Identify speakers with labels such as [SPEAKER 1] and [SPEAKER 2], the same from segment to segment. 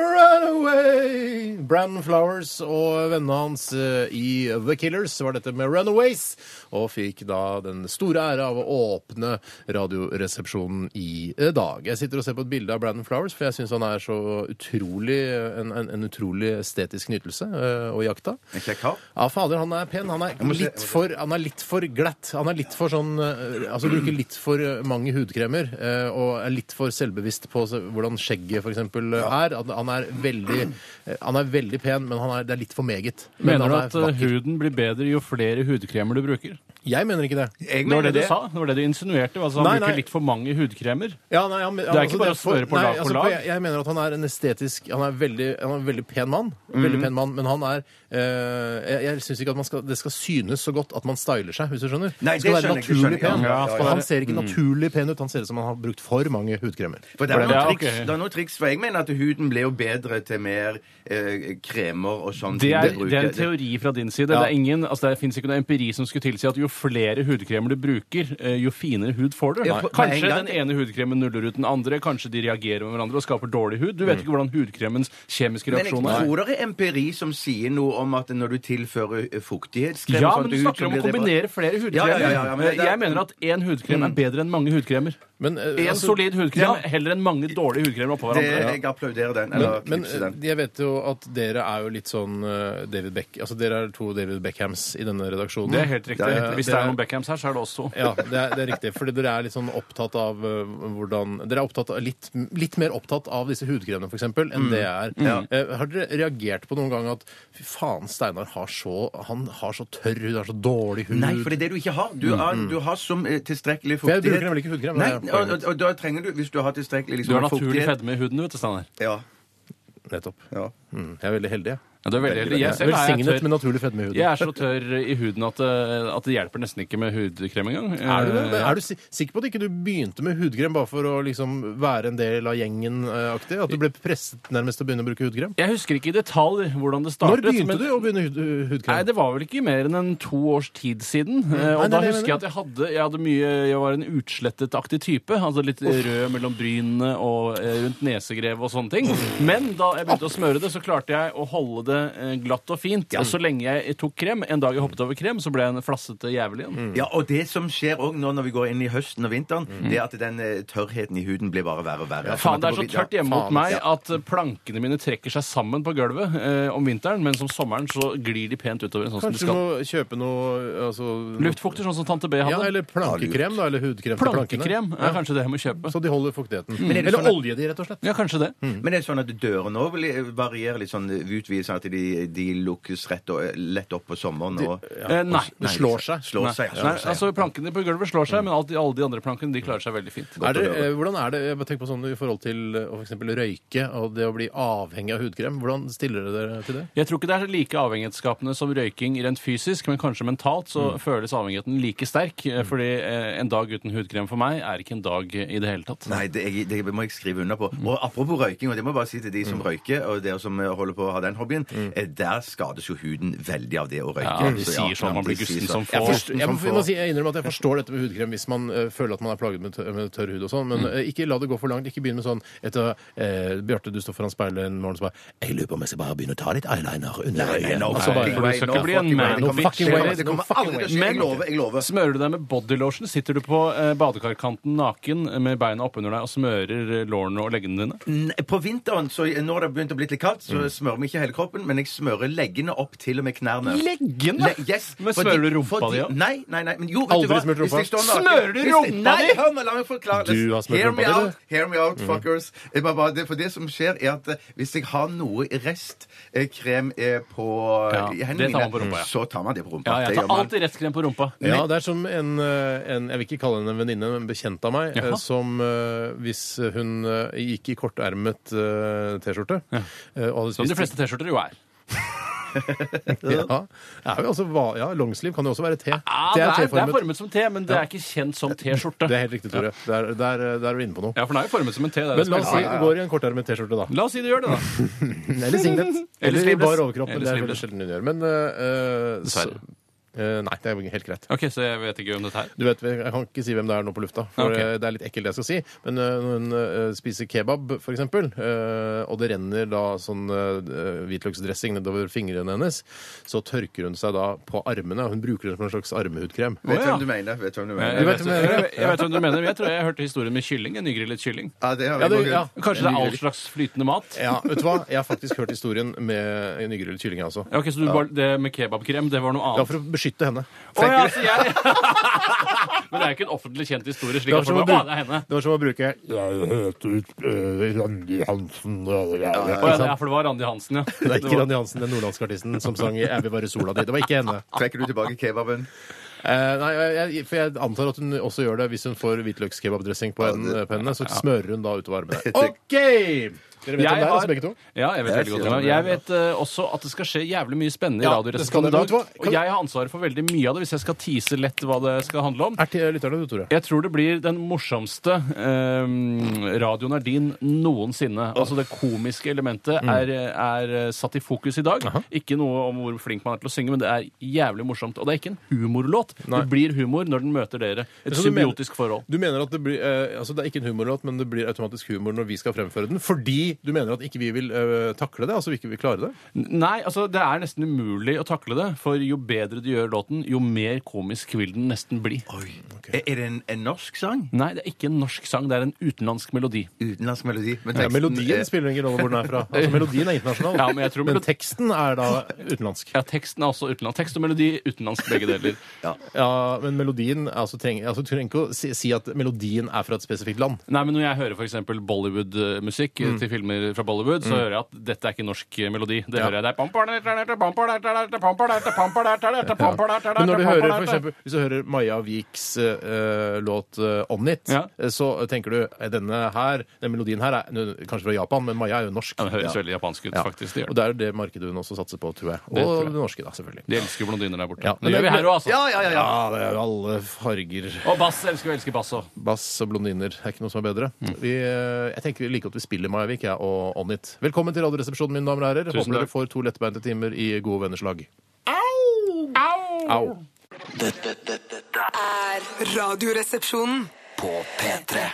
[SPEAKER 1] run away! Brandon Flowers og vennene hans eh, i The Killers var dette med Runaways, og fikk da den store ære av å åpne Radioresepsjonen i eh, dag. Jeg sitter og ser på et bilde av Brandon Flowers, for jeg syns han er så utrolig en, en, en utrolig estetisk nytelse eh, å jakte.
[SPEAKER 2] Kjekk kar.
[SPEAKER 1] Ja, fader, han er pen. Han er
[SPEAKER 2] må se-
[SPEAKER 1] litt for, han er litt for glatt. Han er litt for sånn eh, Altså bruker litt for eh, mange hudkremer eh, og er litt for selvbevisst på se- hvordan skjegget f.eks. er. At Han er veldig eh, Han er veldig pen, men han er, det er litt for meget. Men
[SPEAKER 3] Mener du
[SPEAKER 1] han
[SPEAKER 3] at
[SPEAKER 1] er
[SPEAKER 3] eh,
[SPEAKER 1] vakker.
[SPEAKER 3] huden blir bedre jo flere hudkremer du bruker?
[SPEAKER 1] Jeg mener ikke det.
[SPEAKER 2] Jeg
[SPEAKER 3] Det var
[SPEAKER 2] mener
[SPEAKER 3] det du sa. Det var det du insinuerte. Altså, han
[SPEAKER 1] Nei,
[SPEAKER 3] bruker
[SPEAKER 1] nei.
[SPEAKER 3] litt for mange hudkremer.
[SPEAKER 1] Ja, altså, nei, han,
[SPEAKER 3] er ikke bare å smøre på lag på lag.
[SPEAKER 1] altså, Jeg, jeg mener at han er en estetisk Han er veldig, han er en veldig pen mann,
[SPEAKER 3] Mhm.
[SPEAKER 1] Veldig pen mann, men han er eh, Jeg, jeg syns ikke at man skal, det skal synes så godt at man styler seg, hvis du skjønner.
[SPEAKER 2] Nei,
[SPEAKER 1] det skal
[SPEAKER 2] det
[SPEAKER 1] være
[SPEAKER 2] skjønner jeg, det skjønner
[SPEAKER 1] naturlig
[SPEAKER 2] jeg.
[SPEAKER 1] pen.
[SPEAKER 2] Ja, ja, ja, Mm.
[SPEAKER 1] Og
[SPEAKER 2] ja.
[SPEAKER 1] han ser ikke naturlig pen ut. Han ser ut som han har brukt for mange hudkremer.
[SPEAKER 2] For det er, noe
[SPEAKER 3] Ja,
[SPEAKER 2] triks,
[SPEAKER 3] ok.
[SPEAKER 2] det er noe triks, for jeg mener at huden blir jo bedre til mer eh, kremer og sånn.
[SPEAKER 3] Det er,
[SPEAKER 2] som du
[SPEAKER 3] det er en
[SPEAKER 2] bruker.
[SPEAKER 3] teori fra din side.
[SPEAKER 1] Ja.
[SPEAKER 3] Det, er ingen, altså det fins ikke noe empiri som skulle tilsi at jo flere hudkremer du bruker, eh, jo finere hud får du.
[SPEAKER 2] Ja, for- med en
[SPEAKER 3] Kanskje
[SPEAKER 2] gang-
[SPEAKER 3] den ene hudkremen nuller ut den andre, kanskje de reagerer med hverandre og skaper dårlig hud. Du vet ikke hvordan hudkremens kjemiske
[SPEAKER 2] Mm. Men jeg
[SPEAKER 3] reaksjon er.
[SPEAKER 2] tror det er empiri som sier noe om at når du tilfører eh, fuktighetskrem
[SPEAKER 3] Ja,
[SPEAKER 2] og
[SPEAKER 3] men
[SPEAKER 2] sånt
[SPEAKER 3] du
[SPEAKER 2] til hud, så
[SPEAKER 3] snakker om å
[SPEAKER 2] blir det bra.
[SPEAKER 3] kombinere flere
[SPEAKER 2] Ja, ja,
[SPEAKER 3] hudkremer.
[SPEAKER 2] ja, ja, men det- Mm.
[SPEAKER 3] Jeg mener at én hudkrem er bedre enn mange hudkremer.
[SPEAKER 1] Men, eh,
[SPEAKER 3] Én
[SPEAKER 1] altså-
[SPEAKER 3] solid hudkrem
[SPEAKER 2] ja.
[SPEAKER 3] heller enn mange dårlige hudkremer oppå
[SPEAKER 2] Det,
[SPEAKER 3] hverandre.
[SPEAKER 2] jeg applauderer den. Eller
[SPEAKER 1] Men
[SPEAKER 2] knipser
[SPEAKER 1] eh,
[SPEAKER 2] den.
[SPEAKER 1] jeg vet jo at dere er jo litt sånn eh, David Beck Altså dere er to David Beckhams i denne redaksjonen.
[SPEAKER 3] Det er Mm. helt riktig.
[SPEAKER 1] Eh,
[SPEAKER 3] Hvis det
[SPEAKER 1] dere-
[SPEAKER 3] er noen Beckhams her, så er det oss to.
[SPEAKER 1] Ja, det er, det er riktig. Fordi dere er litt sånn opptatt av eh, hvordan Dere er opptatt av litt, litt mer opptatt av disse hudkremene, f.eks.,
[SPEAKER 3] Mm.
[SPEAKER 1] enn det jeg er. Eh, har dere reagert på noen gang at fy faen, Steinar har så Han har så tørr hud, har så dårlig hud
[SPEAKER 2] Nei, for det er det du ikke har. Du, har, du har som eh, tilstrekkelig
[SPEAKER 1] Mm. For jeg
[SPEAKER 2] fuktighet
[SPEAKER 1] bruker nemlig ikke hudkrem,
[SPEAKER 2] Nei,
[SPEAKER 1] det er
[SPEAKER 2] og,
[SPEAKER 1] poenget.
[SPEAKER 2] og, og da trenger du, hvis du har tilstrekkelig
[SPEAKER 3] Du
[SPEAKER 2] liksom,
[SPEAKER 3] har naturlig
[SPEAKER 2] fuktighet-
[SPEAKER 3] fedme i huden, vet du, Steinar.
[SPEAKER 2] Ja,
[SPEAKER 1] Nettopp.
[SPEAKER 2] ja.
[SPEAKER 1] Mm, jeg er veldig heldig, jeg.
[SPEAKER 3] Ja, du er veldig heldig.
[SPEAKER 1] Jeg
[SPEAKER 3] Jeg
[SPEAKER 1] er
[SPEAKER 3] selv er jeg
[SPEAKER 1] Velsignet
[SPEAKER 3] tørr.
[SPEAKER 1] med naturlig fedme i huden.
[SPEAKER 3] Jeg er så tørr i huden at, eh, at det hjelper nesten ikke med hudkrem engang.
[SPEAKER 1] Er du, det? Men
[SPEAKER 3] Eh,
[SPEAKER 1] er du si- sikker på at ikke du begynte med hudkrem bare for å liksom være en del av gjengen-aktig? At du ble presset nærmest til å begynne å bruke hudkrem?
[SPEAKER 3] Jeg husker ikke i detalj hvordan det
[SPEAKER 1] Når
[SPEAKER 3] startet.
[SPEAKER 1] begynte
[SPEAKER 3] men-
[SPEAKER 1] du å begynne hud eh, hudkrem?
[SPEAKER 3] Nei, Det var vel ikke mer enn en to års tid siden. Eh,
[SPEAKER 1] Mm. Nei,
[SPEAKER 3] og
[SPEAKER 1] det
[SPEAKER 3] da
[SPEAKER 1] er det jeg
[SPEAKER 3] husker jeg at jeg hadde, jeg hadde mye Jeg var en utslettet-aktig type. Altså litt rød mellom brynene og eh, rundt nesegrevet og sånne ting. Men da jeg begynte å smøre det, så klarte jeg å holde det eh, glatt og fint. Og så lenge jeg tok krem, en dag jeg hoppet over krem, så ble jeg en flassete jævel igjen.
[SPEAKER 1] Mm.
[SPEAKER 2] Ja, og det som skjer òg nå når vi går inn i høsten og vinteren, det er at den eh, tørrheten i huden blir bare verre og verre.
[SPEAKER 3] Mm. Faen, det er så tørt hjemme
[SPEAKER 1] faen, altså.
[SPEAKER 3] mot meg at eh, plankene mine trekker seg sammen på gulvet eh, om vinteren, mens om sommeren så glir de pent utover. sånn som de
[SPEAKER 1] Kanskje du
[SPEAKER 3] skal.
[SPEAKER 1] må kjøpe noe altså,
[SPEAKER 3] Luftfukter, sånn som tante B
[SPEAKER 1] Ja,
[SPEAKER 3] hadde.
[SPEAKER 1] eller plankekrem, da. Eller hudkrem til plankene.
[SPEAKER 3] Plankekrem er kanskje det jeg må kjøpe.
[SPEAKER 1] Så de holder fuktigheten.
[SPEAKER 2] er det
[SPEAKER 1] Eller
[SPEAKER 2] sånn at-
[SPEAKER 1] olje de, rett og slett.
[SPEAKER 3] Ja, kanskje det.
[SPEAKER 2] Men er det sånn at dørene òg varierer litt sånn utvides, sånn at de, de lukkes rett og lett opp på sommeren? Og,
[SPEAKER 3] Eh, nei.
[SPEAKER 1] Det slår seg.
[SPEAKER 2] slår seg, ja,
[SPEAKER 3] Nei,
[SPEAKER 2] slår seg.
[SPEAKER 3] altså Plankene på gulvet slår
[SPEAKER 2] Mm.
[SPEAKER 3] seg, men alt, alle de andre plankene de klarer seg veldig fint.
[SPEAKER 1] Er det,
[SPEAKER 2] å
[SPEAKER 1] eh, hvordan er det jeg bare tenker på sånn i forhold til eh, å for eksempel røyke og det å bli avhengig av hudkrem? Hvordan stiller dere dere til det?
[SPEAKER 3] Jeg tror ikke det er like avhengighetsskapende som røyking rent fysisk, men kanskje mentalt så
[SPEAKER 2] Mm.
[SPEAKER 3] føles avhengigheten like sterk. eh, Fordi eh, en dag uten hudkrem for meg er ikke en dag eh, i det hele tatt.
[SPEAKER 2] Nei, det, jeg, det må jeg skrive under på. Og apropos røyking, og det må jeg bare si til de
[SPEAKER 3] Mm.
[SPEAKER 2] som røyker, og dere som eh, holder på å ha den hobbyen, eh, der skades jo huden veldig av det å røyke.
[SPEAKER 3] Ja, de
[SPEAKER 2] Så,
[SPEAKER 3] sier sånn, man blir
[SPEAKER 2] de sier
[SPEAKER 3] gussen som
[SPEAKER 2] sånn.
[SPEAKER 1] Jeg,
[SPEAKER 3] får.
[SPEAKER 1] forstår, jeg, må, jeg, må si, jeg innrømmer at jeg forstår dette med hudkrem hvis man eh, føler at man er plaget med, tør, med tørr hud og sånn, men
[SPEAKER 2] Mm.
[SPEAKER 1] eh, ikke la det gå for langt. Ikke begynn med sånn etter eh, Bjarte, du står foran speilet en morgen og så bare Jeg lurer på om jeg skal bare begynne å ta litt eyeliner under øyet.
[SPEAKER 2] no,
[SPEAKER 1] Altså, bare-
[SPEAKER 2] fucking way,
[SPEAKER 3] du skal
[SPEAKER 2] no
[SPEAKER 3] ikke bli en
[SPEAKER 2] fucking way.
[SPEAKER 3] man
[SPEAKER 2] Det
[SPEAKER 3] of
[SPEAKER 2] kommer-
[SPEAKER 1] fucking
[SPEAKER 2] det
[SPEAKER 1] way.
[SPEAKER 2] kommer- Det kommer aldri til å skje. Jeg lover. Jeg lover.
[SPEAKER 3] Smører du deg med bodylotion? Sitter du på eh, badekarkanten naken med beina oppunder deg og smører eh, lårene og leggene dine? Mm.
[SPEAKER 2] Nei, På vinteren, så når det har begynt å bli litt kaldt, så smører vi ikke hele kroppen. kroppen, men jeg smører leggene opp til og med knærne.
[SPEAKER 3] Leggene?
[SPEAKER 2] Le- yes,
[SPEAKER 3] Men
[SPEAKER 2] fordi-
[SPEAKER 3] smører du rumpa
[SPEAKER 2] fordi-
[SPEAKER 3] di, ja?
[SPEAKER 2] Nei, nei, nei. Men jo, vet
[SPEAKER 1] Aldri
[SPEAKER 2] du hva?
[SPEAKER 1] smurt
[SPEAKER 2] Hvis
[SPEAKER 1] rumpa?
[SPEAKER 2] jeg står naken-
[SPEAKER 3] Smører du
[SPEAKER 2] Hvis jeg-
[SPEAKER 3] rumpa
[SPEAKER 2] Nei,
[SPEAKER 3] di?
[SPEAKER 2] hør nå, la meg forklare.
[SPEAKER 1] Du har smurt
[SPEAKER 2] Hear
[SPEAKER 1] rumpa
[SPEAKER 2] me
[SPEAKER 1] di, du.
[SPEAKER 2] out, Hear me
[SPEAKER 3] Mm.
[SPEAKER 2] out, fuckers. Jeg bare, bare, det, for det som skjer, er at eh, hvis jeg har noe restkrem eh, på
[SPEAKER 3] Ja,
[SPEAKER 2] i hendene
[SPEAKER 3] det tar man
[SPEAKER 2] mine,
[SPEAKER 3] på rumpa, ja.
[SPEAKER 2] så tar man det på rumpa.
[SPEAKER 3] Ja, jeg
[SPEAKER 2] Det
[SPEAKER 3] tar
[SPEAKER 2] gjør man.
[SPEAKER 3] alltid rettskrem på rumpa.
[SPEAKER 1] Ja, det er som en, eh, en Jeg vil ikke kalle henne en venninne, men en bekjent av meg,
[SPEAKER 3] Jaha.
[SPEAKER 1] eh, som eh, hvis hun eh, gikk i kortermet eh, T-skjorte eh, og hadde
[SPEAKER 3] Som de
[SPEAKER 1] spist-
[SPEAKER 3] fleste T-skjorter jo er.
[SPEAKER 1] Ja, det er jo også, va- ja longsleeve kan jo også være T.
[SPEAKER 3] Ja,
[SPEAKER 1] det
[SPEAKER 3] Ah, det,
[SPEAKER 1] er
[SPEAKER 3] er, det er
[SPEAKER 1] T-formet.
[SPEAKER 3] formet som T, men det er ikke kjent som T-skjorte.
[SPEAKER 1] Det er helt riktig, Tore. Der, der, eh, der er du inne på noe.
[SPEAKER 3] Ja, for den er jo formet som en T. Det er
[SPEAKER 1] Men
[SPEAKER 3] jo
[SPEAKER 1] la oss si
[SPEAKER 3] spesielt.
[SPEAKER 1] du går i en kortermet T-skjorte, da.
[SPEAKER 3] la oss si du gjør det, da.
[SPEAKER 1] Eller singlet.
[SPEAKER 3] Eller
[SPEAKER 1] Eller i
[SPEAKER 3] sleeveless.
[SPEAKER 1] bar overkropp. Men
[SPEAKER 3] Eller
[SPEAKER 1] det er veldig
[SPEAKER 3] sleeveless.
[SPEAKER 1] sjelden hun gjør. Men eh, eh, så-
[SPEAKER 3] Dessverre.
[SPEAKER 1] eh, Nei, det er jo helt greit.
[SPEAKER 3] OK, så jeg vet ikke om dette her.
[SPEAKER 1] Du vet, Jeg kan ikke si hvem det er nå på lufta, for
[SPEAKER 3] Ok.
[SPEAKER 1] eh, det er litt ekkelt det jeg skal si. Men eh, når hun eh, spiser kebab, for eksempel, eh, og det renner da sånn eh, hvitløksdressing nedover fingrene hennes, så tørker hun seg da på armene. og Hun bruker det som en slags armehudkrem.
[SPEAKER 2] Vet
[SPEAKER 3] Å,
[SPEAKER 2] du
[SPEAKER 3] ja.
[SPEAKER 2] hvem du mener? Vet du hvem du
[SPEAKER 3] Jeg,
[SPEAKER 2] mener?
[SPEAKER 3] jeg,
[SPEAKER 1] vet
[SPEAKER 3] vet,
[SPEAKER 1] hva jeg mener.
[SPEAKER 3] jeg, vet hvem du mener. Jeg tror jeg hørte historien med kylling. En nygrillet kylling.
[SPEAKER 2] Ja, det har
[SPEAKER 1] Ja,
[SPEAKER 2] jeg
[SPEAKER 1] du-
[SPEAKER 2] gått ut.
[SPEAKER 1] ja.
[SPEAKER 3] Kanskje det er all slags flytende mat?
[SPEAKER 1] Ja, vet du hva? Jeg har faktisk hørt historien med en nygrillet kylling, jeg også.
[SPEAKER 3] Ok, Så du bare, det med kebabkrem, det var noe
[SPEAKER 1] Ja,
[SPEAKER 3] annet?
[SPEAKER 1] for å beskytte henne.
[SPEAKER 3] Å, ja, altså, jeg... Men det er jo ikke en offentlig kjent historie. slik at folk bare, å, det er henne.
[SPEAKER 1] det var som å bruke
[SPEAKER 4] Jeg heter øh, Randi Hansen. og
[SPEAKER 3] Å,
[SPEAKER 4] jeg-
[SPEAKER 3] ja, det er, for det var Randi Hansen, ja.
[SPEAKER 1] Det er ikke Randi Hansen, den nordlandske artisten, som sang 'Jeg vil være sola di'. Det var ikke henne.
[SPEAKER 2] Trekker du tilbake kebaben?
[SPEAKER 1] Eh, nei, jeg, jeg- for jeg antar at hun også gjør det hvis hun får hvitløkskebabdressing på, en- på henne. Så smører hun da utover armene. OK! Dere vet
[SPEAKER 3] Jeg
[SPEAKER 1] om det er, altså,
[SPEAKER 3] har-
[SPEAKER 1] begge to?
[SPEAKER 3] Ja, jeg vet
[SPEAKER 2] Jeg
[SPEAKER 3] veldig godt
[SPEAKER 2] sier
[SPEAKER 3] om det.
[SPEAKER 2] det.
[SPEAKER 3] Jeg vet eh, også at det skal skje jævlig mye spennende i
[SPEAKER 1] Ja, det skal
[SPEAKER 3] Radioresepsjonen
[SPEAKER 1] det.
[SPEAKER 3] i dag.
[SPEAKER 1] Vet du hva?
[SPEAKER 3] Og jeg har ansvaret for veldig mye av det, hvis jeg skal tease lett hva det skal handle om.
[SPEAKER 1] Er til eh, lytterne, du, Tore.
[SPEAKER 3] Jeg tror det blir den morsomste eh, radioen er din noensinne. Altså det komiske elementet
[SPEAKER 1] Mm.
[SPEAKER 3] er, er eh, satt i fokus i dag. Ikke noe om hvor flink man er til å synge, men det er jævlig morsomt. Og det er ikke en humorlåt.
[SPEAKER 1] Nei.
[SPEAKER 3] Det blir humor når den møter dere. Et
[SPEAKER 1] Så du mener-
[SPEAKER 3] symbiotisk forhold.
[SPEAKER 1] Du mener at det blir eh, Altså, det er ikke en humorlåt, men det blir automatisk humor når vi skal fremføre den, fordi du mener at ikke vi vil eh, takle det? Altså vi ikke vil klare det?
[SPEAKER 3] Nei, altså det er nesten umulig å takle det. For jo bedre du gjør låten, jo mer komisk vil den nesten bli.
[SPEAKER 2] Oi. Er, er det en, en norsk sang?
[SPEAKER 3] Nei, det er ikke en norsk sang. Det er en utenlandsk melodi.
[SPEAKER 2] Utenlandsk melodi? Men
[SPEAKER 1] Ja,
[SPEAKER 2] teksten eh,
[SPEAKER 1] melodien
[SPEAKER 2] er-
[SPEAKER 1] spiller ingen rolle hvor den er fra. Altså, melodien er internasjonal,
[SPEAKER 3] Ja, men jeg tror
[SPEAKER 1] men
[SPEAKER 3] melodi-
[SPEAKER 1] teksten er da utenlandsk.
[SPEAKER 3] Ja, teksten er også utenlandsk. Tekst og melodi utenlandsk, begge deler.
[SPEAKER 1] Ja, men melodien altså, trenger, altså, Du trenger ikke å si, si at melodien er fra et spesifikt land.
[SPEAKER 3] Nei, men Når jeg hører f.eks. Bollywood-musikk
[SPEAKER 1] Mm.
[SPEAKER 3] eh, til filmer fra Bollywood, så hører jeg at dette er ikke norsk eh, melodi. Det hører jeg. Det er
[SPEAKER 1] Men
[SPEAKER 3] Men
[SPEAKER 1] når du hører for eksempel, Hvis du hører Maja Viks eh, låt eh, 'On It',
[SPEAKER 3] Ja.
[SPEAKER 1] eh, så tenker du eh, denne her, den melodien her er nå, kanskje fra Japan, men Maja er jo norsk.
[SPEAKER 3] Den høres veldig japansk ut,
[SPEAKER 1] Ja.
[SPEAKER 3] faktisk. Det
[SPEAKER 1] Og
[SPEAKER 3] gjør det.
[SPEAKER 1] det er jo det markedet hun også satser på, tror jeg. Og det,
[SPEAKER 3] tror jeg.
[SPEAKER 1] norske, da, selvfølgelig.
[SPEAKER 3] De elsker jo blondiner der borte.
[SPEAKER 1] Ja, men
[SPEAKER 3] det gjør
[SPEAKER 1] det-
[SPEAKER 3] vi her òg, altså.
[SPEAKER 2] Ja, ja, ja. ja.
[SPEAKER 1] Ja, det er jo alle farger.
[SPEAKER 3] Og bass elsker vi elsker bass òg.
[SPEAKER 1] Bass og blondiner det er ikke noe som er bedre.
[SPEAKER 3] Mm.
[SPEAKER 1] Vi, eh, jeg tenker vi liker at vi spiller Maja Vik ja, og On It. Velkommen til Radioresepsjonen, mine damer og herrer.
[SPEAKER 3] Tusen
[SPEAKER 1] Håper dere
[SPEAKER 3] takk.
[SPEAKER 1] får to lettbeinte timer i gode venners lag. Au.
[SPEAKER 5] Dette, dette, dette
[SPEAKER 6] er Radioresepsjonen.
[SPEAKER 5] på P3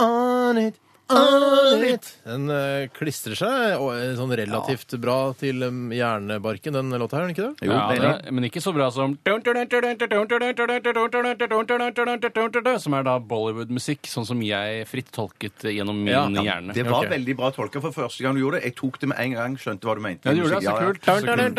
[SPEAKER 1] On it, on it. Den eh, klistrer seg og er sånn relativt bra til um, hjernebarken, den låta her, er den ikke det?
[SPEAKER 2] Jo,
[SPEAKER 3] Ja,
[SPEAKER 2] det er-
[SPEAKER 3] det, men ikke så bra som Som er da Bollywood-musikk, sånn som jeg fritt tolket gjennom min
[SPEAKER 1] Ja,
[SPEAKER 3] hjerne.
[SPEAKER 2] Det var
[SPEAKER 1] Ok.
[SPEAKER 2] veldig bra tolka for første gang du gjorde det. Jeg tok det med en gang, skjønte hva du mente.
[SPEAKER 3] Ja, du gjorde det, så kult.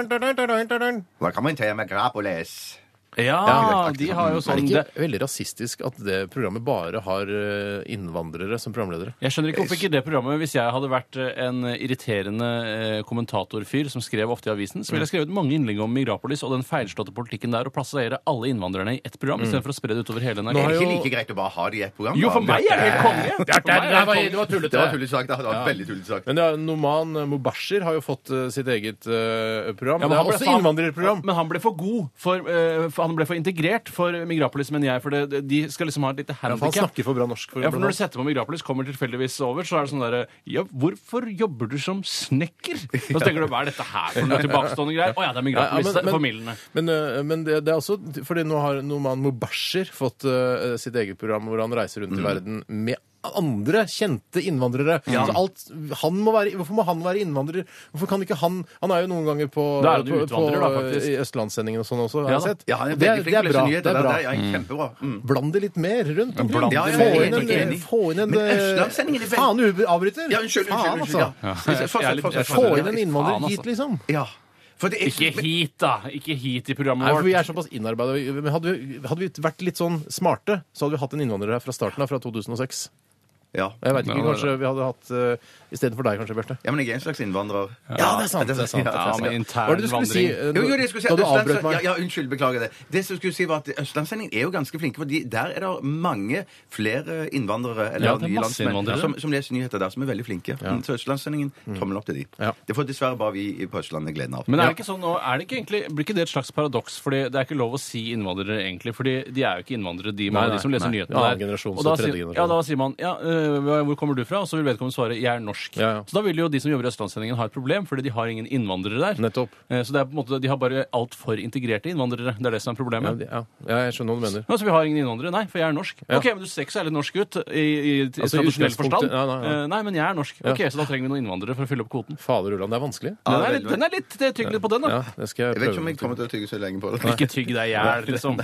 [SPEAKER 3] Så kult.
[SPEAKER 2] Hva kan man ta med grapoles?
[SPEAKER 3] Ja, de har jo
[SPEAKER 1] Er
[SPEAKER 3] sånn
[SPEAKER 1] det
[SPEAKER 3] det,
[SPEAKER 1] ikke veldig rasistisk at det programmet bare har eh, innvandrere som programledere?
[SPEAKER 3] Jeg skjønner ikke hvorfor ikke det programmet Hvis jeg hadde vært eh, en irriterende eh, kommentatorfyr som skrev ofte i avisen, så ville jeg skrevet mange innlegg om Migrapolis og den feilslåtte politikken der og plassere alle innvandrerne i ett program istedenfor å spre det utover hele
[SPEAKER 1] Nå
[SPEAKER 2] Er
[SPEAKER 3] NRK.
[SPEAKER 1] har
[SPEAKER 2] det ikke
[SPEAKER 1] jo-
[SPEAKER 2] like greit å bare ha det i ett program?
[SPEAKER 3] Jo,
[SPEAKER 2] da?
[SPEAKER 3] for meg er det helt konge! For meg er det helt konge.
[SPEAKER 2] Det var tullete sagt. Det var veldig tullete sagt.
[SPEAKER 1] Men ja, Noman Mubashir har jo fått eh, sitt eget eh, program.
[SPEAKER 3] Ja,
[SPEAKER 1] det er
[SPEAKER 3] han ble-
[SPEAKER 1] også
[SPEAKER 3] han-
[SPEAKER 1] innvandrerprogram.
[SPEAKER 3] Men han ble for god. For, eh, for Han ble for integrert for Migrapolis, men jeg. For det, de skal liksom ha et lite
[SPEAKER 1] Han
[SPEAKER 3] handikap.
[SPEAKER 1] snakker for bra norsk. For
[SPEAKER 3] Ja, for Når
[SPEAKER 1] blant
[SPEAKER 3] du setter på Migrapolis, kommer tilfeldigvis over, så er det sånn derre Ja, hvorfor jobber du som snekker? Og så tenker du, hva er dette her for noe tilbakestående greier? Å ja, det er Migrapolis.
[SPEAKER 1] Ja, ja, men- men-
[SPEAKER 3] Formildende.
[SPEAKER 1] Men, øh, men det, det er også eh, fordi nå har Noman Mubashir fått øh, sitt eget program hvor han reiser rundt i verden med andre kjente innvandrere. Så alt, han må være, hvorfor må han være innvandrer? Hvorfor kan ikke han Han er jo noen ganger på,
[SPEAKER 3] Da er han jo
[SPEAKER 1] på, på
[SPEAKER 3] utvandrer, da, faktisk.
[SPEAKER 1] i Østlandssendingen og sånn også, har
[SPEAKER 3] Ja
[SPEAKER 1] jeg
[SPEAKER 3] da.
[SPEAKER 1] sett.
[SPEAKER 2] Ja, han er
[SPEAKER 1] det, er,
[SPEAKER 2] veldig flink
[SPEAKER 1] det er
[SPEAKER 2] til å
[SPEAKER 1] bra.
[SPEAKER 2] lese
[SPEAKER 1] Det
[SPEAKER 2] nyheter.
[SPEAKER 1] er bra.
[SPEAKER 2] Det er, ja, kjempebra. Mm.
[SPEAKER 1] Bland det litt mer rundt.
[SPEAKER 3] Bland
[SPEAKER 1] få,
[SPEAKER 2] Ja, ja, jeg er
[SPEAKER 1] inn en,
[SPEAKER 2] helt enig.
[SPEAKER 1] få inn en eh,
[SPEAKER 2] Men Østlandssendingen er veldig-
[SPEAKER 1] Faen, du avbryter!
[SPEAKER 2] Ja, unnskyld,
[SPEAKER 1] Faen,
[SPEAKER 2] unnskyld. unnskyld ja.
[SPEAKER 1] altså.
[SPEAKER 2] Ja. Fortsett,
[SPEAKER 3] Jeg
[SPEAKER 2] fortsett,
[SPEAKER 3] er litt-
[SPEAKER 2] fortsett.
[SPEAKER 1] Få inn en
[SPEAKER 3] Faen,
[SPEAKER 1] innvandrer
[SPEAKER 3] altså.
[SPEAKER 1] hit, liksom.
[SPEAKER 2] Ja. For det er
[SPEAKER 3] Ikke hit, da! Ikke hit i
[SPEAKER 1] Nei,
[SPEAKER 3] programmet
[SPEAKER 1] for vi
[SPEAKER 3] vårt.
[SPEAKER 1] er såpass innarbeida. Men Hadde, vi- hadde vi vært litt sånn smarte, så hadde vi hatt en innvandrer her fra starten av, fra 2006.
[SPEAKER 2] Ja.
[SPEAKER 1] Jeg vet ikke,
[SPEAKER 3] Ja,
[SPEAKER 1] kanskje vi hadde hatt uh, Istedenfor deg, kanskje, Bjarte.
[SPEAKER 2] ja, men jeg er en slags innvandrer.
[SPEAKER 1] Ja, det er sant, det er sant.
[SPEAKER 3] Ja,
[SPEAKER 1] Hva er
[SPEAKER 3] med
[SPEAKER 1] det
[SPEAKER 3] intern
[SPEAKER 1] du skulle si?
[SPEAKER 3] vandring.
[SPEAKER 1] eh,
[SPEAKER 2] Jo, jo, det jeg skulle si
[SPEAKER 1] da du
[SPEAKER 2] Østlands-
[SPEAKER 1] avbrøt meg?
[SPEAKER 2] Ja, ja, unnskyld, beklager det. Det som jeg skulle si var at Østlandssendingen er jo ganske flinke, fordi der er det mange flere innvandrere eller
[SPEAKER 3] Ja, det er
[SPEAKER 2] nye
[SPEAKER 3] masse
[SPEAKER 2] landsmenn
[SPEAKER 3] innvandrere.
[SPEAKER 2] Som, som leser nyheter der, som er veldig flinke. Mm, Så Østlandssendingen, tommel opp til de.
[SPEAKER 1] Ja.
[SPEAKER 2] Det får dessverre bare vi i- på Østlandet gleden av.
[SPEAKER 3] Men er det ikke sånn nå, er det ikke egentlig, blir ikke det et slags paradoks? Fordi det er ikke lov å si innvandrere, egentlig. fordi de er jo ikke innvandrere, de,
[SPEAKER 1] Nei,
[SPEAKER 3] mange av
[SPEAKER 1] nei,
[SPEAKER 3] de som leser
[SPEAKER 1] nei.
[SPEAKER 3] nyhetene.
[SPEAKER 1] Annen
[SPEAKER 3] der.
[SPEAKER 1] generasjon,
[SPEAKER 3] Og
[SPEAKER 1] så
[SPEAKER 3] da
[SPEAKER 1] tredje
[SPEAKER 3] sier-
[SPEAKER 1] generasjon.
[SPEAKER 3] Ja, da sier man ja, øh, 'Hvor kommer du fra?' Og så vil vedkommende svare 'Jeg er norsk'.
[SPEAKER 1] Ja, ja.
[SPEAKER 3] Så da vil jo de som jobber i Østlandssendingen ha et problem, fordi de har ingen innvandrere der.
[SPEAKER 1] Nettopp.
[SPEAKER 3] Eh, Så det er på en måte, de har bare altfor integrerte innvandrere. Det er det som er
[SPEAKER 1] Ja,
[SPEAKER 3] problemet.
[SPEAKER 1] de- ja. ja, jeg skjønner hva du mener.
[SPEAKER 3] Ja, så vi har ingen innvandrere? Nei, for jeg er norsk.
[SPEAKER 1] Ja.
[SPEAKER 3] Ok, men du ser ikke så veldig norsk ut i, i
[SPEAKER 1] Altså, i
[SPEAKER 3] tradisjonell forstand.
[SPEAKER 1] utgangspunktet- ja, nei, ja.
[SPEAKER 3] Eh, Nei, men jeg er norsk. Ok, så da trenger vi noen innvandrere for å fylle opp kvoten.
[SPEAKER 1] Fader Ulland, det er vanskelig.
[SPEAKER 3] Den
[SPEAKER 2] det
[SPEAKER 3] er
[SPEAKER 2] er
[SPEAKER 3] litt, den er litt eh, tygg litt på den, da.
[SPEAKER 1] Ja, det skal jeg
[SPEAKER 2] Jeg vet ikke om jeg
[SPEAKER 1] prøve.
[SPEAKER 2] kommer til å tygge så lenge på det.
[SPEAKER 3] Ikke tygg deg i hjel, liksom.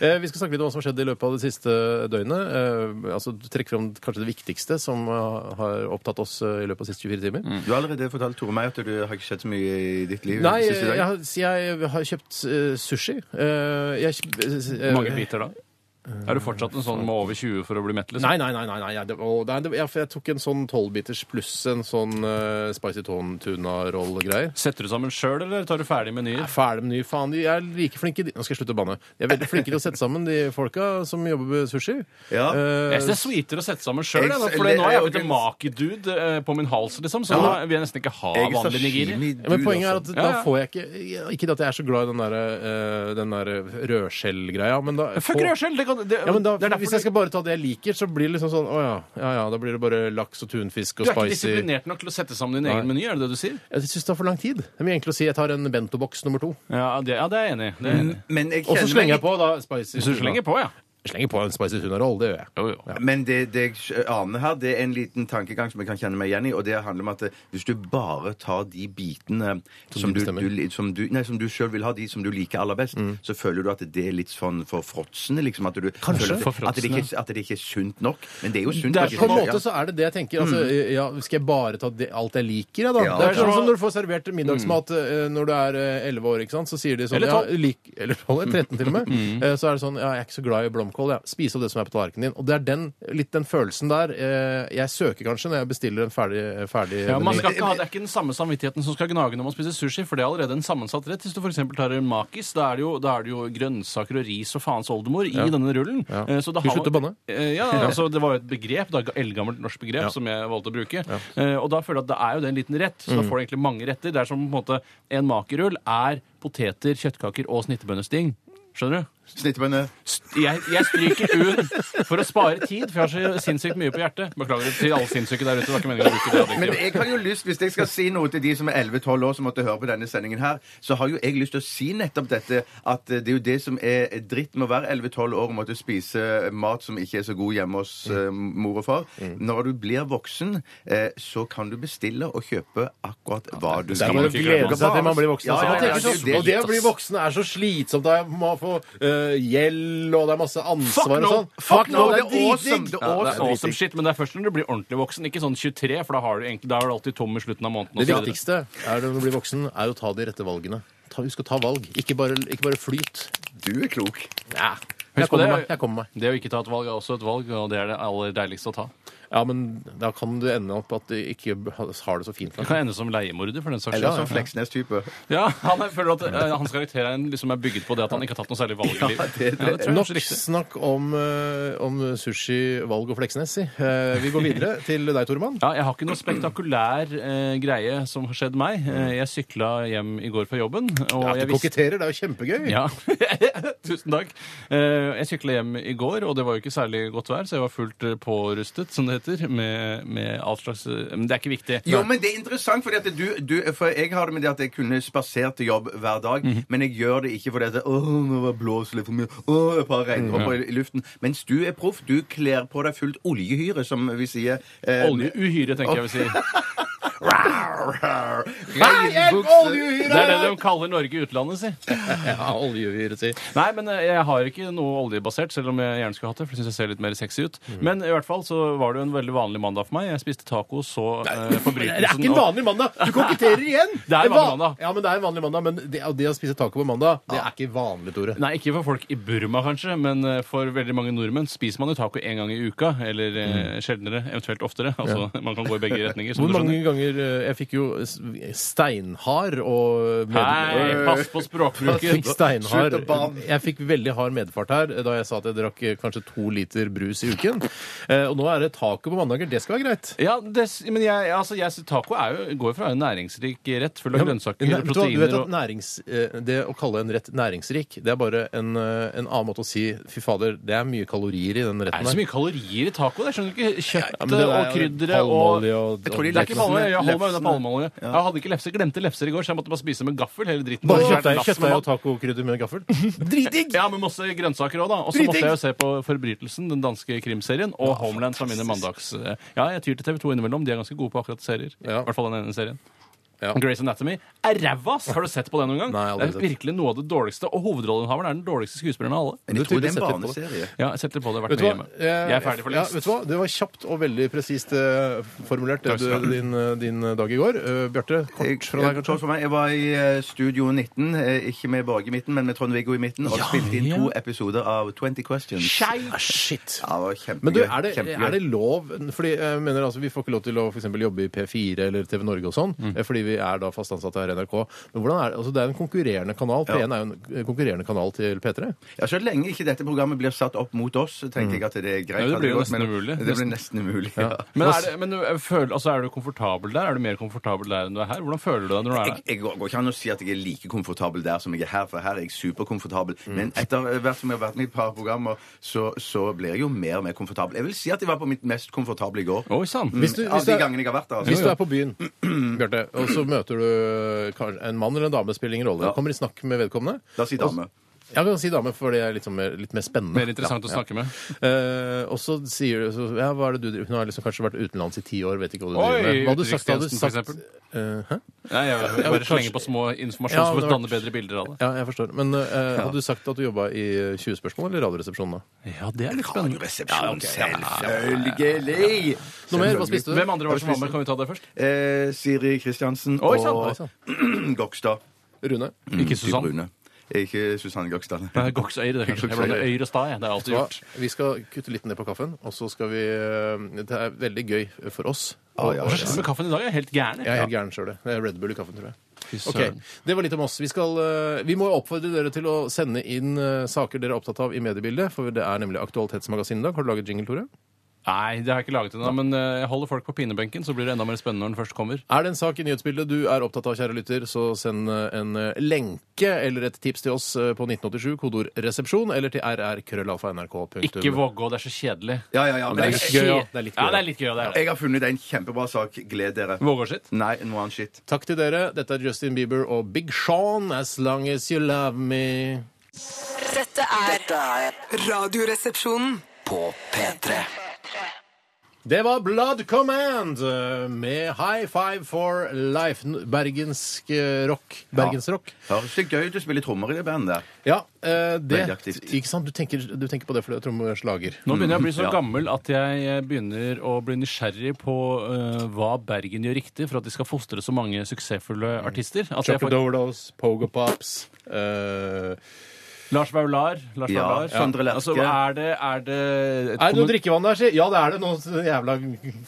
[SPEAKER 1] Eh, Vi skal snakke litt om hva som har skjedd i løpet av det siste døgnet. Eh, Altså, Trekke fram kanskje det viktigste som eh, har opptatt oss eh, i løpet av de siste 24 timer.
[SPEAKER 2] Du har allerede fortalt Tore meg at du har ikke sett så mye i ditt liv.
[SPEAKER 1] Nei,
[SPEAKER 2] siste dag.
[SPEAKER 1] jeg, har- jeg har kjøpt eh, sushi. Eh, Jeg, kjøp- eh,
[SPEAKER 3] Mange biter da. Er du fortsatt en sånn med over 20 for å bli mett? Liksom?
[SPEAKER 1] Nei, nei, nei. nei, nei, det, å, nei det, ja, for jeg tok en sånn tolvbiters pluss en sånn eh, spicy tone tuna-roll-greier.
[SPEAKER 3] Setter du sammen sjøl, eller tar du ferdig menyer?
[SPEAKER 1] Ferdig med ny faen. De er like flinke de. Nå skal jeg slutte å banne. De er veldig flinke til å sette sammen, de folka som jobber med sushi.
[SPEAKER 2] Ja.
[SPEAKER 1] Eh,
[SPEAKER 3] Jeg synes det er sweetere å sette sammen sjøl,
[SPEAKER 2] Jeg-
[SPEAKER 3] for nå er jeg blitt
[SPEAKER 2] jeg-
[SPEAKER 3] en makidude eh, på min hals, liksom, så nå vil jeg nesten ikke ha
[SPEAKER 2] Jeg er
[SPEAKER 3] vanlig nigiri.
[SPEAKER 2] sashimi-dude,
[SPEAKER 1] ja, men poenget er at
[SPEAKER 2] altså.
[SPEAKER 3] Ja, ja.
[SPEAKER 1] da får jeg ikke Ikke at jeg er så glad i den der, eh, den der rødskjellgreia, men da
[SPEAKER 3] Fuck
[SPEAKER 1] får-
[SPEAKER 3] rødskjell! Det, kan- det,
[SPEAKER 1] Ja, men da,
[SPEAKER 3] det er derfor
[SPEAKER 1] Hvis jeg skal bare ta det jeg liker, så blir det liksom sånn Å ja, ja, ja. Da blir det bare laks og tunfisk
[SPEAKER 3] du
[SPEAKER 1] og
[SPEAKER 3] er ikke
[SPEAKER 1] spicy.
[SPEAKER 3] disiplinert nok til å sette sammen din egen
[SPEAKER 1] Nei.
[SPEAKER 3] meny, er det det du sier?
[SPEAKER 1] Jeg syns det tar for lang tid. Det er mye enklere å si jeg tar en bentoboks nummer to.
[SPEAKER 3] Ja, det, ja, det er jeg enig i. Det er jeg enig i.
[SPEAKER 2] Men jeg
[SPEAKER 1] Og så
[SPEAKER 2] kjenner
[SPEAKER 1] slenger
[SPEAKER 2] meg-
[SPEAKER 1] jeg på da spicy
[SPEAKER 3] Hvis Mm. du slenger på, ja.
[SPEAKER 1] slenger på en spicy tunaroll, det gjør jeg.
[SPEAKER 3] Jo, jo.
[SPEAKER 2] Men det, det jeg aner her, det er en liten tankegang som jeg kan kjenne meg igjen i. Og det handler om at eh, hvis du bare tar de bitene eh, som,
[SPEAKER 1] du
[SPEAKER 2] du,
[SPEAKER 1] bestemmer. Mm.
[SPEAKER 2] du, li- som du, nei, som du sjøl vil ha, de som du liker aller best, så føler du at det er litt sånn for fråtsende, liksom. At, du, føler at, det- at, det ikke, at det ikke er sunt nok. Men det er jo sunt.
[SPEAKER 1] Det
[SPEAKER 2] nok,
[SPEAKER 1] er på en
[SPEAKER 2] ja.
[SPEAKER 1] måte så er det det jeg tenker. Altså, ja, skal jeg bare ta det, alt jeg liker, jeg, da?
[SPEAKER 2] Ja.
[SPEAKER 1] det er sånn
[SPEAKER 3] Ja.
[SPEAKER 1] som når du får servert middagsmat eh, når du er elleve år, ikke sant? så sier de sånn
[SPEAKER 3] Eller
[SPEAKER 1] ja,
[SPEAKER 3] tolv.
[SPEAKER 1] lik, Eller 12, 13 til og med. Eh, Så er det sånn ja, jeg er ikke så glad i blomkål, ja. spis opp det som er på tallerkenen din. Og det er den, litt den følelsen der eh, jeg søker kanskje når jeg bestiller en ferdig, ferdig
[SPEAKER 3] Ja, man
[SPEAKER 1] meny.
[SPEAKER 3] skal ikke ha, Det er ikke den samme samvittigheten som skal gnage når man spiser sushi, for det er allerede en sammensatt rett. Hvis du f.eks. tar en makis, da er, det jo, da er det jo grønnsaker og ris og faens oldemor i denne rullen.
[SPEAKER 1] Ja.
[SPEAKER 3] Eh, Så da
[SPEAKER 1] Du
[SPEAKER 3] har man-
[SPEAKER 1] slutter å banne?
[SPEAKER 3] Eh, Ja, altså det var jo et begrep, da, eldgammelt norsk begrep,
[SPEAKER 1] Ja.
[SPEAKER 3] som jeg valgte å bruke. Eh, Og da føler jeg at det er jo det en liten rett, så da
[SPEAKER 1] Mm.
[SPEAKER 3] får du egentlig mange retter. Det er som på en måte en makerull er poteter, kjøttkaker og snittebønnesting. Skjønner du?
[SPEAKER 2] Snittebønner.
[SPEAKER 3] St- Jeg, jeg stryker ut for å spare tid, for jeg har så sinnssykt mye på hjertet. Beklager til alle sinnssyke der ute. Det var ikke meningen å bruke det. adjektivet.
[SPEAKER 2] Men jeg har jo lyst, hvis jeg skal si noe til de som er 11-12 år som måtte høre på denne sendingen her, så har jo jeg lyst til å si nettopp dette, at eh, det er jo det som er dritt med å være 11-12 år og måtte spise mat som ikke er så god hjemme hos
[SPEAKER 1] Mm.
[SPEAKER 2] eh, mor og far. Når du blir voksen, eh, så kan du bestille og kjøpe akkurat hva du
[SPEAKER 1] Det er
[SPEAKER 2] vil.
[SPEAKER 1] bare å glede seg til man blir voksen.
[SPEAKER 2] Ja,
[SPEAKER 1] altså.
[SPEAKER 2] ja,
[SPEAKER 1] Man tenker
[SPEAKER 2] ja, det er
[SPEAKER 1] så-
[SPEAKER 2] jo det.
[SPEAKER 1] og det å bli voksen er så slitsomt. Da må få eh, gjeld, og det er masse ansvar
[SPEAKER 3] Fuck
[SPEAKER 1] og
[SPEAKER 3] no!
[SPEAKER 1] sånn.
[SPEAKER 2] Fuck no,
[SPEAKER 1] det
[SPEAKER 2] det
[SPEAKER 1] er
[SPEAKER 2] er awesome,
[SPEAKER 1] dritdigg!
[SPEAKER 2] det er
[SPEAKER 3] Ja, det er
[SPEAKER 2] awesome.
[SPEAKER 3] awesome shit, men det er først når du blir ordentlig voksen. Ikke sånn 23, for da, har du egentlig, da er du alltid tom i slutten av måneden. og
[SPEAKER 1] Det
[SPEAKER 3] så videre.
[SPEAKER 1] viktigste er det når du blir voksen, er å ta de rette valgene. Ta, husk å ta valg, ikke bare, ikke bare flyt.
[SPEAKER 2] Du er klok.
[SPEAKER 1] Ja.
[SPEAKER 3] Husk
[SPEAKER 1] Jeg
[SPEAKER 3] på
[SPEAKER 1] kommer
[SPEAKER 3] det.
[SPEAKER 1] meg. jeg kommer meg.
[SPEAKER 3] Det å ikke ta et valg er også et valg, og det er det aller deiligste å ta.
[SPEAKER 1] Ja, men da kan du ende opp at du ikke har det så fint.
[SPEAKER 3] Du kan ende som leiemorder, for den saks
[SPEAKER 2] Eller
[SPEAKER 3] skyld.
[SPEAKER 2] sånn Fleksnes-type.
[SPEAKER 3] Ja, han er, føler at eh, hans karakter er, en- liksom er bygget på det at han ikke har tatt noe særlig valg i livet.
[SPEAKER 2] det-
[SPEAKER 3] Ja, det tror jeg er
[SPEAKER 1] Nok
[SPEAKER 3] kanskje riktig.
[SPEAKER 1] snakk om, eh, om sushi, valg og Fleksnes. si. Eh, vi går videre til deg, Toremann.
[SPEAKER 3] Ja, jeg har ikke noe spektakulær eh, greie som har skjedd meg. Eh, jeg sykla hjem i går fra jobben. Og
[SPEAKER 1] Ja,
[SPEAKER 3] jeg
[SPEAKER 1] du
[SPEAKER 3] visste-
[SPEAKER 1] koketterer, det er jo kjempegøy.
[SPEAKER 3] Ja. Tusen takk. Eh, Jeg sykla hjem i går, og det var jo ikke særlig godt vær, så jeg var fullt eh, pårustet, som det heter, med, med alt slags eh, Men det er ikke viktig.
[SPEAKER 2] Jo, men det er interessant, fordi at du, du, for jeg har det med det at jeg kunne spasert til jobb hver dag,
[SPEAKER 1] Mhm.
[SPEAKER 2] men jeg gjør det ikke fordi at Åh, nå var blåser litt for mye. Åh, et par regndråper
[SPEAKER 1] Mhm.
[SPEAKER 2] i- i luften. Mens du er proff. Du kler på deg fullt oljehyre, som vi sier. Eh,
[SPEAKER 3] Oljeuhyre, tenker jeg vil si.
[SPEAKER 2] Rar, rar.
[SPEAKER 1] Nei, jeg er
[SPEAKER 2] Regnbukse.
[SPEAKER 1] oljehyre!
[SPEAKER 3] Det er det de kaller Norge i utlandet, si.
[SPEAKER 1] Ja, oljehyre, si.
[SPEAKER 3] Nei, men eh, jeg har ikke noe oljebasert, selv om jeg gjerne skulle hatt det. For jeg synes jeg ser litt mer sexy ut.
[SPEAKER 1] Mm.
[SPEAKER 3] Men i hvert fall så var det jo en veldig vanlig mandag for meg. Jeg spiste taco, så eh,
[SPEAKER 1] Det er ikke
[SPEAKER 3] forbrytelsen
[SPEAKER 1] en
[SPEAKER 3] og-
[SPEAKER 1] vanlig mandag! Du koketterer igjen!
[SPEAKER 3] Det er en vanlig mandag.
[SPEAKER 1] Ja, men det er en vanlig mandag, men det, det å spise taco på mandag, det er ikke vanlig, Tore.
[SPEAKER 3] Nei, ikke for folk i Burma, kanskje, men eh, for veldig mange nordmenn spiser man jo taco én gang i uka, eller eh, sjeldnere, eventuelt oftere. Altså, Man kan gå i begge retninger. som
[SPEAKER 1] Mm. Hvor
[SPEAKER 3] du
[SPEAKER 1] mange
[SPEAKER 3] skjønner.
[SPEAKER 1] ganger eh, Jeg fikk jo s- steinhard og med- Eh,
[SPEAKER 3] Nei, pass på
[SPEAKER 1] Jeg
[SPEAKER 3] språkbruken!
[SPEAKER 1] fikk steinhard
[SPEAKER 2] Slutt å banne.
[SPEAKER 1] Jeg fikk veldig hard medfart her da jeg sa at jeg drakk eh, kanskje to liter brus i uken. Eh, Og nå er det taco på mandager. Det skal være greit.
[SPEAKER 3] Ja, det, s- men jeg, altså, jeg, sy- taco er jo, går jo fra en næringsrik rett full av grønnsaker,
[SPEAKER 1] Nei, vet du hva, du vet
[SPEAKER 3] proteiner
[SPEAKER 1] at
[SPEAKER 3] og
[SPEAKER 1] nærings, eh, Det å kalle en rett næringsrik, det er bare en, eh, en annen måte å si fy fader, det er mye kalorier i den
[SPEAKER 3] Det er
[SPEAKER 1] retten
[SPEAKER 3] ikke så
[SPEAKER 1] her.
[SPEAKER 3] mye kalorier i taco. Jeg skjønner ikke
[SPEAKER 1] Ja,
[SPEAKER 3] kjøttet
[SPEAKER 1] men det er
[SPEAKER 3] og
[SPEAKER 1] jo
[SPEAKER 3] krydderet og
[SPEAKER 1] palmeolje og-
[SPEAKER 2] Jeg tror de
[SPEAKER 3] Det er ikke palmeolje. Jeg holder meg unna
[SPEAKER 2] Lefsene.
[SPEAKER 3] palmeolje. Jeg hadde ikke lefser. Glemte lefser i går, så jeg måtte bare spise med gaffel hele dritten.
[SPEAKER 1] Bare
[SPEAKER 3] Og så er det
[SPEAKER 1] kjøttdeig
[SPEAKER 3] lass med
[SPEAKER 1] kjøttdeig og
[SPEAKER 3] mat.
[SPEAKER 1] tacokrydder med gaffel. Dritdigg!
[SPEAKER 3] Ja, med masse grønnsaker òg, da. Og så måtte jeg jo se på Forbrytelsen, den danske krimserien, og Homeland, som vinner mandags... eh, Ja, jeg tyr til TV2 innimellom. De er ganske gode på akkurat serier.
[SPEAKER 1] Ja.
[SPEAKER 3] I hvert fall den ene serien.
[SPEAKER 1] Ja.
[SPEAKER 3] Grace Anatomy er ræva! ass! Har du sett på det noen gang?
[SPEAKER 1] Nei, aldri
[SPEAKER 3] det
[SPEAKER 1] sett.
[SPEAKER 3] er virkelig noe av det dårligste. Og hovedrolleinnehaveren er den dårligste skuespilleren av alle.
[SPEAKER 2] Men jeg
[SPEAKER 1] Du
[SPEAKER 2] tror det er en
[SPEAKER 1] tydelig setter litt på det.
[SPEAKER 2] barneserie.
[SPEAKER 3] Ja, jeg setter på det hvert
[SPEAKER 1] Vet du
[SPEAKER 3] mye
[SPEAKER 1] hva?
[SPEAKER 3] hjemme.
[SPEAKER 1] Eh,
[SPEAKER 3] Jeg er ferdig for
[SPEAKER 1] ja,
[SPEAKER 3] lengst.
[SPEAKER 1] vet du hva? Det var kjapt og veldig presist eh, formulert, det
[SPEAKER 3] Takk skal
[SPEAKER 1] du,
[SPEAKER 3] du ha.
[SPEAKER 1] din, eh, din dag i går. Eh, Bjarte,
[SPEAKER 2] Jeg,
[SPEAKER 1] kort fra deg,
[SPEAKER 2] kort
[SPEAKER 1] kanskje?
[SPEAKER 2] for meg. jeg var i eh, Studio 19, eh, ikke med Borge i midten, men med Trond-Viggo i midten, og spilte inn to episoder av 20 Questions.
[SPEAKER 1] Ah, shit!
[SPEAKER 2] Ja, det var kjempegøy.
[SPEAKER 1] Men du, er det,
[SPEAKER 2] kjempegøy.
[SPEAKER 1] er det lov Fordi jeg mener altså, Vi får ikke lov til å for eksempel, jobbe i P4 eller TV Norge og sånn,
[SPEAKER 3] Mm.
[SPEAKER 1] eh, fordi vi er da fast ansatte her i NRK. Men hvordan er det? Altså, det er en konkurrerende kanal. P1 er jo en konkurrerende kanal til P3.
[SPEAKER 3] Mm.
[SPEAKER 2] Ja, Så lenge ikke dette programmet blir satt opp mot oss, så tenker jeg at det er greit.
[SPEAKER 3] Ja, det blir jo
[SPEAKER 2] godt, men
[SPEAKER 3] nesten umulig.
[SPEAKER 2] Det blir nesten umulig, ja.
[SPEAKER 3] Men, er, det, men du, jeg føler, altså, er du komfortabel der? Er du mer komfortabel der enn du er her? Hvordan føler du deg når du er
[SPEAKER 2] Jeg,
[SPEAKER 3] der?
[SPEAKER 2] jeg går går ikke an å si at jeg er like komfortabel der som jeg er her, for her er jeg superkomfortabel.
[SPEAKER 3] Mm.
[SPEAKER 2] Men etter hvert som jeg har vært med i et par programmer, så, så blir jeg jo mer og mer komfortabel. Jeg vil si at jeg var på mitt mest komfortable i går.
[SPEAKER 3] Oi sann!
[SPEAKER 1] Hvis du,
[SPEAKER 2] Av
[SPEAKER 1] hvis
[SPEAKER 2] de
[SPEAKER 1] det er-
[SPEAKER 2] gangene jeg har vært der.
[SPEAKER 1] Hvis du
[SPEAKER 2] Altså.
[SPEAKER 1] er på byen, Bjarte, og så møter du kanskje en mann eller en dame, spiller ingen rolle.
[SPEAKER 2] Ja.
[SPEAKER 1] Kommer i snakk med vedkommende.
[SPEAKER 2] Da sier dame.
[SPEAKER 1] Ja, vi kan si dame, for det er litt, sånn mer, litt mer spennende.
[SPEAKER 3] Mer interessant å snakke med.
[SPEAKER 1] Eh, og så sier du så, ja, hva er det du driver Hun har liksom kanskje vært utenlands i ti år, vet ikke hva du
[SPEAKER 3] Oi,
[SPEAKER 1] driver med. Hva hadde du sagt? Hadde du
[SPEAKER 3] utenrikstjenesten, for
[SPEAKER 1] sagt
[SPEAKER 3] eksempel.
[SPEAKER 1] Eh, hæ?
[SPEAKER 3] Nei, jeg vil bare
[SPEAKER 1] kanskje-
[SPEAKER 3] slenge på små
[SPEAKER 1] Ja,
[SPEAKER 3] informasjon
[SPEAKER 1] det
[SPEAKER 3] for å
[SPEAKER 1] var-
[SPEAKER 3] danne bedre bilder av det.
[SPEAKER 1] Ja, jeg forstår. Men eh, hadde du sagt at du jobba i 20 spørsmål eller Radioresepsjonen da?
[SPEAKER 3] Ja, det er litt spennende.
[SPEAKER 2] Resepsjon, selvfølgelig!
[SPEAKER 1] Noe mer? Hva spiste du?
[SPEAKER 3] Hvem andre var det som var med? Kan vi ta det først?
[SPEAKER 2] Eh, Siri Kristiansen
[SPEAKER 3] Oi, sant,
[SPEAKER 1] oi, sant.
[SPEAKER 2] og Gokstad.
[SPEAKER 1] Rune?
[SPEAKER 3] Ikke
[SPEAKER 2] De
[SPEAKER 3] Susann.
[SPEAKER 2] brune. Ikke Susanne Gokstad.
[SPEAKER 3] Nei, Goksøyre, det er kanskje. Jeg
[SPEAKER 2] Goksøyre.
[SPEAKER 3] blander øyre og stad, jeg. Det er alltid
[SPEAKER 1] Hva?
[SPEAKER 3] gjort.
[SPEAKER 1] Vi skal kutte litt ned på kaffen, og så skal vi eh, Det er veldig gøy for oss.
[SPEAKER 2] Å, ja,
[SPEAKER 3] Hva
[SPEAKER 2] ja.
[SPEAKER 3] slags med kaffen i dag? Jeg er helt gæren.
[SPEAKER 1] Jeg er
[SPEAKER 3] jeg.
[SPEAKER 1] helt gæren sjøl, det. Det er Red Bull i kaffen, tror jeg.
[SPEAKER 3] Fy
[SPEAKER 1] Ok,
[SPEAKER 3] søren.
[SPEAKER 1] Det var litt om oss. Vi, skal, eh, vi må jo oppfordre dere til å sende inn eh, saker dere er opptatt av i mediebildet, for det er nemlig Aktualitetsmagasinet i dag. Har du laget jingle, Tore?
[SPEAKER 3] Nei, det har jeg ikke laget ennå, men eh, jeg holder folk på pinebenken, så blir det enda mer spennende når den først kommer.
[SPEAKER 1] Er det en sak i nyhetsbildet du er opptatt av, kjære lytter, så send eh, en eh, lenke eller et tips til oss eh, på 1987, kodeord 'resepsjon', eller til rrkrøllalfa.nrk.no.
[SPEAKER 3] Ikke Vågå, det er så kjedelig.
[SPEAKER 2] Ja, ja, ja.
[SPEAKER 3] Det
[SPEAKER 2] Men
[SPEAKER 3] er
[SPEAKER 2] jeg,
[SPEAKER 3] litt
[SPEAKER 1] gøy,
[SPEAKER 3] gøy,
[SPEAKER 1] ja.
[SPEAKER 3] ja.
[SPEAKER 1] Det er litt gøy,
[SPEAKER 3] Ja,
[SPEAKER 1] ja.
[SPEAKER 3] det er litt gøy, det er det.
[SPEAKER 2] jeg har funnet en kjempebra sak. Gled dere.
[SPEAKER 3] Vågå sitt?
[SPEAKER 2] Nei, noe annet skitt.
[SPEAKER 1] Takk til dere. Dette er Justin Bieber og Big Sean, 'As Long As You Love Me'.
[SPEAKER 6] Dette er
[SPEAKER 5] Dette er
[SPEAKER 6] Radioresepsjonen.
[SPEAKER 5] på P3.
[SPEAKER 1] Det var Blood Command eh, med 'High Five for Life'. N- Bergensk eh, rock. Bergensrock.
[SPEAKER 2] Høres det gøy ut å spille trommer i det bandet der.
[SPEAKER 1] Ja, eh, det
[SPEAKER 2] Veldig aktivt.
[SPEAKER 1] Ikke sant? Du tenker, du tenker på det fordi du er trommeslager.
[SPEAKER 3] Nå begynner jeg å bli
[SPEAKER 1] Mm,
[SPEAKER 3] så
[SPEAKER 2] Ja.
[SPEAKER 3] gammel at jeg eh, begynner å bli nysgjerrig på eh, hva Bergen gjør riktig for at de skal fostre så mange suksessfulle artister. At jeg får
[SPEAKER 1] Chocododos, Pogo Pops eh,
[SPEAKER 3] Lars Vaular. Lars
[SPEAKER 2] Ja,
[SPEAKER 3] Vaular.
[SPEAKER 2] Sondre Lerche.
[SPEAKER 3] Altså, er det, er det
[SPEAKER 1] Er det
[SPEAKER 3] et
[SPEAKER 1] noe
[SPEAKER 3] kommun-
[SPEAKER 1] drikkevann der, si? Ja, det er det. Noen jævla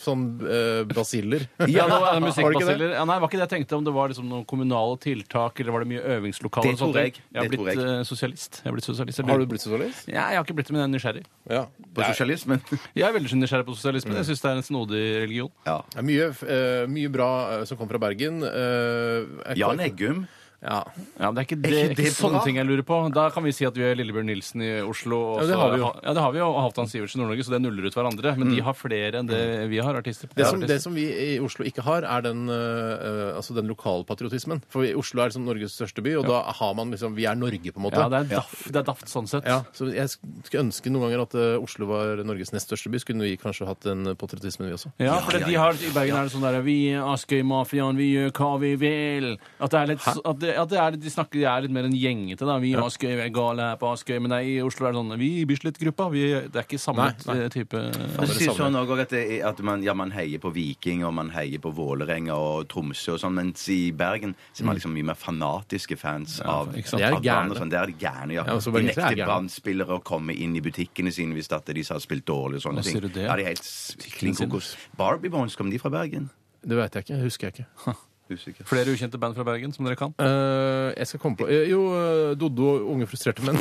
[SPEAKER 1] sånn eh, basiller.
[SPEAKER 3] Ja, det
[SPEAKER 1] Var det ikke
[SPEAKER 3] var
[SPEAKER 1] det?
[SPEAKER 3] musikkbasiller. Ja, nei, det var ikke det jeg tenkte. Om det var liksom noen kommunale tiltak, eller var det mye øvingslokaler?
[SPEAKER 2] Det
[SPEAKER 3] og sånne
[SPEAKER 2] tror jeg.
[SPEAKER 3] ting. Jeg har
[SPEAKER 2] Det tror
[SPEAKER 3] blitt
[SPEAKER 2] jeg.
[SPEAKER 3] eh, sosialist. Jeg har blitt sosialist. Jeg
[SPEAKER 1] Har
[SPEAKER 3] lurer
[SPEAKER 1] du
[SPEAKER 3] på-
[SPEAKER 1] blitt sosialist?
[SPEAKER 3] Ja, jeg har ikke blitt det, men jeg er nysgjerrig.
[SPEAKER 1] Ja.
[SPEAKER 2] På sosialismen.
[SPEAKER 3] Jeg er veldig nysgjerrig på sosialismen. Jeg syns det er en snodig religion.
[SPEAKER 2] Ja.
[SPEAKER 1] Det er mye, eh, mye bra eh, som kom fra Bergen. Eh, er ikke-
[SPEAKER 2] Jan Eggum.
[SPEAKER 1] Ja.
[SPEAKER 3] Ja, men Det er ikke, det,
[SPEAKER 2] ikke
[SPEAKER 3] ikke
[SPEAKER 2] det
[SPEAKER 3] sånne
[SPEAKER 2] bra?
[SPEAKER 3] ting jeg lurer på. Da kan vi si at vi er Lillebjørn Nilsen i Oslo. Og
[SPEAKER 1] Ja, det
[SPEAKER 3] så-
[SPEAKER 1] har vi jo.
[SPEAKER 3] Ja, det har vi jo, og Halvdan Sivertsen i Nord-Norge, så det nuller ut hverandre. Men de har flere enn det vi har, artister.
[SPEAKER 1] Det som, det
[SPEAKER 3] artister.
[SPEAKER 1] som vi i Oslo ikke har, er den, øh, altså den lokalpatriotismen. For i Oslo er liksom Norges største by, og da har man liksom Vi er Norge, på en måte.
[SPEAKER 3] ja, det er daft, det er daft sånn sett.
[SPEAKER 1] Ja, så Jeg sk- skulle ønske noen ganger at øh, Oslo var Norges nest største by. Skulle vi kanskje hatt den patriotismen, vi også.
[SPEAKER 3] Ja, for det- de har, I Bergen er det sånn der Vi Askøy-mafiaen, vi gjør hva vi vil. At det er litt, så- at det, at det er, litt- de snakker, de er litt mer en gjengete. da Vi Askøy, vi er gale her på Askøy. Men nei, i Oslo er det sånn Vi i Bislett-gruppa. vi- Det er ikke samme
[SPEAKER 1] Nei, nei.
[SPEAKER 3] eh, type
[SPEAKER 2] Men
[SPEAKER 1] det
[SPEAKER 2] det sies
[SPEAKER 1] samme.
[SPEAKER 2] sånn også at, det, er- at man, ja, man heier på Viking, og man heier på Vålerenga og Tromsø og sånn, mens i Bergen så er man liksom mye mer fanatiske fans av,
[SPEAKER 3] ikke sant.
[SPEAKER 1] De er
[SPEAKER 2] av Brann
[SPEAKER 1] gærne.
[SPEAKER 2] og sånn. Det er de gærne, ja.
[SPEAKER 1] Ja, så
[SPEAKER 2] de
[SPEAKER 1] bergensere er
[SPEAKER 2] nekter
[SPEAKER 1] gærne.
[SPEAKER 2] Brann-spillere å komme inn i butikkene sine hvis at de har spilt dårlig
[SPEAKER 3] Hva
[SPEAKER 2] og sånne ting.
[SPEAKER 3] sier du det?
[SPEAKER 2] Ja, de er helt s- klin
[SPEAKER 3] sine.
[SPEAKER 2] kokos. Barbie Bones, kom de fra Bergen?
[SPEAKER 1] Det veit jeg ikke. Husker jeg ikke.
[SPEAKER 2] Usikker.
[SPEAKER 3] Flere ukjente band fra Bergen som dere kan?
[SPEAKER 1] Øh, jeg skal komme på øh, Jo, øh, Doddo og Unge frustrerte menn.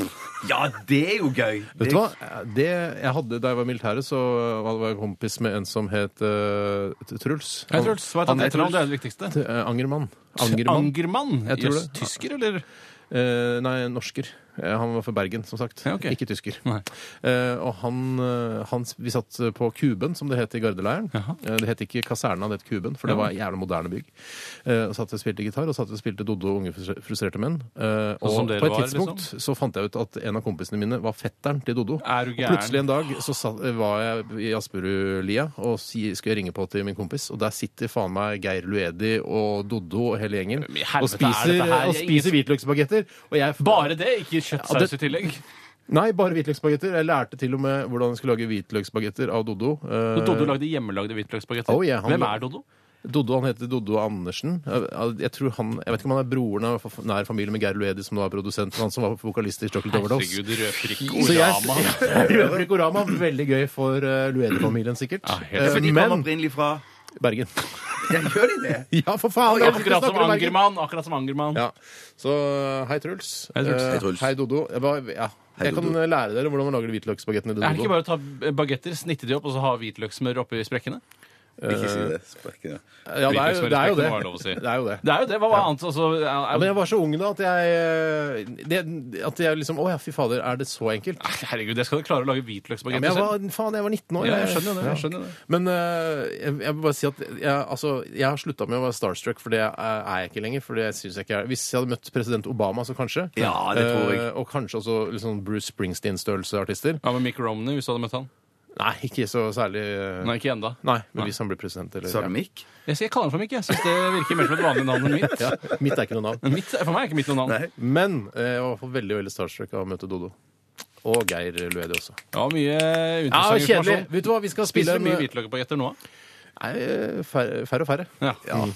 [SPEAKER 2] Ja, det er jo gøy!
[SPEAKER 1] Vet du hva? Det jeg hadde Da jeg var i militæret, så var jeg kompis med en som het øh, Truls.
[SPEAKER 3] Hei, Truls. Hva er
[SPEAKER 1] Han-
[SPEAKER 3] ditt etternavn? Det er det viktigste.
[SPEAKER 1] Eh, Angermann. Angermann.
[SPEAKER 3] Angermann?
[SPEAKER 1] Jeg tror
[SPEAKER 3] Jøss,
[SPEAKER 1] det.
[SPEAKER 3] Tysker, eller?
[SPEAKER 1] Eh, nei, norsker. Eh, han var fra Bergen, som sagt.
[SPEAKER 3] Ja, ok.
[SPEAKER 1] Ikke tysker.
[SPEAKER 3] Nei.
[SPEAKER 1] Eh, og han, eh, han Vi satt på Kuben, som det het i gardeleiren. Eh, det het ikke kaserna, det het Kuben, for det var jævla moderne bygg. Eh, og satt og spilte gitar, og satt og spilte Doddo og Unge frus- frustrerte menn. Eh,
[SPEAKER 3] som
[SPEAKER 1] og
[SPEAKER 3] dere
[SPEAKER 1] på et
[SPEAKER 3] var, liksom?
[SPEAKER 1] tidspunkt så fant jeg ut at en av kompisene mine var fetteren til Doddo.
[SPEAKER 3] Er du
[SPEAKER 1] og
[SPEAKER 3] gæren?
[SPEAKER 1] plutselig en dag så satt, var jeg i Asperudlia og si, skulle ringe på til min kompis, og der sitter faen meg Geir Luedi og Doddo og hele gjengen
[SPEAKER 3] Men i helvete,
[SPEAKER 1] og
[SPEAKER 3] er
[SPEAKER 1] spiser,
[SPEAKER 3] dette her-
[SPEAKER 1] og spiser hvitløksbagetter. Og jeg
[SPEAKER 3] Bare det? Ikke
[SPEAKER 1] Ja,
[SPEAKER 3] kjøttsaus
[SPEAKER 1] det-
[SPEAKER 3] i tillegg?
[SPEAKER 1] Nei, bare hvitløksbagetter. Jeg lærte til og med hvordan jeg skulle lage hvitløksbagetter av Doddo. Eh,
[SPEAKER 3] Så Doddo lagde hjemmelagde hvitløksbagetter.
[SPEAKER 1] Oh, yeah, han-
[SPEAKER 3] Hvem er Doddo?
[SPEAKER 1] Doddo, han heter Doddo Andersen. Jeg, jeg, tror han, jeg vet ikke om han er broren av f- nær familie med Geir Luedi, som nå er produsent, men han som var vokalist i Chocolate Overdose.
[SPEAKER 3] Herregud, rødprikk
[SPEAKER 1] Så jeg-
[SPEAKER 3] orama.
[SPEAKER 1] Røverkorama, veldig gøy for eh, Luedi-familien, sikkert.
[SPEAKER 3] Ja, helt
[SPEAKER 1] Eh,
[SPEAKER 2] For de kom
[SPEAKER 1] men
[SPEAKER 2] opprinnelig fra
[SPEAKER 1] Bergen.
[SPEAKER 2] Ja, gjør de det?
[SPEAKER 1] Ja, for faen! jeg snakker
[SPEAKER 3] Akkurat som
[SPEAKER 1] om Bergen.
[SPEAKER 3] Angermann. Akkurat som Angermann.
[SPEAKER 1] Ja. Så hei, Truls.
[SPEAKER 3] Hei, Truls.
[SPEAKER 1] Eh,
[SPEAKER 2] Hei, Truls.
[SPEAKER 1] hei, Doddo. Jeg, bare, ja.
[SPEAKER 2] Hei,
[SPEAKER 1] jeg kan
[SPEAKER 2] Doddo.
[SPEAKER 1] eh, lære dere hvordan man lager hvitløksbagettene til
[SPEAKER 3] Er det
[SPEAKER 1] Doddo.
[SPEAKER 3] ikke bare å ta bagetter, snitte de opp og så ha hvitløkssmør oppi sprekkene?
[SPEAKER 2] Ikke si det. Spark det.
[SPEAKER 1] Ja, det er, jo- det er jo
[SPEAKER 3] Hvitløksbagetter må være lov å si.
[SPEAKER 1] det. det er jo det.
[SPEAKER 3] Det er jo det. Hva var annet? Altså, er,
[SPEAKER 1] Ja, men jeg var så ung da at jeg eh, det, At jeg liksom Å ja, fy fader, er det så enkelt?
[SPEAKER 3] Nei, Herregud, jeg skal jo klare å
[SPEAKER 1] Ja,
[SPEAKER 3] lage
[SPEAKER 1] men
[SPEAKER 3] hvitløksbagetter
[SPEAKER 1] jeg
[SPEAKER 3] selv.
[SPEAKER 1] var, faen, jeg var 19 år.
[SPEAKER 3] Ja, jeg skjønner jo det. Jeg skjønner det.
[SPEAKER 1] Men eh, jeg, jeg vil bare si at jeg, altså, jeg har slutta med å være starstruck, for det er er jeg ikke lenger. For det synes jeg ikke er Hvis jeg hadde møtt president Obama, så kanskje.
[SPEAKER 2] Ja, det tror jeg.
[SPEAKER 1] Eh, og kanskje også litt sånn Bruce Springsteen-størrelse artister.
[SPEAKER 3] Hva med Mick Romney, hvis du hadde møtt han?
[SPEAKER 1] Nei, ikke så særlig eh,
[SPEAKER 3] Nei, ikke enda.
[SPEAKER 1] Nei, men
[SPEAKER 3] Nei.
[SPEAKER 1] hvis han blir president, eller
[SPEAKER 2] Sa du Mick?
[SPEAKER 3] Jeg skal kalle han for Mick. Jeg syns det virker mer som et vanlig navn enn mitt.
[SPEAKER 1] Ja, Ja, mitt er ikke noe navn.
[SPEAKER 3] Men Mitt, for meg er ikke mitt noe navn.
[SPEAKER 2] Nei.
[SPEAKER 1] Men eh, jeg var veldig veldig starstruck av å møte Dodo. Og Geir Luedi også.
[SPEAKER 3] Det var mye
[SPEAKER 1] Ja,
[SPEAKER 3] interessant
[SPEAKER 1] kjedelig.
[SPEAKER 3] informasjon.
[SPEAKER 1] Vet du hva, vi skal spille
[SPEAKER 3] Spiser du mye
[SPEAKER 1] en- eh,
[SPEAKER 3] hvitløksbagetter nå?
[SPEAKER 1] Nei, færre, færre og færre.
[SPEAKER 3] Ja. Mm.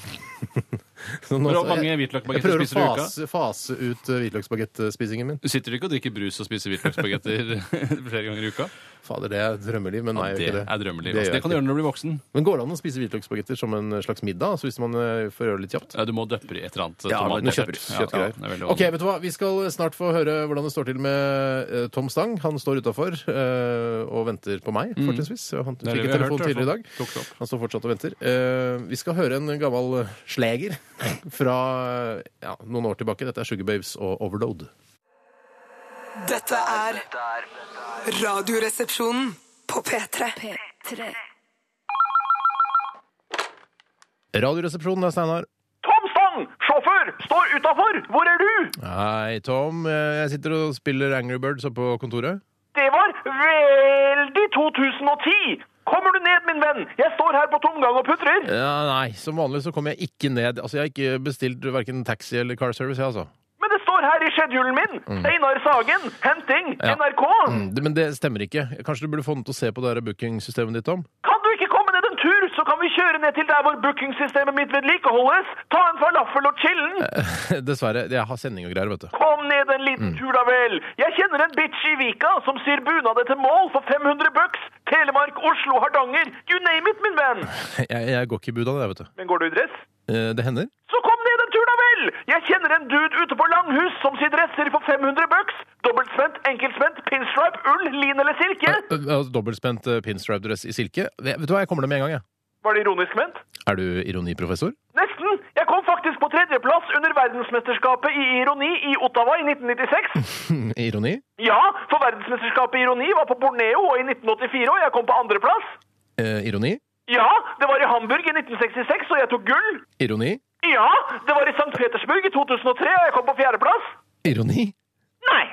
[SPEAKER 1] Så nå-
[SPEAKER 3] Hvor mange
[SPEAKER 1] jeg- jeg
[SPEAKER 3] hvitløksbagetter
[SPEAKER 1] prøver å
[SPEAKER 3] spiser du i uka?
[SPEAKER 1] fase, fase ut eh, hvitløksbagettspisingen min.
[SPEAKER 3] Du sitter ikke og drikker brus og spiser hvitløksbagetter flere ganger i uka?
[SPEAKER 1] Fader, det er drømmeliv, men nei, jeg
[SPEAKER 3] det
[SPEAKER 1] gjør ikke det.
[SPEAKER 3] er
[SPEAKER 1] Det
[SPEAKER 3] drømmelivet. Altså, Det,
[SPEAKER 1] gjør jeg
[SPEAKER 3] kan du
[SPEAKER 1] ikke.
[SPEAKER 3] gjøre når du blir voksen.
[SPEAKER 1] Men går det an å spise hvitløksbagetter som en slags middag? Altså hvis man eh, får gjøre det litt kjapt?
[SPEAKER 3] Ja, Du må døppe i et eller annet.
[SPEAKER 2] Ja,
[SPEAKER 3] tomat.
[SPEAKER 2] noe
[SPEAKER 3] Døpper.
[SPEAKER 2] kjøtt-
[SPEAKER 3] Ja,
[SPEAKER 1] Kjøttgreier.
[SPEAKER 3] Ja, det er veldig
[SPEAKER 1] ok, vet du hva? Vi skal snart få høre hvordan det står til med eh, Tom Stang. Han står utafor og venter på meg, fortrinnsvis. Han
[SPEAKER 3] Mm. Det er
[SPEAKER 1] fikk
[SPEAKER 3] det vi
[SPEAKER 1] en
[SPEAKER 3] har
[SPEAKER 1] telefon
[SPEAKER 3] hørt, i hvert
[SPEAKER 1] tidligere i
[SPEAKER 3] fall.
[SPEAKER 1] dag.
[SPEAKER 3] Tok det opp.
[SPEAKER 1] Han står fortsatt og venter. Eh, vi skal høre en gammel eh, sleger fra eh, ja, noen år tilbake. Dette er Sugar Babes og Overload.
[SPEAKER 6] Dette er Radioresepsjonen på P3.
[SPEAKER 1] Radioresepsjonen, det er Steinar.
[SPEAKER 7] Tom Stang, sjåfør, står utafor! Hvor er du?
[SPEAKER 1] Hei, Tom. Eh, Jeg sitter og spiller Angry Birds oppe på kontoret.
[SPEAKER 7] Det var veldig 2010! Kommer du ned, min venn? Jeg står her på tomgang og putrer.
[SPEAKER 1] Ja, nei, som vanlig så kommer jeg ikke ned. Altså, Jeg har ikke bestilt verken taxi eller car service, jeg, altså.
[SPEAKER 7] Men det står her i schedulen min! Einar Sagen, henting,
[SPEAKER 1] Ja.
[SPEAKER 7] NRK.
[SPEAKER 1] Mm, Det- Men det stemmer ikke. Kanskje du burde få den til å se på det her bookingsystemet ditt, Tom?
[SPEAKER 7] Kan du ikke komme ned en tur, så kan vi kjøre ned til der hvor bookingsystemet mitt vedlikeholdes? Ta en falafel og chillen?
[SPEAKER 1] Dessverre. Jeg har sending og greier, vet du.
[SPEAKER 7] Kom ned en liten tur, da vel. Jeg kjenner en bitch i Vika som syr bunader til mål for 500 bucks. Telemark, Oslo, Hardanger. You name it, min venn.
[SPEAKER 1] Jeg, jeg går ikke i budene, jeg, vet du.
[SPEAKER 7] Men går du i dress?
[SPEAKER 1] Eh, Det hender.
[SPEAKER 7] Så kom ned en tur da vel! Jeg kjenner en dude ute på Langhus som sier dresser for 500 bucks. Dobbeltspent, enkeltspent, pinstripe, ull, lin eller silke.
[SPEAKER 1] Eh, eh, altså, Dobbeltspent eh, pinstripe-dress i silke. Vet vet du hva, jeg kommer ned med en gang, jeg.
[SPEAKER 7] Var det ironisk ment?
[SPEAKER 1] Er du ironiprofessor?
[SPEAKER 7] Nesten. Jeg Jeg kom faktisk på tredjeplass under verdensmesterskapet i ironi i Ottawa i 1996.
[SPEAKER 1] Ironi?
[SPEAKER 7] Ja, for verdensmesterskapet i ironi var på Borneo og i 1984, og jeg kom på andreplass.
[SPEAKER 1] Eh, ironi?
[SPEAKER 7] Ja, det var i Hamburg i 1966, og jeg tok gull.
[SPEAKER 1] Ironi?
[SPEAKER 7] Ja, det var i St. Petersburg i 2003, og jeg kom på fjerdeplass.
[SPEAKER 1] Ironi?
[SPEAKER 7] Nei!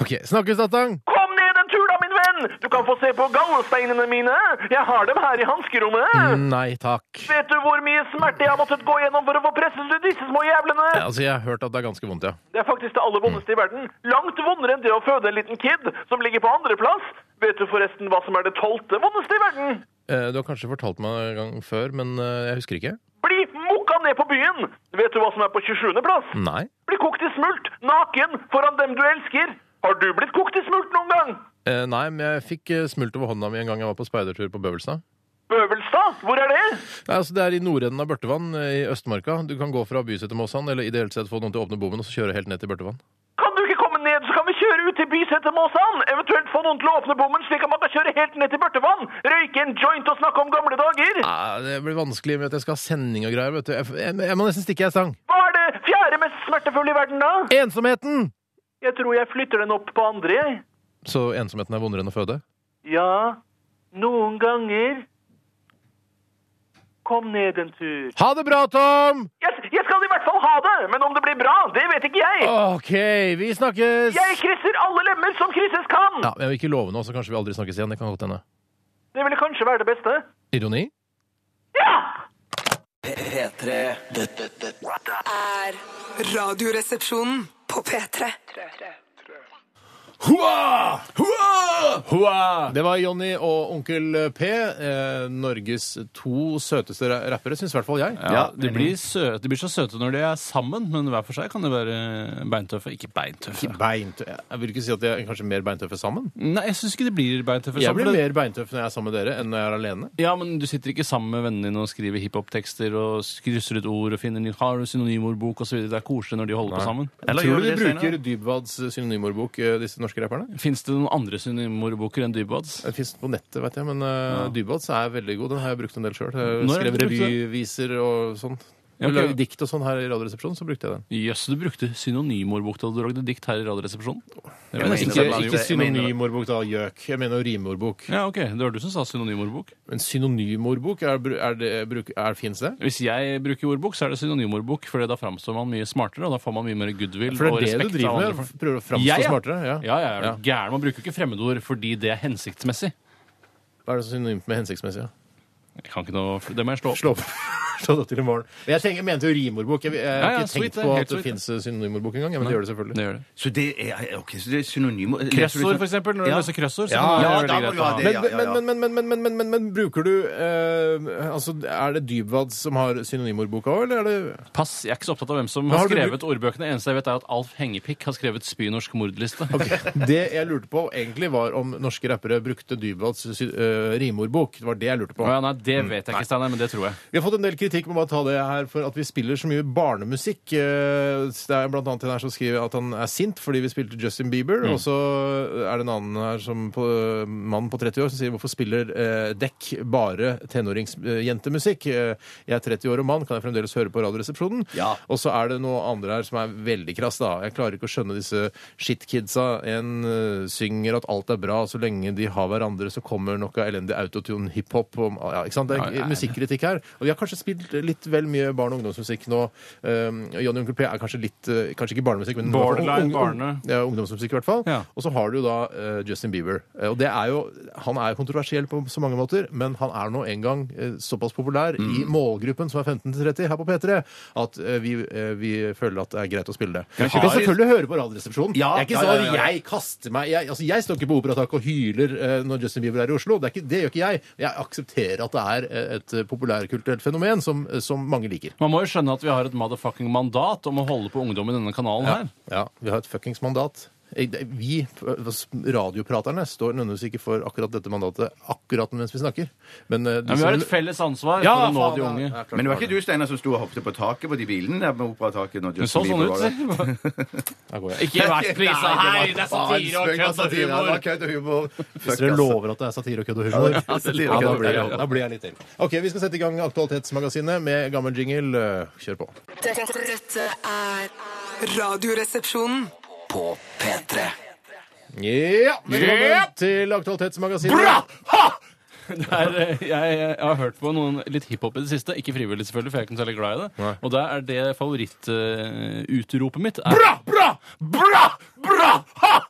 [SPEAKER 1] OK. Snakkes, Attang!
[SPEAKER 7] Kom ned en tur da, min venn! Du kan få se på gallsteinene mine. Jeg har dem her i hanskerommet.
[SPEAKER 1] Nei takk.
[SPEAKER 7] Vet du hvor mye smerte jeg har måttet gå gjennom for å få presset ut disse små jævlene?
[SPEAKER 1] Ja, Altså, Jeg har hørt at det er ganske vondt, ja.
[SPEAKER 7] Det er faktisk det aller vondeste i verden. Langt vondere enn det å føde en liten kid som ligger på andreplass. Vet du forresten hva som er det tolvte vondeste i verden?
[SPEAKER 1] Eh, Du har kanskje fortalt meg en gang før, men eh, jeg husker ikke.
[SPEAKER 7] Bli mokka ned på byen! Vet du hva som er på 27. plass?
[SPEAKER 1] Nei.
[SPEAKER 7] Bli kokt i smult, naken, foran dem du elsker. Har du blitt kokt i smult noen gang?
[SPEAKER 1] Eh, Nei, men jeg fikk eh, smult over hånda mi en gang jeg var på speidertur på Bøvelstad.
[SPEAKER 7] Bøvelstad, hvor er det?
[SPEAKER 1] Nei, altså Det er i nordenden av Børtevann eh, i Østmarka. Du kan gå fra Byset til Måsan, eller ideelt sett få noen til å åpne bommen og så kjøre helt ned til Børtevann.
[SPEAKER 7] Kan du ikke komme ned, så kan vi kjøre ut til Bysetermåsan? Eventuelt få noen til å åpne bommen, slik at man kan kjøre helt ned til Børtevann, røyke en joint og snakke om gamle dager?
[SPEAKER 1] Nei, det blir vanskelig med at jeg skal ha sending og greier. vet du. Jeg, jeg, jeg må nesten stikke, jeg sang.
[SPEAKER 7] Hva er det fjerde mest smertefulle i verden, da?
[SPEAKER 1] Ensomheten!
[SPEAKER 7] Jeg tror jeg flytter den opp på andre, jeg.
[SPEAKER 1] Så ensomheten er vondere enn å føde?
[SPEAKER 7] Ja, noen ganger. Kom ned en tur.
[SPEAKER 1] Ha det bra, Tom!
[SPEAKER 7] Jeg, jeg skal i hvert fall ha det, men om det blir bra, det vet ikke jeg.
[SPEAKER 1] OK, vi snakkes!
[SPEAKER 7] Jeg krysser alle lemmer som krysses kan.
[SPEAKER 1] Ja, men Jeg vil ikke love noe, så kanskje vi aldri snakkes igjen. Det kan godt hende.
[SPEAKER 7] Det ville kanskje være det beste.
[SPEAKER 1] Ironi?
[SPEAKER 7] Ja!
[SPEAKER 5] P3 Dette, dette
[SPEAKER 6] er Radioresepsjonen på P3.
[SPEAKER 1] Hua! Hua! Hua! Det var Jonny og Onkel P. Eh, Norges to søteste ra- rappere, syns i hvert fall jeg.
[SPEAKER 3] Ja, de blir, søte, de blir så søte når de er sammen, men hver for seg kan de være beintøffe. Ikke beintøffe.
[SPEAKER 1] Beintøffe. Jeg vil ikke si at de er kanskje mer beintøffe sammen.
[SPEAKER 3] Nei, jeg syns ikke de blir beintøffe.
[SPEAKER 1] Jeg
[SPEAKER 3] sammen,
[SPEAKER 1] blir
[SPEAKER 3] for det-
[SPEAKER 1] mer beintøff når jeg er sammen med dere, enn når jeg er alene.
[SPEAKER 3] Ja, men du sitter ikke sammen med vennene dine og skriver hiphop-tekster og krysser ut ord og finner ny- har du synonymordbok osv. Det er koselig når de holder på sammen.
[SPEAKER 2] Eller
[SPEAKER 1] Tror du
[SPEAKER 2] gjør
[SPEAKER 1] de
[SPEAKER 2] det
[SPEAKER 1] bruker
[SPEAKER 2] senere?
[SPEAKER 1] Dybwads synonymordbok, eh, disse norske rapperne?
[SPEAKER 3] Fins det noen andre synonymordboker enn Dybads?
[SPEAKER 1] Det fins på nettet, vet jeg, men eh, Dybwads er veldig god. Den har jeg brukt en del sjøl.
[SPEAKER 3] Når har du
[SPEAKER 1] Skrev
[SPEAKER 3] brukt
[SPEAKER 1] revyviser og sånn.
[SPEAKER 3] Ja,
[SPEAKER 1] Jeg
[SPEAKER 3] ok.
[SPEAKER 1] lagde dikt og sånn her i Radioresepsjonen, så brukte jeg den.
[SPEAKER 3] Jøss, du brukte synonymordbok da du lagde dikt her i Radioresepsjonen. Det var
[SPEAKER 2] mener
[SPEAKER 3] nesten
[SPEAKER 1] Ikke,
[SPEAKER 2] det
[SPEAKER 1] ikke
[SPEAKER 3] sånn-
[SPEAKER 2] var- jeg mener-
[SPEAKER 1] synonymordbok, da, gjøk. Jeg mener jo rimordbok.
[SPEAKER 3] Ja, ok. Det var du som sa synonymordbok.
[SPEAKER 1] Men synonymordbok, er, bru- er det, bruk- er, fins det?
[SPEAKER 3] Hvis jeg bruker ordbok, så er det synonymordbok, for da framstår man mye smartere, og da får man mye mer goodwill
[SPEAKER 1] For
[SPEAKER 3] og
[SPEAKER 1] det er det du
[SPEAKER 3] respekt av
[SPEAKER 1] driver
[SPEAKER 3] andre
[SPEAKER 1] med?
[SPEAKER 3] folk.
[SPEAKER 1] Prøver å framstå
[SPEAKER 3] Jeg, ja.
[SPEAKER 1] smartere? Ja.
[SPEAKER 3] Ja, ja, er du gæren? Man bruker ikke fremmedord fordi det er hensiktsmessig.
[SPEAKER 1] Hva er det synonymt med hensiktsmessig? Ja?
[SPEAKER 3] Jeg kan ikke noe, det må jeg slå opp.
[SPEAKER 1] Slå opp. Slå det opp til i morgen. Men Jeg tenker, mente jo rimordbok. Jeg, jeg, har
[SPEAKER 3] Ja, ja,
[SPEAKER 1] ikke
[SPEAKER 3] sweet,
[SPEAKER 1] tenkt
[SPEAKER 3] det er
[SPEAKER 1] på
[SPEAKER 3] helt
[SPEAKER 1] at det
[SPEAKER 3] sweet,
[SPEAKER 1] fins synonymordbok engang. Ja, men det gjør det selvfølgelig.
[SPEAKER 3] Det gjør det.
[SPEAKER 2] Så det er, eh, ok, så det er synonym
[SPEAKER 3] Krøssord, for eksempel. Når du
[SPEAKER 2] Ja.
[SPEAKER 3] løser krøssord, så
[SPEAKER 2] Ja,
[SPEAKER 3] kan det
[SPEAKER 2] ja,
[SPEAKER 3] være veldig
[SPEAKER 2] da må
[SPEAKER 3] greit å
[SPEAKER 2] du ha
[SPEAKER 3] ha.
[SPEAKER 2] det.
[SPEAKER 1] Men,
[SPEAKER 2] ja, ja, ja.
[SPEAKER 1] men, men, men, men, men, men, men, men bruker du eh, altså, Er det Dybwad som har synonymordboka òg, eller er det
[SPEAKER 3] Pass, jeg er ikke så opptatt av hvem som
[SPEAKER 1] Men
[SPEAKER 3] har
[SPEAKER 1] har du
[SPEAKER 3] skrevet ordbøkene. Eneste jeg vet, er at Alf Hengepikk har skrevet spynorsk mordliste.
[SPEAKER 1] Det jeg lurte på egentlig, var om norske rappere brukte Dybwads sy- eh, rimordbok. Det var det jeg lurte på.
[SPEAKER 3] Å ja, nei, det vet jeg ikke, Steinar, men det tror jeg.
[SPEAKER 1] Vi har fått en del kritikk må bare ta det her, for at vi spiller så mye barnemusikk. Eh, Det er blant annet en her som skriver at han er sint fordi vi spilte Justin Bieber.
[SPEAKER 3] Mm.
[SPEAKER 1] Og så er det en annen her som på, mann på 30 år som sier hvorfor spiller eh, dekk bare tenåringsjentemusikk? Eh, Jeg er 30 år og mann, kan jeg fremdeles høre på Radioresepsjonen?
[SPEAKER 2] Ja.
[SPEAKER 1] Og så er det noe andre her som er veldig krass, da. Jeg klarer ikke å skjønne disse shitkidsa. En eh, synger at alt er bra så lenge de har hverandre, så kommer noe elendig autotune hiphop om ja, ikke sant? Det er
[SPEAKER 3] Ja, ja, ja.
[SPEAKER 1] musikkritikk her. Og vi har kanskje spilt litt vel mye barne- og ungdomsmusikk nå. Um, Johnny Onkel P er kanskje litt eh, Kanskje ikke barnemusikk, men
[SPEAKER 3] Borderline
[SPEAKER 1] ung- ung-
[SPEAKER 3] barne.
[SPEAKER 1] ja, ungdomsmusikk i hvert fall.
[SPEAKER 3] Ja.
[SPEAKER 1] Og så har du jo da eh, Justin Bieber. Eh, og det er jo Han er jo kontroversiell på så mange måter, men han er nå en gang eh, såpass populær i målgruppen som er 15-30 her på P3, at eh, vi, eh, vi føler at det er greit å spille det. Vi
[SPEAKER 2] ikke
[SPEAKER 1] kan
[SPEAKER 2] bare-
[SPEAKER 1] selvfølgelig høre på Radioresepsjonen.
[SPEAKER 2] Ja,
[SPEAKER 1] det er ikke
[SPEAKER 2] ja,
[SPEAKER 1] sånn
[SPEAKER 2] ja,
[SPEAKER 1] at
[SPEAKER 2] ja.
[SPEAKER 1] jeg kaster meg Jeg, altså, jeg står ikke på Operatak og hyler eh, når Justin Bieber er i Oslo. Det, er ikke, det gjør ikke jeg. Jeg aksepterer at det er eh, et populærkulturelt fenomen som, som mange liker.
[SPEAKER 3] Man må jo skjønne at vi har et motherfucking mandat om å holde på ungdom i denne kanalen her.
[SPEAKER 1] Ja, vi har et fuckings mandat. Eh, Vi, radiopraterne, står nødvendigvis ikke for akkurat dette mandatet akkurat mens vi snakker. Men, eh, de
[SPEAKER 3] Men vi har
[SPEAKER 1] som-
[SPEAKER 3] et felles ansvar
[SPEAKER 1] Ja,
[SPEAKER 3] for å nå
[SPEAKER 1] faen,
[SPEAKER 3] de
[SPEAKER 1] ja.
[SPEAKER 3] unge.
[SPEAKER 1] Ja, klart
[SPEAKER 2] Men det
[SPEAKER 1] vi
[SPEAKER 2] var
[SPEAKER 1] har
[SPEAKER 2] ikke du, Steinar, som sto og hoppet på taket på de bilene der med operataket? når
[SPEAKER 3] Hun
[SPEAKER 2] Justin
[SPEAKER 3] så sånn
[SPEAKER 2] Bieber
[SPEAKER 3] ut,
[SPEAKER 2] var der?
[SPEAKER 3] si.
[SPEAKER 1] Der går jeg.
[SPEAKER 3] Ikke vært prisa. Hei, det er
[SPEAKER 2] Faen,
[SPEAKER 3] satire og
[SPEAKER 1] altså,
[SPEAKER 2] spøk,
[SPEAKER 3] kødd og
[SPEAKER 2] satire, det var
[SPEAKER 3] humor.
[SPEAKER 2] kødd og humor.
[SPEAKER 1] Hvis
[SPEAKER 2] Fuck,
[SPEAKER 1] dere
[SPEAKER 2] ass.
[SPEAKER 1] lover at det er satire og kødd og humor,
[SPEAKER 2] Ja, det er satire
[SPEAKER 1] ja,
[SPEAKER 2] og
[SPEAKER 1] da,
[SPEAKER 2] kødd og
[SPEAKER 1] blir jeg,
[SPEAKER 2] humor.
[SPEAKER 1] da blir jeg litt til. Ok, Vi skal sette i gang Aktualitetsmagasinet med gammel jingle. Eh, Kjør på.
[SPEAKER 6] Dette, dette er Radioresepsjonen.
[SPEAKER 5] På P3.
[SPEAKER 1] Ja! Velkommen
[SPEAKER 3] Yep.
[SPEAKER 1] til Aktualitetsmagasinet.
[SPEAKER 3] Bra! Ha! Det er, eh, jeg, jeg har hørt på noen litt hiphop i det siste. Ikke frivillig, selvfølgelig, for jeg er ikke noe særlig glad i det.
[SPEAKER 1] Nei.
[SPEAKER 3] Og da er det favorittutropet mitt. Er,
[SPEAKER 1] Bra, bra, bra, bra! Ha!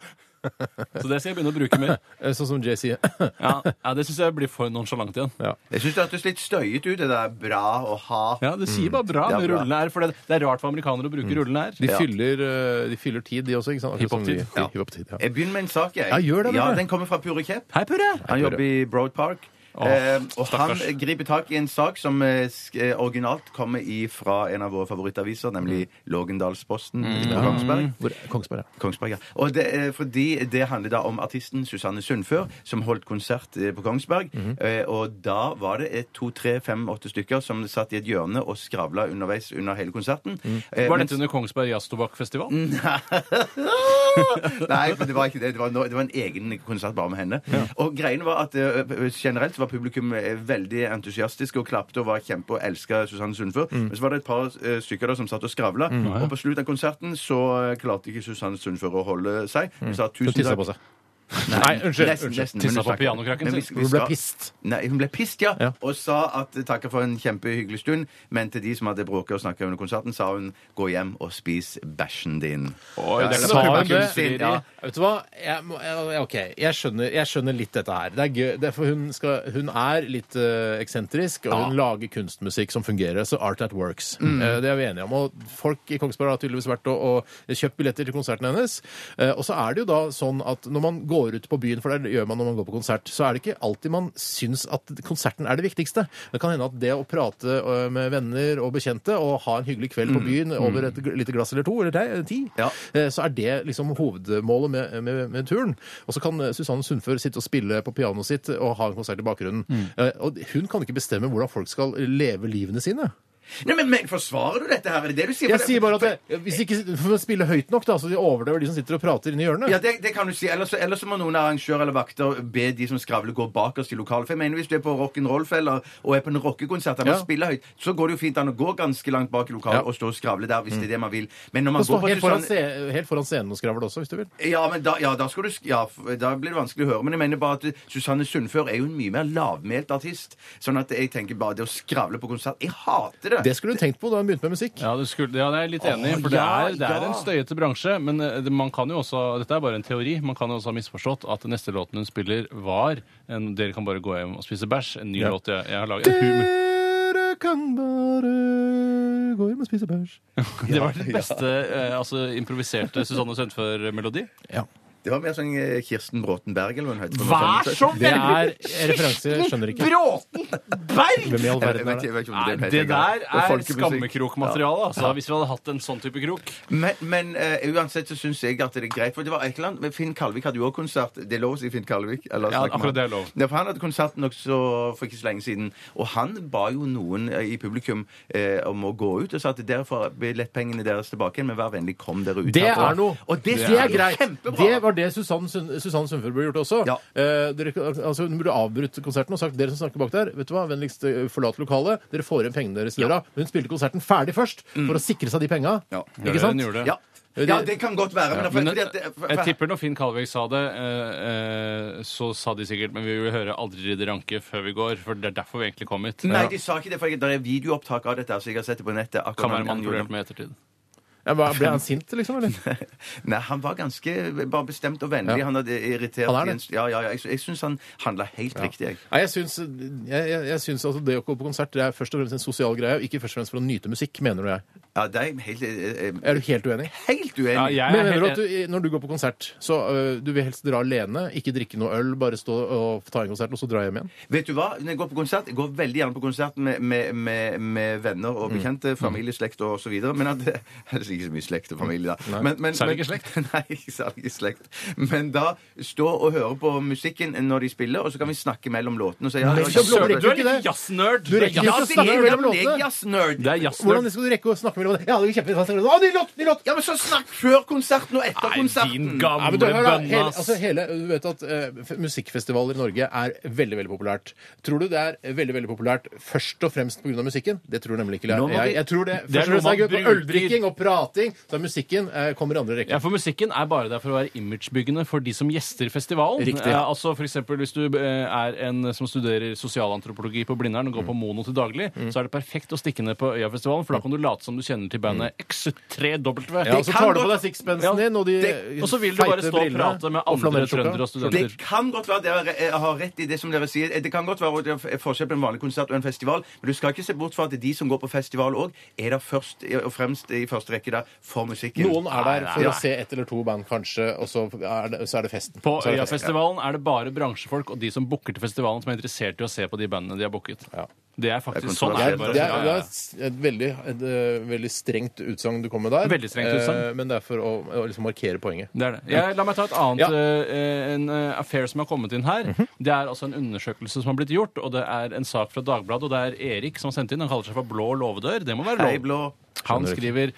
[SPEAKER 3] så det skal jeg begynne å bruke mer.
[SPEAKER 1] Eh, Sånn som Jay sier.
[SPEAKER 3] Ja, ja, det syns jeg blir for nonsjalant igjen.
[SPEAKER 2] Jeg syns det hørtes litt støyet ut, det der bra og ha.
[SPEAKER 3] Ja, Det
[SPEAKER 1] Mm.
[SPEAKER 3] sier bare bra
[SPEAKER 2] Det er
[SPEAKER 3] med
[SPEAKER 2] bra.
[SPEAKER 3] rullende r, for det, det er rart for amerikanere å bruke rullende r.
[SPEAKER 1] De fyller, eh, de fyller tid, de også. ikke sant? Akkurat som vi-
[SPEAKER 3] Hiphop-tid.
[SPEAKER 2] Ja.
[SPEAKER 1] Hiphop-tid. Ja.
[SPEAKER 2] Jeg begynner med en sak, jeg.
[SPEAKER 1] Ja, gjør det,
[SPEAKER 2] ja,
[SPEAKER 1] Bjørn.
[SPEAKER 2] Den kommer fra Pure Kjepp.
[SPEAKER 3] Hei, Purre!
[SPEAKER 2] Han
[SPEAKER 1] Pure.
[SPEAKER 2] jobber i Broad Park.
[SPEAKER 3] Åh,
[SPEAKER 2] eh, og han
[SPEAKER 3] stakkars.
[SPEAKER 2] griper tak i en sak som eh, sk- eh, originalt kommer ifra en av våre favorittaviser, nemlig Lågendalsposten i Kongsberg.
[SPEAKER 1] Hvor, Kongsberg, ja.
[SPEAKER 2] Kongsberg, ja. Og det, er fordi det handler da om artisten Susanne Sundfør, som holdt konsert eh, på Kongsberg. Eh, Og da var det et, to, tre, fem, åtte stykker som satt i et hjørne og skravla underveis under hele konserten. Eh,
[SPEAKER 3] Var
[SPEAKER 2] mens-
[SPEAKER 3] dette under Kongsberg Jazztobakkfestival?
[SPEAKER 2] Nei, for det var ikke det. Det var, no, det var en egen konsert bare med henne. Og greiene var at eh, generelt var publikum eh, veldig entusiastiske og klapte og var kjempe og elska Susanne Sundfør. Men så var det et par eh, stykker da som satt og skravla. Og på slutten av konserten så eh, klarte ikke Susanne Sundfør å holde seg. Hun sa
[SPEAKER 1] Hun
[SPEAKER 2] tusen
[SPEAKER 1] tissa
[SPEAKER 2] takk.
[SPEAKER 1] på seg. Nei, unnskyld.
[SPEAKER 2] Nesten,
[SPEAKER 1] unnskyld.
[SPEAKER 2] nesten, men
[SPEAKER 3] Tissa på
[SPEAKER 2] hun snakket.
[SPEAKER 3] pianokraken
[SPEAKER 2] Men vi-
[SPEAKER 3] sin.
[SPEAKER 2] vi
[SPEAKER 1] Hun ble
[SPEAKER 2] skal-
[SPEAKER 1] pist.
[SPEAKER 2] Nei, hun ble pist, ja.
[SPEAKER 1] Ja.
[SPEAKER 2] Og sa at takka for en kjempehyggelig stund, men til de som hadde bråket og snakka under konserten, sa hun gå hjem og spis bæsjen din.
[SPEAKER 3] Oi, det
[SPEAKER 2] Eller
[SPEAKER 3] sa hun
[SPEAKER 2] publikum
[SPEAKER 3] det.
[SPEAKER 2] sin, ja.
[SPEAKER 1] Vet du hva? Jeg, må, jeg, ok, jeg skjønner, jeg skjønner litt dette her. Det er gøy, det er for hun, skal, hun er litt eh, eksentrisk, og hun lager kunstmusikk som fungerer. Så art that works. Eh, det er vi enige om. Og folk i Kongsberg har tydeligvis vært og, og kjøpt billetter til konserten hennes. Eh, og så er det jo da sånn at når man går ut på byen, for det gjør man når man går på konsert, så er det ikke alltid man syns at konserten er det viktigste. Det kan hende at det å prate eh, med venner og bekjente og ha en hyggelig kveld på byen over et gl- lite glass eller to, eller te- ti,
[SPEAKER 2] Ja.
[SPEAKER 1] eh, så er det liksom hovedmålet med, med, med turen. Og så kan eh, Susanne Sundfør sitte og spille på pianoet sitt og ha en konsert i bakgrunnen.
[SPEAKER 2] Mm.
[SPEAKER 1] Eh, Og hun kan ikke bestemme hvordan folk skal leve livene sine.
[SPEAKER 2] Nei, men, men forsvarer du dette her? Er det det du sier?
[SPEAKER 1] Jeg
[SPEAKER 2] For det-
[SPEAKER 1] sier bare at det, hvis ikke for å spille høyt nok, da, så de overdøver de som sitter og prater inni hjørnet.
[SPEAKER 2] Ja, det, det kan du si. Ellers, ellers så må noen arrangør eller vakter be de som skravler, gå bakerst i lokalet. For jeg mener, hvis du er på rock'n'roll-feller og er på en rockekonsert der man
[SPEAKER 1] Ja.
[SPEAKER 2] spiller høyt, så går det jo fint an å gå ganske langt bak i lokalet
[SPEAKER 1] Ja.
[SPEAKER 2] og stå og skravle der hvis det er det man vil. Men når
[SPEAKER 1] Og
[SPEAKER 2] man
[SPEAKER 1] stå
[SPEAKER 2] går på sånn-
[SPEAKER 1] helt foran,
[SPEAKER 2] Susanne...
[SPEAKER 1] se, helt foran scenen og skravle også, hvis du vil.
[SPEAKER 2] Ja, men da, ja, da skal du sk- ja, f- da blir det vanskelig å høre. Men jeg mener bare at Susanne Sundfør er jo en mye mer lavmælt artist. Sånn at jeg tenker bare det å skravle på konsert Jeg hater det!
[SPEAKER 1] Det skulle du tenkt på da hun begynte med musikk.
[SPEAKER 3] Ja, det, skulle, ja, det er jeg litt enig i.
[SPEAKER 2] Åh,
[SPEAKER 3] For det
[SPEAKER 2] ja,
[SPEAKER 3] er, det er
[SPEAKER 2] ja.
[SPEAKER 3] en støyete bransje. Men eh, det- man kan jo også, dette er bare en teori, man kan jo også ha misforstått at den neste låten hun spiller, var en, 'Dere kan bare gå hjem og spise bæsj'. En ny
[SPEAKER 1] Ja.
[SPEAKER 3] låt jeg, jeg har laget. Humor.
[SPEAKER 1] Dere kan bare gå hjem og spise bæsj.
[SPEAKER 3] Det var den beste eh, altså, improviserte Susanne Sundfør-melodi.
[SPEAKER 1] Ja.
[SPEAKER 2] Det var mer sånn eh, Kirsten Bråten Berg eller hva hun heter.
[SPEAKER 1] Det er referanse, jeg skjønner ikke.
[SPEAKER 3] Bråten Berg!
[SPEAKER 1] Hvem i all
[SPEAKER 2] Jeg vet
[SPEAKER 1] verden er
[SPEAKER 2] ikke-
[SPEAKER 1] det?
[SPEAKER 2] jeg vet ikke om
[SPEAKER 3] Nei,
[SPEAKER 2] det er den
[SPEAKER 3] det
[SPEAKER 2] heter engang.
[SPEAKER 3] der
[SPEAKER 2] Det
[SPEAKER 3] er
[SPEAKER 2] folkemusikk.
[SPEAKER 3] skammekrokmateriale. Altså, Hvis vi hadde hatt en sånn type krok.
[SPEAKER 2] Men, men eh, uansett så syns jeg at det er greit. For det var et eller annet men Finn Kalvik hadde jo også konsert. Det er lov å si Finn Kalvik? Eller
[SPEAKER 3] Ja,
[SPEAKER 2] snakker man-
[SPEAKER 3] akkurat det er lov.
[SPEAKER 2] Ja, for han hadde konsert nok så for ikke så lenge siden. Og han ba jo noen eh, i publikum eh, om å gå ut og sa at dere får billettpengene deres tilbake igjen, men vær vennlig, kom dere ut.
[SPEAKER 1] Det
[SPEAKER 2] herfra.
[SPEAKER 1] er noe.
[SPEAKER 2] Og det,
[SPEAKER 1] Det
[SPEAKER 2] synes
[SPEAKER 1] er
[SPEAKER 2] jeg
[SPEAKER 1] greit.
[SPEAKER 2] Kjempebra.
[SPEAKER 1] Det var det Susann Sund- Susann Sundfør burde gjort også.
[SPEAKER 2] Ja.
[SPEAKER 1] Eh, dere, altså, hun burde avbrutt konserten og sagt dere som snakker bak der, vet du hva, vennligst eh, forlat lokalet. Dere får igjen pengene deres i døra. Hun spilte konserten ferdig først for å sikre seg de penga.
[SPEAKER 2] Mm. Ja.
[SPEAKER 3] Ja,
[SPEAKER 1] Ikke sant?
[SPEAKER 3] hun gjorde det.
[SPEAKER 2] ja. ja, det kan godt være. Men,
[SPEAKER 3] Men eh,
[SPEAKER 2] fordi at det- for-
[SPEAKER 3] jeg tipper når Finn Kalvik sa det, eh, eh, så sa de sikkert Men vi vil høre 'Aldri ridde ranke' før vi går, for det er derfor vi egentlig kom hit.
[SPEAKER 2] Nei, de sa ikke det, for det er videoopptak av dette. Så jeg har sett det på nettet. akkurat
[SPEAKER 3] Kan være
[SPEAKER 2] når han gjorde det.
[SPEAKER 3] manipulert med ettertid.
[SPEAKER 1] Ja, hva, ble han sint, liksom? Eller?
[SPEAKER 2] Nei, han var ganske bare bestemt og vennlig.
[SPEAKER 1] Ja.
[SPEAKER 2] Han hadde irritert
[SPEAKER 1] Han er det.
[SPEAKER 2] i en- Ja, ja, ja. Jeg, sy- jeg syns han handla helt riktig, jeg.
[SPEAKER 1] Nei, jeg syns, jeg, jeg, jeg syns altså det å gå på konsert det er først og fremst en sosial greie, og ikke først og fremst for å nyte musikk, mener du jeg.
[SPEAKER 2] Ja, det er jeg helt, eh, eh,
[SPEAKER 1] Er du helt uenig?
[SPEAKER 2] helt uenig.
[SPEAKER 3] Ja, jeg
[SPEAKER 1] Men
[SPEAKER 3] er
[SPEAKER 1] mener du
[SPEAKER 3] helt-
[SPEAKER 1] at du, i- når du går på konsert, så ø, du vil helst dra alene, ikke drikke noe øl, bare stå og ta en konsert, og så dra hjem igjen?
[SPEAKER 2] Vet du hva? Når jeg går på konsert, jeg går veldig gjerne på konsert med, med, med, med venner
[SPEAKER 3] Mm.
[SPEAKER 2] og bekjente, familie, slekt og så videre. Men at, det er ikke så mye slekt og familie, da. Men, men,
[SPEAKER 3] Særlig
[SPEAKER 2] men-
[SPEAKER 3] ikke slekt?
[SPEAKER 2] Nei, ikke særlig ikke slekt. Men da stå og høre på musikken når de spiller, og så kan vi snakke mellom låtene. og si, ja, det var
[SPEAKER 1] Søren,
[SPEAKER 2] kjempebra.
[SPEAKER 3] Søren, du
[SPEAKER 1] ikke
[SPEAKER 3] er litt
[SPEAKER 1] det?
[SPEAKER 3] jazznerd.
[SPEAKER 1] Du rekker
[SPEAKER 3] Ja,
[SPEAKER 1] ikke å snakke
[SPEAKER 2] Ja,
[SPEAKER 1] mellom
[SPEAKER 2] men jeg er
[SPEAKER 1] låtene.
[SPEAKER 2] jazznerd.
[SPEAKER 3] Det er jazznerd.
[SPEAKER 1] Hvordan skal du rekke å snakke mellom det? Ja, det er kjempefint. Å, ny låt! Ny låt!
[SPEAKER 2] Ja, men så snakk før konserten og etter
[SPEAKER 3] Nei, din
[SPEAKER 2] konserten!
[SPEAKER 1] Ja,
[SPEAKER 3] gamle
[SPEAKER 1] men du, hør, da, hele,
[SPEAKER 3] bønnas.
[SPEAKER 1] altså, hele, du vet at eh, f- musikkfestivaler i Norge er veldig veldig populært. Tror du det er veldig veldig populært først og fremst pga. musikken? Det tror nemlig ikke
[SPEAKER 3] Nå må
[SPEAKER 1] jeg.
[SPEAKER 3] vi-
[SPEAKER 1] jeg. jeg tror det,
[SPEAKER 3] Det er
[SPEAKER 1] først og fremst
[SPEAKER 3] noe
[SPEAKER 1] er det
[SPEAKER 3] man
[SPEAKER 1] gøy på
[SPEAKER 3] bruker.
[SPEAKER 1] øldrikking og prating, så er musikken eh, kommer i andre rekke.
[SPEAKER 3] Ja, for Musikken er bare der for å være imagebyggende for de som gjester festivalen.
[SPEAKER 1] Riktig.
[SPEAKER 3] Eh, altså for eksempel, Hvis du eh, er en som studerer sosialantropologi på Blindern
[SPEAKER 2] Mm.
[SPEAKER 3] og går på Mono til daglig, så er det perfekt å stikke ned på Øyafestivalen, for da kan du late som du kjenner til
[SPEAKER 2] Mm.
[SPEAKER 3] bandet X3W.
[SPEAKER 1] Ja, og så tar du på deg sixpensen
[SPEAKER 3] Ja.
[SPEAKER 1] din og de
[SPEAKER 3] Og så vil du bare
[SPEAKER 1] feite
[SPEAKER 3] stå og
[SPEAKER 1] brillene
[SPEAKER 3] prate med
[SPEAKER 1] og sånn.
[SPEAKER 3] andre
[SPEAKER 1] flanellskjorta.
[SPEAKER 3] trøndere og studenter.
[SPEAKER 2] Det kan godt være dere eh, har rett i det som dere sier. Eh, Det kan godt være at det er forskjell på en vanlig konsert og en festival, men du skal ikke se bort fra at de som går på festival òg, er der først eh, og fremst i første rekke der for musikken.
[SPEAKER 1] Noen er der
[SPEAKER 3] Nei,
[SPEAKER 1] for
[SPEAKER 3] nei,
[SPEAKER 1] å
[SPEAKER 3] nei.
[SPEAKER 1] se ett eller to band, kanskje, og så er det, så er det festen.
[SPEAKER 3] På
[SPEAKER 1] Så er det festen.
[SPEAKER 3] Øyafestivalen er det bare bransjefolk og de som booker til festivalen, som er interessert i å se på de bandene de har booket.
[SPEAKER 1] Ja.
[SPEAKER 3] Det er faktisk
[SPEAKER 2] Det er
[SPEAKER 3] sånn. Er det bare.
[SPEAKER 1] Det er,
[SPEAKER 3] Ja,
[SPEAKER 1] det
[SPEAKER 3] ja, ja.
[SPEAKER 1] er s- et veldig, et, eh, veldig strengt utsagn du kom med der.
[SPEAKER 3] Veldig strengt utsagn.
[SPEAKER 1] Eh, Men det er for å, å liksom markere poenget.
[SPEAKER 3] Det er det. Jeg, la meg ta et annet
[SPEAKER 1] Ja. Mhm.
[SPEAKER 3] eh, en eh, affair som har kommet inn her. Det er altså en undersøkelse som har blitt gjort, og det er en sak fra Dagbladet, og det er Erik som har sendt inn. Han kaller seg for Blå låvedør. Det må være lov.
[SPEAKER 2] Hei, blå.
[SPEAKER 3] Han
[SPEAKER 1] Skjønner
[SPEAKER 3] skriver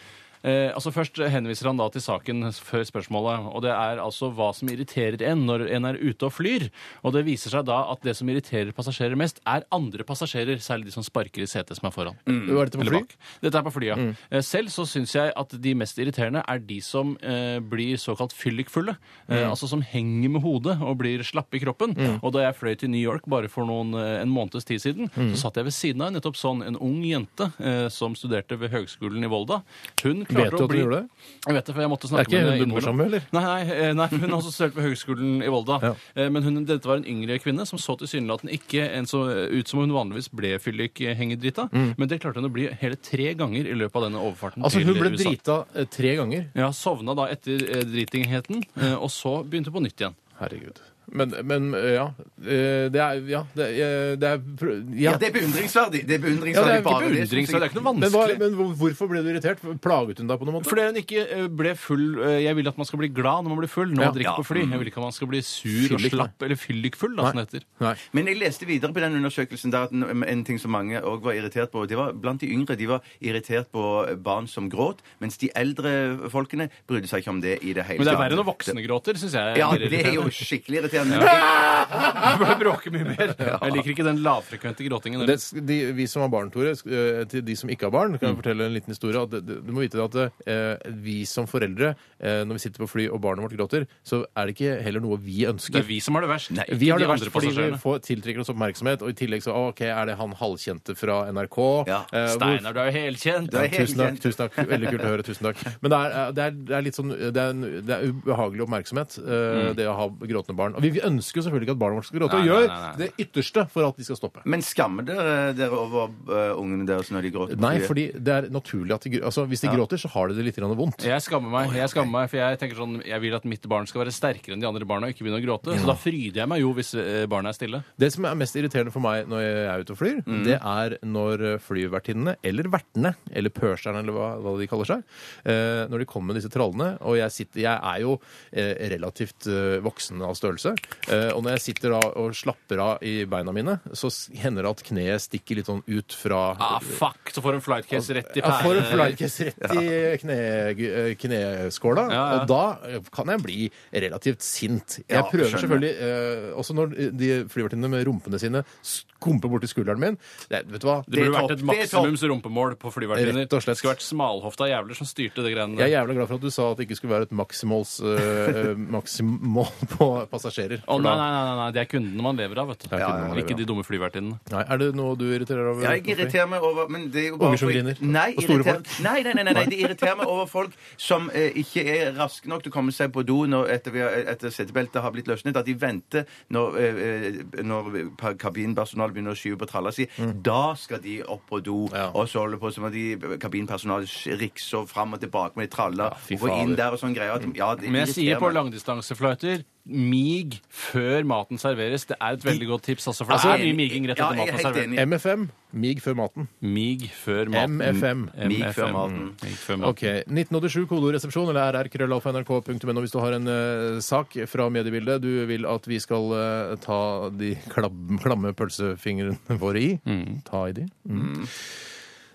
[SPEAKER 3] eh, altså Først henviser han da til saken før spørsmålet. og Det er altså hva som irriterer en når en er ute og flyr. og Det viser seg da at det som irriterer passasjerer mest, er andre passasjerer. Særlig de som sparker i setet som er foran.
[SPEAKER 1] Var dette på
[SPEAKER 3] Eller
[SPEAKER 1] fly? Mm.
[SPEAKER 3] bak. Dette er på flyet. Eh, Selv så syns jeg at de mest irriterende er de som eh, blir såkalt fyllikfulle.
[SPEAKER 1] Mm.
[SPEAKER 3] Eh, altså som henger med hodet og blir slappe i kroppen. Og da jeg fløy til New York bare for noen, eh, en måneds tid siden,
[SPEAKER 1] Mm.
[SPEAKER 3] så satt jeg ved siden av en nettopp sånn en ung jente eh, som studerte ved Høgskolen i Volda. Hun klarte
[SPEAKER 1] Vet du
[SPEAKER 3] å
[SPEAKER 1] at du
[SPEAKER 3] bli
[SPEAKER 1] gjorde det?
[SPEAKER 3] Jeg vet det, for jeg måtte
[SPEAKER 1] Er
[SPEAKER 3] snakke
[SPEAKER 1] ikke
[SPEAKER 3] med
[SPEAKER 1] hun
[SPEAKER 3] henne
[SPEAKER 1] du bor
[SPEAKER 3] innimellom.
[SPEAKER 1] sammen med, eller?
[SPEAKER 3] Nei, nei, eh, nei, hun har også studert ved Høgskolen i Volda. Eh, Men hun, dette var en yngre kvinne som så tilsynelatende ikke en så, eh, ut som hun vanligvis ble fyllik-hengedrita. Men det klarte hun å bli hele tre ganger i løpet av denne overfarten
[SPEAKER 1] Mm. Altså, hun
[SPEAKER 3] til
[SPEAKER 1] ble
[SPEAKER 3] USA.
[SPEAKER 1] drita eh, tre ganger.
[SPEAKER 3] Ja, Sovna da etter eh, dritingheten, eh, og så begynte på nytt igjen.
[SPEAKER 1] Herregud. Men, men eh, ja. Eh, Det er Ja. Det er, det er pr- ja.
[SPEAKER 2] Ja, det er beundringsverdig. Det er
[SPEAKER 1] Ja, det
[SPEAKER 2] beundringsverdig
[SPEAKER 1] er ikke
[SPEAKER 2] bare det.
[SPEAKER 3] Beundring, så det er ikke noe
[SPEAKER 1] Men,
[SPEAKER 3] vanskelig.
[SPEAKER 1] hva, men hvor- hvorfor ble du irritert? Plaget hun deg på noen måte?
[SPEAKER 3] Fordi hun ikke eh, ble full eh, Jeg vil at man skal bli glad når man blir full. Når man
[SPEAKER 1] Ja.
[SPEAKER 3] drikker på fly. Jeg vil ikke at man skal bli sur og
[SPEAKER 1] Fyllik, nei.
[SPEAKER 3] slapp eller fyllikfull, da, som det heter.
[SPEAKER 1] Nei.
[SPEAKER 2] Men jeg leste videre på den undersøkelsen der at en, en ting som mange òg var irritert på, det var blant de yngre de var irritert på barn som gråt, mens de eldre folkene brydde seg ikke om det i det hele
[SPEAKER 3] Men det er verre når voksne gråter, syns jeg.
[SPEAKER 2] Ja,
[SPEAKER 3] mer
[SPEAKER 2] det er jo
[SPEAKER 3] irriterende.
[SPEAKER 2] skikkelig irriterende. Ja.
[SPEAKER 3] Du bør bråke mye mer. Jeg liker ikke den lavfrekvente gråtingen.
[SPEAKER 1] Det, de, vi som har barn, Tore, sk- eh, til de som ikke har barn,
[SPEAKER 3] Mm.
[SPEAKER 1] kan jeg fortelle en liten historie. At det- det- du må vite det at eh, vi som foreldre, eh, når vi sitter på fly og barnet vårt gråter, så er det ikke heller noe vi
[SPEAKER 3] Det er
[SPEAKER 1] ønsker.
[SPEAKER 3] vi som har det verst. ikke
[SPEAKER 1] Vi har det
[SPEAKER 3] de
[SPEAKER 1] verst
[SPEAKER 3] andre
[SPEAKER 1] fordi vi
[SPEAKER 3] passasjerene.
[SPEAKER 1] får tiltrekker oss oppmerksomhet, og i tillegg så OK, er det han halvkjente fra NRK?
[SPEAKER 2] Ja,
[SPEAKER 1] Eh, hvor-
[SPEAKER 3] Steinar, du er jo helkjent.
[SPEAKER 2] Du er helt
[SPEAKER 1] Tusen takk.
[SPEAKER 2] kjent.
[SPEAKER 1] tusen takk, Veldig kult å høre. Tusen takk. Men det er, det er, det er litt sånn det er, en- det er ubehagelig oppmerksomhet, eh, det å ha gråtende barn. Og vi, vi ønsker jo selvfølgelig ikke at barna våre skal gråte, og
[SPEAKER 3] Mm. Nei, nei,
[SPEAKER 1] gjør
[SPEAKER 3] nei, nei.
[SPEAKER 1] det ytterste for at de skal stoppe.
[SPEAKER 2] Men skammer dere dere over eh, ungene deres når de gråter?
[SPEAKER 1] Nei, fordi det er naturlig at de, gr- altså, hvis de gråter, så har de det litt grann vondt.
[SPEAKER 3] Jeg skammer meg, jeg skammer meg, for jeg tenker sånn, jeg vil at mitt barn skal være sterkere enn de andre barna og ikke begynne å gråte. Så da fryder jeg meg jo hvis eh, barna er stille.
[SPEAKER 1] Det som er mest irriterende for meg når jeg er ute og flyr, det er når eh, flyvertinnene, eller vertene, eller pørserne, eller hva, hva de kaller seg, eh, når de kommer med disse trallene Og jeg, sitter, jeg er jo eh, relativt eh, voksen av størrelse. Eh, og når jeg sitter da og slapper av i beina mine, så s- hender det at kneet stikker litt sånn ut fra
[SPEAKER 3] Ah, fuck! Så får en flightcase rett i
[SPEAKER 1] Jeg får en
[SPEAKER 3] pæren.
[SPEAKER 1] flightcase rett i kne, eh, kneskåla,
[SPEAKER 3] Ja, ja.
[SPEAKER 1] og da eh, kan jeg bli relativt sint. Jeg
[SPEAKER 2] Ja,
[SPEAKER 1] prøver
[SPEAKER 2] skjønner.
[SPEAKER 1] selvfølgelig eh, Også når de flyvertinnene med rumpene sine skumper borti skulderen min. Det, er- vet du hva?
[SPEAKER 3] Det burde
[SPEAKER 2] er
[SPEAKER 3] vært et
[SPEAKER 2] topp, det er topp.
[SPEAKER 3] maksimums rumpemål på flyvertinner.
[SPEAKER 1] Rett og slett.
[SPEAKER 3] Det skulle vært smalhofta jævler som styrte det greiene
[SPEAKER 1] Jeg er
[SPEAKER 3] der.
[SPEAKER 1] jævla glad for at du sa at det ikke skulle være et maksimåls, eh, eh, maksimål på passasjerer.
[SPEAKER 3] Å,
[SPEAKER 1] for
[SPEAKER 3] nei,
[SPEAKER 1] da-
[SPEAKER 3] nei, nei, nei, det er kundene man lever av, vet du.
[SPEAKER 1] Det er kundene man lever
[SPEAKER 3] Ikke
[SPEAKER 1] av.
[SPEAKER 3] de dumme flyvertinnene.
[SPEAKER 1] Nei, er det noe du irriterer over?
[SPEAKER 2] Ja, jeg irriterer meg over men det er jo bare
[SPEAKER 1] Unger som
[SPEAKER 2] folk-
[SPEAKER 1] griner.
[SPEAKER 2] Nei,
[SPEAKER 1] Og store
[SPEAKER 2] irriterer-
[SPEAKER 1] folk.
[SPEAKER 2] Nei, nei, nei, nei, nei, det irriterer meg over folk som eh, ikke er raske nok til å komme seg på do når etter, vi har- etter setebeltet har blitt løsnet, at de venter når, eh, eh, når pa- kabinpersonalet begynner å skyve på tralla si. Da skal de opp på do,
[SPEAKER 1] Mm. Ja.
[SPEAKER 2] og så holder det på som at de kabinpersonalet rikser fram og tilbake med de tralla,
[SPEAKER 1] fy
[SPEAKER 2] og går inn
[SPEAKER 1] fader.
[SPEAKER 2] der og sånn greier. At, ja, det
[SPEAKER 3] Men jeg sier
[SPEAKER 2] irriterer
[SPEAKER 3] på
[SPEAKER 2] meg.
[SPEAKER 3] langdistansefløyter mig før maten serveres. Det er et veldig godt tips, altså. For det
[SPEAKER 2] Altså,
[SPEAKER 3] er mye miging rett
[SPEAKER 2] ja,
[SPEAKER 3] etter
[SPEAKER 2] jeg er
[SPEAKER 3] maten er
[SPEAKER 2] helt
[SPEAKER 3] servert.
[SPEAKER 2] enig.
[SPEAKER 1] MFM. Mig før maten.
[SPEAKER 3] Mig før maten.
[SPEAKER 1] MFM.
[SPEAKER 2] Mig før maten.
[SPEAKER 3] Mig før maten.
[SPEAKER 1] Ok, 1987 kodoresepsjon eller rrkrøllalfa.nrk.no hvis du har en eh, sak fra mediebildet du vil at vi skal eh, ta de klamme, klamme pølsefingrene våre i. Ta i de. Mm.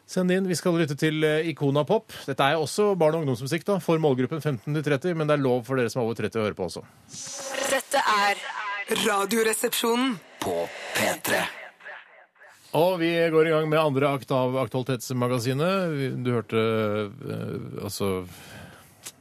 [SPEAKER 1] Send inn. Vi skal lytte til eh, Ikona Pop. Dette er også barn- og ungdomsmusikk da, for målgruppen 15-30, men det er lov for dere som er over 30 å høre på også.
[SPEAKER 6] Dette er Radioresepsjonen.
[SPEAKER 5] På P3.
[SPEAKER 1] Og vi går i gang med andre akt av Aktualitetsmagasinet. Vi- Du hørte eh, altså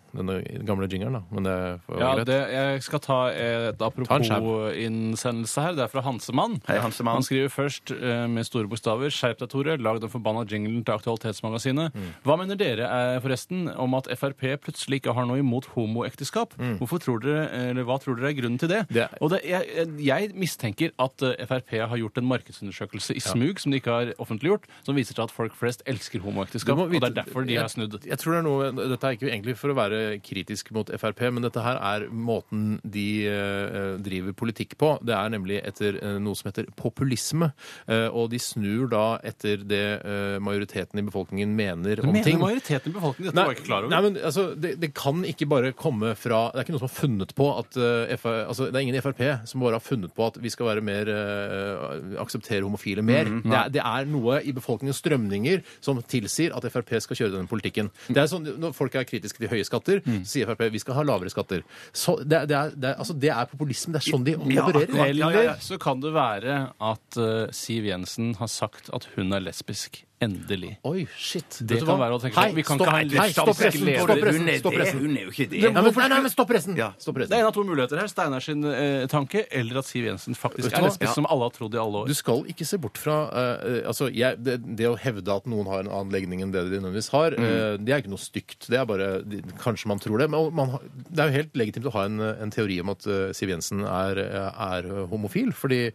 [SPEAKER 1] denne gamle jingeren, da. Men det var
[SPEAKER 3] Ja,
[SPEAKER 1] greit.
[SPEAKER 3] det, jeg skal ta et
[SPEAKER 1] Ta en skjerm.
[SPEAKER 3] apropos-innsendelse her. Det er fra Hansemann.
[SPEAKER 2] Hei, Hansemann.
[SPEAKER 3] Han skriver først eh, med store bokstaver Skjerp deg, Tore. Lag den forbanna jinglen til Aktualitetsmagasinet. Hva mener dere eh, forresten om at Frp plutselig ikke har noe imot homoekteskap? Hvorfor tror dere, eller Hva tror dere er grunnen til Mm. det?
[SPEAKER 1] Det-
[SPEAKER 3] Og det, jeg, jeg mistenker at eh, Frp har gjort en markedsundersøkelse i smug som de ikke har offentliggjort, som viser til at folk flest elsker
[SPEAKER 1] Du
[SPEAKER 3] homoekteskap.
[SPEAKER 1] må
[SPEAKER 3] Og
[SPEAKER 1] vite-
[SPEAKER 3] det er derfor de har snudd.
[SPEAKER 1] Jeg, jeg tror det er noe, Dette er ikke egentlig for å være kritisk mot Frp, men dette her er måten de eh, driver politikk på. Det er nemlig etter eh, noe som heter populisme. eh, og de snur da etter det eh, majoriteten i befolkningen mener om
[SPEAKER 3] Mener
[SPEAKER 1] ting.
[SPEAKER 3] majoriteten i befolkningen dette? var jeg ikke klar over.
[SPEAKER 1] Nei, men altså, det, det kan ikke bare komme fra Det er ikke noen som har funnet på at eh, F- altså, Det er ingen i Frp som bare har funnet på at vi skal være mer eh, akseptere homofile mer.
[SPEAKER 3] Mhm.
[SPEAKER 1] det, er, det er noe i befolkningens strømninger som tilsier at Frp skal kjøre denne politikken.
[SPEAKER 3] Mm.
[SPEAKER 1] Det er sånn, Når folk er kritiske til høye skatter, så sier Frp vi skal ha lavere skatter. Så det, er- det, er, det, er, altså, det er populisme. Det er sånn de opererer.
[SPEAKER 2] akkurat. Ja, ja, ja.
[SPEAKER 3] Eller så kan det være at eh, Siv Jensen har sagt at hun er lesbisk. Endelig.
[SPEAKER 1] Oi, shit.
[SPEAKER 3] Det
[SPEAKER 1] Vet du
[SPEAKER 3] kan
[SPEAKER 1] hva?
[SPEAKER 3] være å tenke på.
[SPEAKER 1] Hei,
[SPEAKER 3] Vi kan
[SPEAKER 1] stopp,
[SPEAKER 3] ikke ha en
[SPEAKER 1] hei, stopp
[SPEAKER 3] lesbisk
[SPEAKER 1] pressen!
[SPEAKER 3] leder.
[SPEAKER 1] Stopp
[SPEAKER 2] Hun
[SPEAKER 1] pressen!
[SPEAKER 2] er
[SPEAKER 1] Stopp
[SPEAKER 2] det,
[SPEAKER 1] pressen.
[SPEAKER 2] hun er jo ikke det.
[SPEAKER 1] Ja, men hvorfor- Nei, nei, men stopp pressen!
[SPEAKER 2] Ja.
[SPEAKER 1] Stopp
[SPEAKER 3] Det
[SPEAKER 1] pressen.
[SPEAKER 3] er en av to muligheter her. Steinar sin eh, tanke, eller at Siv Jensen faktisk
[SPEAKER 1] Vet du
[SPEAKER 3] er
[SPEAKER 1] hva?
[SPEAKER 3] lesbisk,
[SPEAKER 1] Ja.
[SPEAKER 3] som alle har trodd i alle
[SPEAKER 1] Du
[SPEAKER 3] år.
[SPEAKER 1] skal ikke se bort fra eh, eh, altså, jeg, det, det å hevde at noen har en annen legning enn det de nødvendigvis har,
[SPEAKER 3] Mm.
[SPEAKER 1] eh, det er ikke noe stygt. Det er bare, de, Kanskje man tror det. Men man, har- det er jo helt legitimt å ha en, en teori om at eh, Siv Jensen er, er eh, homofil. fordi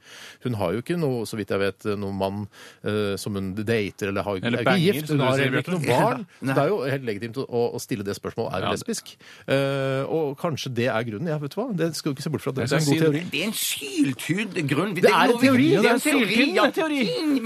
[SPEAKER 1] hun har jo ikke noe, så vidt jeg vet, noen mann eh, som hun dater eller har
[SPEAKER 3] Eller
[SPEAKER 1] er
[SPEAKER 3] banger,
[SPEAKER 1] ikke gift. Hun
[SPEAKER 3] som du
[SPEAKER 1] har
[SPEAKER 3] sier,
[SPEAKER 1] heller ikke
[SPEAKER 3] Bjarte.
[SPEAKER 1] noen barn. Så
[SPEAKER 2] Nei.
[SPEAKER 1] det er jo helt legitimt å, å stille det spørsmålet er du
[SPEAKER 3] Ja, det-
[SPEAKER 1] lesbisk. Eh, og kanskje det er grunnen. Ja, vet du hva? Det skal du ikke se bort fra. Det, det er
[SPEAKER 3] skal
[SPEAKER 1] en
[SPEAKER 3] si
[SPEAKER 1] god
[SPEAKER 3] det.
[SPEAKER 1] teori.
[SPEAKER 2] Det er en syltyd grunn.
[SPEAKER 1] Det er en teori,
[SPEAKER 2] Det
[SPEAKER 1] det er
[SPEAKER 2] er en
[SPEAKER 1] en
[SPEAKER 2] teori,
[SPEAKER 3] syltynn
[SPEAKER 2] ja.
[SPEAKER 3] teori.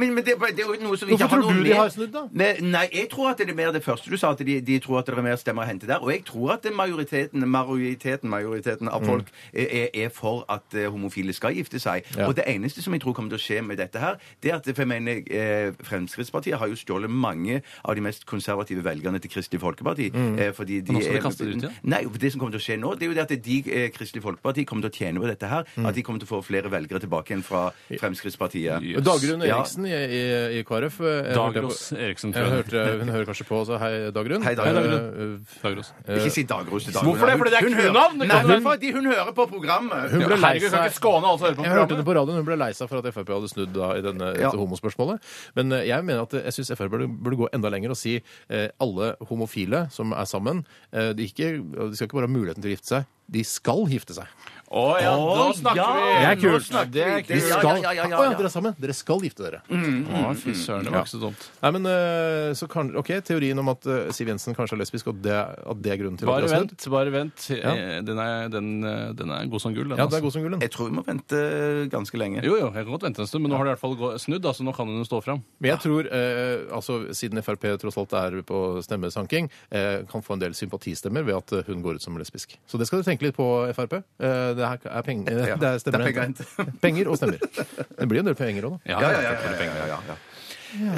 [SPEAKER 2] Men, men det, er bare- det er jo noe som vi
[SPEAKER 1] Hvorfor
[SPEAKER 2] ikke har
[SPEAKER 1] tror
[SPEAKER 2] noe
[SPEAKER 1] du de
[SPEAKER 2] med-
[SPEAKER 1] har snudd, da?
[SPEAKER 2] Nei, nei, jeg tror at det er mer det første du sa, at de, de tror at det er mer stemmer å hente der. Og jeg tror at det majoriteten, majoriteten, majoriteten
[SPEAKER 1] Mm.
[SPEAKER 2] av folk er, er- er for at eh, homofile skal gifte seg.
[SPEAKER 1] Ja.
[SPEAKER 2] Og det eneste som jeg tror kommer til å skje med dette her, det er at for jeg mener, eh, Fremskrittspartiet har jo stjålet mange av de mest konservative velgerne til Kristelig Folkeparti.
[SPEAKER 1] Mm.
[SPEAKER 2] Eh, fordi de
[SPEAKER 3] nå skal de
[SPEAKER 2] er-
[SPEAKER 3] kaste det ut igjen?
[SPEAKER 2] Nei, og det som kommer til å skje nå, det er jo det at de, eh, Kristelig Folkeparti kommer til å tjene på dette her. At de kommer til å få flere velgere tilbake igjen fra Fremskrittspartiet.
[SPEAKER 3] Mm. Ja.
[SPEAKER 1] Yes. Dagrun Eriksen i, i, i KrF. eh, jeg
[SPEAKER 3] Dagros
[SPEAKER 1] hørte på-
[SPEAKER 3] Eriksen, tror
[SPEAKER 1] Jeg
[SPEAKER 3] jeg.
[SPEAKER 1] hørte, hun hører kanskje på, så hei, Dagrun.
[SPEAKER 2] Hei, Dagrun.
[SPEAKER 1] Eh,
[SPEAKER 3] Dagros.
[SPEAKER 2] Ikke si Dagros til Dagrun.
[SPEAKER 3] Hvorfor det? Fordi det er
[SPEAKER 2] Hun hører-
[SPEAKER 3] kundenavn, det
[SPEAKER 2] Nei,
[SPEAKER 3] kan-
[SPEAKER 2] men fordi hun hører på programmet.
[SPEAKER 1] Hun
[SPEAKER 3] Ja,
[SPEAKER 1] ble lei
[SPEAKER 3] herregud, kan
[SPEAKER 1] seg-
[SPEAKER 3] ikke skåne alle som hører på
[SPEAKER 1] Jeg hørte det
[SPEAKER 3] programmet.
[SPEAKER 1] på radioen. Hun ble lei seg for at Frp hadde snudd da, i denne,
[SPEAKER 2] Ja.
[SPEAKER 1] dette homospørsmålet. Men eh, jeg mener at eh, jeg syns Frp burde, burde gå enda lenger og si eh, alle homofile som er sammen, eh, de, ikke, de skal ikke bare ha muligheten til å gifte seg. De skal gifte seg.
[SPEAKER 3] Å ja,
[SPEAKER 2] Å,
[SPEAKER 3] da snakker
[SPEAKER 2] ja,
[SPEAKER 3] vi!
[SPEAKER 2] Det er
[SPEAKER 3] Nå
[SPEAKER 2] kult.
[SPEAKER 3] snakker vi.
[SPEAKER 2] Det er
[SPEAKER 3] Det
[SPEAKER 2] kult.
[SPEAKER 3] er
[SPEAKER 2] Ja,
[SPEAKER 3] kult.
[SPEAKER 1] Skal,
[SPEAKER 2] ja, ja, ja,
[SPEAKER 1] Å
[SPEAKER 2] ja.
[SPEAKER 1] dere er sammen. Dere skal gifte dere.
[SPEAKER 3] Mm. Å, fy søren, det var ikke så dumt.
[SPEAKER 1] Nei, men eh, så kan, OK, teorien om at eh, Siv Jensen kanskje er lesbisk, og det, at det er grunnen til at
[SPEAKER 3] Bare
[SPEAKER 1] dere har snudd.
[SPEAKER 3] vent, bare vent. Eh, Den er, den, eh, den er god som gull, den.
[SPEAKER 1] Ja, det
[SPEAKER 3] altså.
[SPEAKER 1] er god som gullen.
[SPEAKER 2] Jeg tror vi må vente eh, ganske lenge.
[SPEAKER 3] Jo, jo, jeg kan godt vente en stund, men nå har det i hvert fall gå- snudd, da, så nå kan hun jo stå fram.
[SPEAKER 1] Men jeg tror, eh, altså siden Frp tross alt er på stemmesanking, eh, kan få en del sympatistemmer ved at eh, hun går ut som lesbisk. Så det skal du tenke litt på, Frp. Eh, det her er, peng eh,
[SPEAKER 2] Ja,
[SPEAKER 1] det er stemmer.
[SPEAKER 2] det er penger å
[SPEAKER 1] hente. penger og stemmer. Det blir jo en del penger òg, da.
[SPEAKER 2] Ja, ja, ja, ja, ja, ja, ja.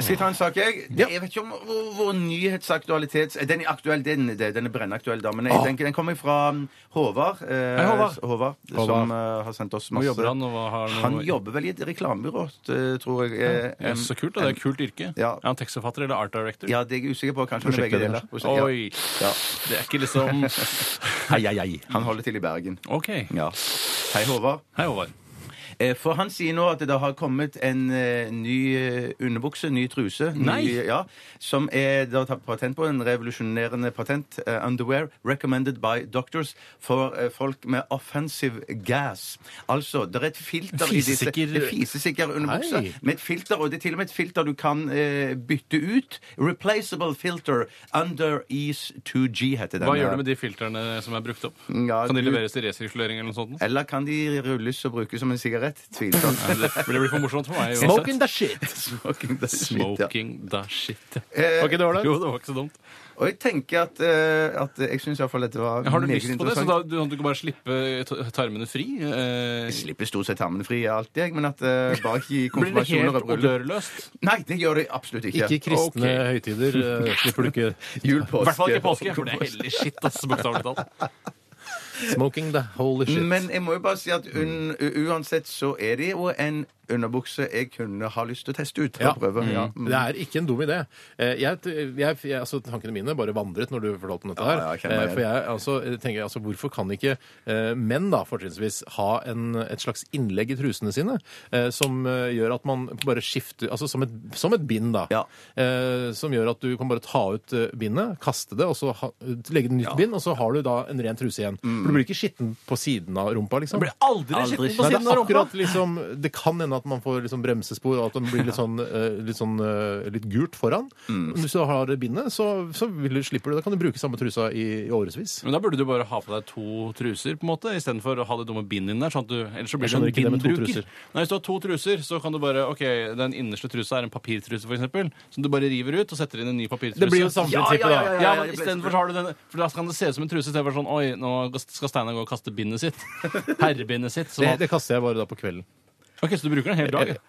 [SPEAKER 2] Skal jeg ta en sak, jeg? Det, jeg vet ikke om hvor, hvor nyhetsaktualitets... eh, Den er aktuell, den, eh, det- den er brennaktuell, da. Men jeg tenker den kommer fra um, Håvard. eh,
[SPEAKER 3] Hei, Håvard.
[SPEAKER 2] Som eh, har sendt oss masse
[SPEAKER 3] jobber han, og hva har han-
[SPEAKER 2] Han jobber vel i et reklamebyrå, t- tror jeg. eh,
[SPEAKER 3] Ja, så kult, da. Det er et kult yrke.
[SPEAKER 2] Ja.
[SPEAKER 3] Er han tekstforfatter eller art director?
[SPEAKER 2] Ja, det er jeg usikker på. Kanskje han er begge
[SPEAKER 1] Prosjektleder,
[SPEAKER 2] deler. Ja.
[SPEAKER 3] Oi! Det er ikke liksom
[SPEAKER 1] Hei, hei, hei.
[SPEAKER 2] Han holder til i Bergen.
[SPEAKER 3] OK.
[SPEAKER 2] Ja. Hei, Håvard.
[SPEAKER 3] Hei, Håvard.
[SPEAKER 2] Eh, For han sier nå at det har kommet en eh, ny eh, underbukse, ny truse,
[SPEAKER 3] Nei.
[SPEAKER 2] ny, ja, som er da tatt patent på, en revolusjonerende patent, eh, underwear, recommended by doctors, for eh, folk med offensive gas. Altså, det er et filter i
[SPEAKER 3] Fisesikker-
[SPEAKER 2] disse... Det er fisesikker underbukser.
[SPEAKER 1] Hei.
[SPEAKER 2] Med et filter, og det er til og med et filter du kan eh, bytte ut. Replaceable filter, under ease 2G heter den.
[SPEAKER 3] Hva gjør du med de filtrene som er brukt opp?
[SPEAKER 2] Ja,
[SPEAKER 3] kan de
[SPEAKER 2] du-
[SPEAKER 3] leveres til resirkulering eller noe sånt?
[SPEAKER 2] Eller kan de rulles og brukes som en sigarett? Tvilsomt.
[SPEAKER 3] Nei, Det blir for morsomt for meg. uansett.
[SPEAKER 1] Smoking the shit!
[SPEAKER 2] Smoking the shit, ja.
[SPEAKER 3] Smoking the shit.
[SPEAKER 2] Eh,
[SPEAKER 1] Var ikke dårlig?
[SPEAKER 3] Jo, det var ikke så dumt.
[SPEAKER 2] Og jeg tenker at, eh, at jeg syns iallfall dette var
[SPEAKER 3] Har du
[SPEAKER 2] meget
[SPEAKER 3] lyst på det, så da
[SPEAKER 2] interessant.
[SPEAKER 3] du, du kan bare slippe ta- tarmene fri? Eh,
[SPEAKER 2] Jeg slipper stort sett tarmene fri alltid, jeg, men at eh, bare ikke i
[SPEAKER 3] blir det
[SPEAKER 2] konfirmasjoner
[SPEAKER 3] helt
[SPEAKER 2] og bryllup.
[SPEAKER 3] odørløst?
[SPEAKER 2] Nei, det gjør det absolutt ikke.
[SPEAKER 1] Ikke i kristne høytider eh, slipper du ikke
[SPEAKER 2] Jul,
[SPEAKER 3] I
[SPEAKER 2] påske
[SPEAKER 3] hvert fall ikke påske, for det er hellig shit, ass, bokstavelig talt.
[SPEAKER 1] smoking the holy shit.
[SPEAKER 2] Men jeg må jo bare si at un, u- uansett så er det jo en underbukse jeg kunne ha lyst til å teste ut.
[SPEAKER 1] Ja.
[SPEAKER 2] og Prøve. Ja. Mm.
[SPEAKER 1] Det er ikke en dum idé. Eh, Jeg, jeg, jeg, altså, tankene mine bare vandret når du fortalte om dette. her.
[SPEAKER 2] Ja, ja, jeg kjenner
[SPEAKER 1] Eh,
[SPEAKER 2] det.
[SPEAKER 1] For jeg altså, tenker altså, Hvorfor kan ikke eh, menn da, fortrinnsvis ha en, et slags innlegg i trusene sine eh, som eh, gjør at man bare skifter altså Som et, som et bind, da.
[SPEAKER 2] Ja.
[SPEAKER 1] Eh, som gjør at du kan bare ta ut eh, bindet, kaste det, og så ha, legge det nytt bind, og så har du da en ren truse igjen.
[SPEAKER 2] Mm.
[SPEAKER 1] For du blir ikke skitten på siden av rumpa, liksom.
[SPEAKER 3] Blir aldri
[SPEAKER 2] Aldri
[SPEAKER 3] skitten på
[SPEAKER 1] Nei, det,
[SPEAKER 3] siden av
[SPEAKER 1] er
[SPEAKER 3] rumpa!
[SPEAKER 1] akkurat, liksom, det kan hende at man får liksom bremsespor, og at den blir litt sånn, eh, litt, sånn eh, litt gult foran. Men Hvis du har bindet, så, så vil du, slipper du det. Da kan du bruke samme trusa i, i årevis.
[SPEAKER 3] Men da burde du bare ha på deg to truser, på en måte, istedenfor å ha det dumme bindet inni der. Sånn at du, ellers så blir
[SPEAKER 1] Jeg
[SPEAKER 3] du
[SPEAKER 1] skjønner
[SPEAKER 3] en
[SPEAKER 1] ikke det med to
[SPEAKER 3] bindbruker.
[SPEAKER 1] truser.
[SPEAKER 3] Nei, hvis du har to truser, så kan du bare OK, den innerste trusa er en papirtruse, for eksempel, som du bare river ut og setter inn en ny papirtruse.
[SPEAKER 1] Det blir jo samme
[SPEAKER 3] Ja,
[SPEAKER 1] prinsippet,
[SPEAKER 3] ja,
[SPEAKER 1] da.
[SPEAKER 3] ja, ja, ja, men istedenfor så har du den For da kan det se ut som en truse istedenfor sånn Oi, nå skal Steinar gå og kaste bindet sitt. Herrebindet sitt. Som
[SPEAKER 1] Det,
[SPEAKER 3] han-
[SPEAKER 1] det kaster jeg bare da på kvelden.
[SPEAKER 3] OK, så du bruker den en hel dag? ja.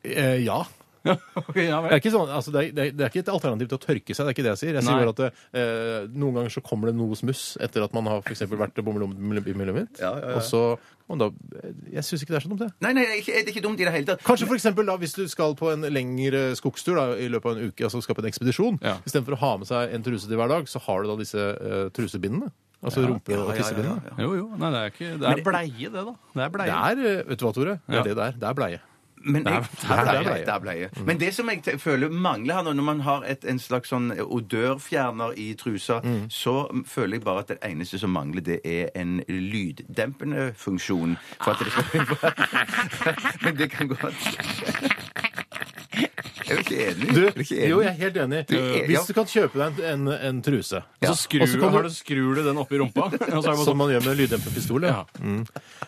[SPEAKER 1] Eh, ja.
[SPEAKER 3] Ok, ja
[SPEAKER 1] Det
[SPEAKER 3] vel.
[SPEAKER 1] er, ikke sånn, altså det, er, det, er, det er ikke et alternativ til å tørke seg. det er ikke det Jeg sier. Jeg sier
[SPEAKER 3] Nei.
[SPEAKER 1] bare at det, eh, Noen ganger så kommer det noe smuss etter at man har for eksempel vært bommelommitt.
[SPEAKER 2] Ja, ja, ja.
[SPEAKER 1] Og så kan man da eh, Jeg syns ikke det er så dumt, det.
[SPEAKER 2] Nei, nei, ikke- det er ikke dumt i det hele tatt.
[SPEAKER 1] Kanskje for eksempel, da, hvis du skal på en lengre skogstur da, i løpet av en uke, altså skal på en ekspedisjon,
[SPEAKER 3] Ja.
[SPEAKER 1] istedenfor å ha med seg en truse til hver dag, så har du da disse eh, trusebindene. Altså rumpe- og tissebindene.
[SPEAKER 3] Jo, jo. Nei, det er ikke Det er bleie, det, da. Det er bleie.
[SPEAKER 1] Det er eh, Vet du hva, Tore? Det er
[SPEAKER 3] Ja.
[SPEAKER 1] det det er. Det er bleie.
[SPEAKER 2] Men jeg,
[SPEAKER 1] det er bleie.
[SPEAKER 2] det er bleie.
[SPEAKER 1] Mm.
[SPEAKER 2] Men det som jeg te- føler mangler her nå, når man har et, en slags sånn odørfjerner i trusa,
[SPEAKER 1] Mm.
[SPEAKER 2] så føler jeg bare at det eneste som mangler, det er en lyddempende funksjon. For at det skal Men det kan godt Er du ikke enig?
[SPEAKER 1] Du,
[SPEAKER 2] Er du ikke enig?
[SPEAKER 1] jo, jeg er helt enig.
[SPEAKER 2] er- ja.
[SPEAKER 1] Hvis du kan kjøpe deg en, en, en truse
[SPEAKER 3] Og så skrur,
[SPEAKER 1] Og så kan du-
[SPEAKER 3] har du, skrur du den oppi rumpa. Og så er det bare sånn-
[SPEAKER 1] Som man gjør med lyddemperpistol. Ja.
[SPEAKER 3] Ja.
[SPEAKER 1] Mm.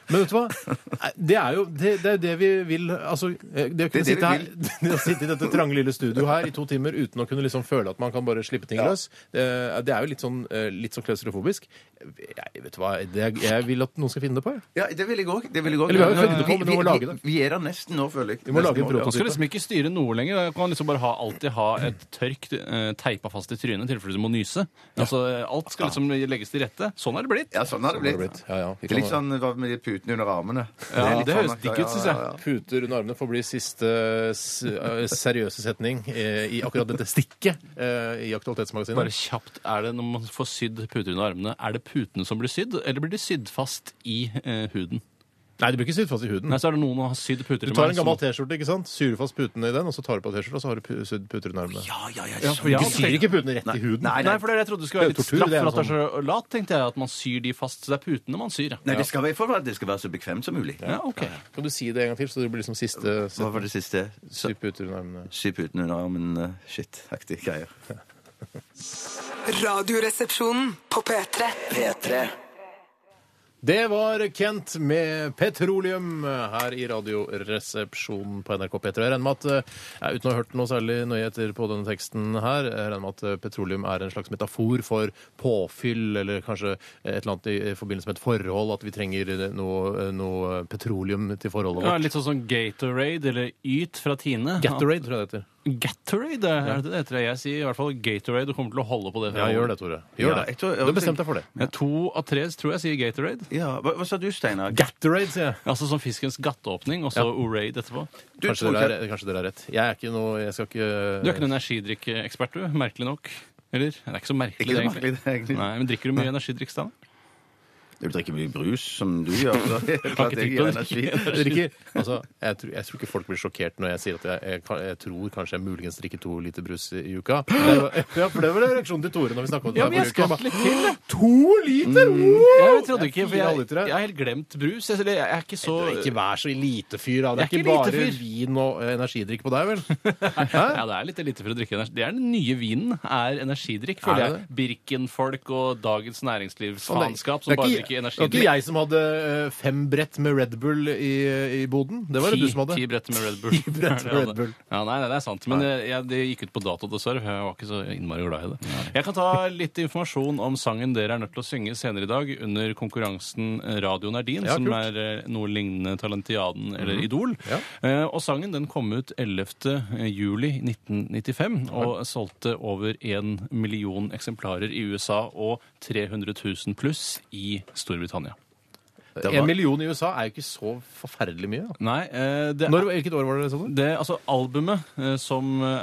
[SPEAKER 1] Men vet du hva? Det er jo det, det, er jo det vi vil altså, eh, Det å
[SPEAKER 2] Det
[SPEAKER 1] kunne
[SPEAKER 2] er det vi
[SPEAKER 1] sitte, her, det å sitte i dette trange, lille studioet her i to timer uten å kunne liksom føle at man kan bare slippe ting løs, det, det er jo litt sånn, eh, litt sånn klaustrofobisk. Jeg, vet du hva? Det, jeg vil at noen skal finne det på. Jeg.
[SPEAKER 2] Ja, det vil jeg òg. Det vil jeg òg.
[SPEAKER 1] Eller vi har jo funnet det på, men vi må lage
[SPEAKER 2] vi,
[SPEAKER 1] det.
[SPEAKER 2] vi er der nesten nå, føler jeg.
[SPEAKER 1] Vi må lage en
[SPEAKER 2] Nesten nå, ja.
[SPEAKER 3] Man skal liksom ikke styre noe lenger. Da kan man liksom bare ha, alltid ha et tørkt eh, teipa fast i trynet i tilfelle du må nyse. Altså, alt skal liksom legges til rette. Sånn er det blitt.
[SPEAKER 2] Ja, sånn har det
[SPEAKER 1] Har det
[SPEAKER 2] blitt.
[SPEAKER 1] blitt? Ja, ja. Vi
[SPEAKER 2] Det er litt
[SPEAKER 1] kan-
[SPEAKER 2] sånn hva med de putene under armene.
[SPEAKER 3] Ja,
[SPEAKER 2] er litt
[SPEAKER 3] det høres
[SPEAKER 2] sånn,
[SPEAKER 3] digg
[SPEAKER 2] ja,
[SPEAKER 3] ut,
[SPEAKER 2] ja,
[SPEAKER 3] synes jeg.
[SPEAKER 2] ja, ja.
[SPEAKER 1] Puter under armene får bli siste s- eh, seriøse setning eh, i akkurat dette stikket eh, i Aktualitetsmagasinet.
[SPEAKER 3] Bare kjapt, er det når man får sydd puter under armene, er det putene som blir sydd, eller blir de sydd fast i eh, huden?
[SPEAKER 1] Nei, det blir ikke sydd fast i huden.
[SPEAKER 3] Nei, sånn- så er det noen som har sydd puter
[SPEAKER 1] Du tar en gammel T-skjorte, ikke sant? syr fast putene i den, og så tar du på T-skjorta, og så har du pu- sydd puter under armene.
[SPEAKER 2] Ja, ja, ja.
[SPEAKER 3] Ja, for
[SPEAKER 2] sånn.
[SPEAKER 3] jeg
[SPEAKER 1] Du syr ikke putene rett i huden.
[SPEAKER 3] Nei, for det er det jeg trodde det skulle være
[SPEAKER 1] Det er
[SPEAKER 3] litt
[SPEAKER 1] tortur,
[SPEAKER 3] straff
[SPEAKER 1] det er sånn.
[SPEAKER 3] for at det
[SPEAKER 1] noe
[SPEAKER 3] er så lat, tenkte jeg, at man syr de fast. Så det er putene man syr,
[SPEAKER 2] Nei,
[SPEAKER 3] ja.
[SPEAKER 2] det skal være, for at det skal være så bekvemt som mulig.
[SPEAKER 3] Ja, ok.
[SPEAKER 1] Kan du si det en gang til, så det blir liksom siste
[SPEAKER 2] Hva var det siste?
[SPEAKER 1] syr puter under armene?
[SPEAKER 2] Syv puten under armen, eh, shit-aktige greier.
[SPEAKER 6] Radioresepsjonen på P3.
[SPEAKER 5] P3.
[SPEAKER 1] Det var Kent med Petroleum her i Radioresepsjonen på NRK P3. Jeg regner med at, eh, uten å ha hørt noe særlig nøye etter på denne teksten her, jeg regner med at eh, petroleum er en slags metafor for påfyll, eller kanskje et eller annet i forbindelse med et forhold, at vi trenger eh, noe, noe petroleum til forholdet
[SPEAKER 3] Ja,
[SPEAKER 1] vårt.
[SPEAKER 3] litt sånn som Gatorade eller Yt fra Tine.
[SPEAKER 1] Gatorade, tror jeg det heter.
[SPEAKER 3] Gatorade, er det det heter? Jeg sier i hvert fall Gatorade og kommer til å holde på det.
[SPEAKER 1] Ja, gjør det, Tore.
[SPEAKER 2] Ja,
[SPEAKER 1] Gjør det.
[SPEAKER 2] jeg tror- jeg
[SPEAKER 1] du har bestemt deg for det.
[SPEAKER 3] Ja, to av tre tror jeg sier Gatorade.
[SPEAKER 2] Ja, hva, hva sa du, Steinar?
[SPEAKER 1] Gatorade, sier jeg.
[SPEAKER 3] Altså som fiskens gatteåpning, og så
[SPEAKER 1] Ja.
[SPEAKER 3] Orade etterpå.
[SPEAKER 2] Du
[SPEAKER 1] Kanskje
[SPEAKER 2] tror
[SPEAKER 1] dere,
[SPEAKER 2] ikke-
[SPEAKER 1] er, kanskje dere er rett. Jeg er ikke noe Jeg skal ikke
[SPEAKER 3] Du er ikke en energidrikkekspert, du. Merkelig nok. Eller? Det er ikke så merkelig,
[SPEAKER 2] Ikke så
[SPEAKER 3] det, egentlig.
[SPEAKER 2] merkelig, det, egentlig.
[SPEAKER 3] Nei, men drikker du mye energidrikk, Steinar?
[SPEAKER 2] Du drikker mye brus, som du gjør. Så det er klart jeg
[SPEAKER 3] tenkt
[SPEAKER 2] gir
[SPEAKER 3] på det.
[SPEAKER 2] energi.
[SPEAKER 1] Jeg drikker, altså, jeg, tror, jeg tror ikke folk blir sjokkert når jeg sier at jeg, jeg, kan- jeg tror kanskje jeg muligens drikker to liter brus i uka. Det var- Ja, for det var reaksjonen til Tore når vi snakket om det.
[SPEAKER 3] Ja, men jeg
[SPEAKER 1] her forrige uke.
[SPEAKER 3] skvatt litt til. Mm. jeg.
[SPEAKER 1] To liter!
[SPEAKER 3] Jeg,
[SPEAKER 1] Wow!
[SPEAKER 3] trodde ikke, for
[SPEAKER 1] Fire
[SPEAKER 3] jeg,
[SPEAKER 1] halvlitere.
[SPEAKER 3] jeg har helt glemt brus. Jeg, eller jeg er ikke så
[SPEAKER 1] Du er Ikke vær så lite fyr, da. Det er
[SPEAKER 3] Jeg er
[SPEAKER 1] ikke
[SPEAKER 3] ikke
[SPEAKER 1] bare
[SPEAKER 3] lite fyr.
[SPEAKER 1] vin og eh, energidrikk på deg, vel?
[SPEAKER 3] Ja, det er litt lite for å drikke energi. Det er den nye vinen, er energidrikk, føler
[SPEAKER 1] Er det
[SPEAKER 3] jeg. Birken-folk og Dagens Næringslivsfanskap som
[SPEAKER 1] Det er
[SPEAKER 3] bare
[SPEAKER 1] ikke-
[SPEAKER 3] drikker
[SPEAKER 1] Det var ikke
[SPEAKER 3] energidrikk.
[SPEAKER 1] jeg som hadde eh, fem brett med Red Bull i, i boden. Det var det du som hadde.
[SPEAKER 3] ti brett med Red Bull.
[SPEAKER 1] Ti brett med Red Bull.
[SPEAKER 3] Ja, nei, nei, det er sant. Men eh, jeg, det gikk ut på dato, dessverre. for Jeg var ikke så innmari glad i det. Jeg kan ta litt informasjon om sangen dere er nødt til å synge senere i dag under konkurransen Radioen er din,
[SPEAKER 1] Ja,
[SPEAKER 3] som
[SPEAKER 1] kult. Mhm.
[SPEAKER 3] er eh, noe lignende Talentiaden eller Idol.
[SPEAKER 1] Ja.
[SPEAKER 3] Eh, og sangen den kom ut 11. juli 1995 og solgte over én million eksemplarer i USA og 300 000 pluss i Storbritannia.
[SPEAKER 1] En million i USA er jo ikke så forferdelig mye. Da.
[SPEAKER 3] Nei, eh, det
[SPEAKER 1] Når, hvilket år var det? Sånn?
[SPEAKER 3] Det, altså albumet eh, som er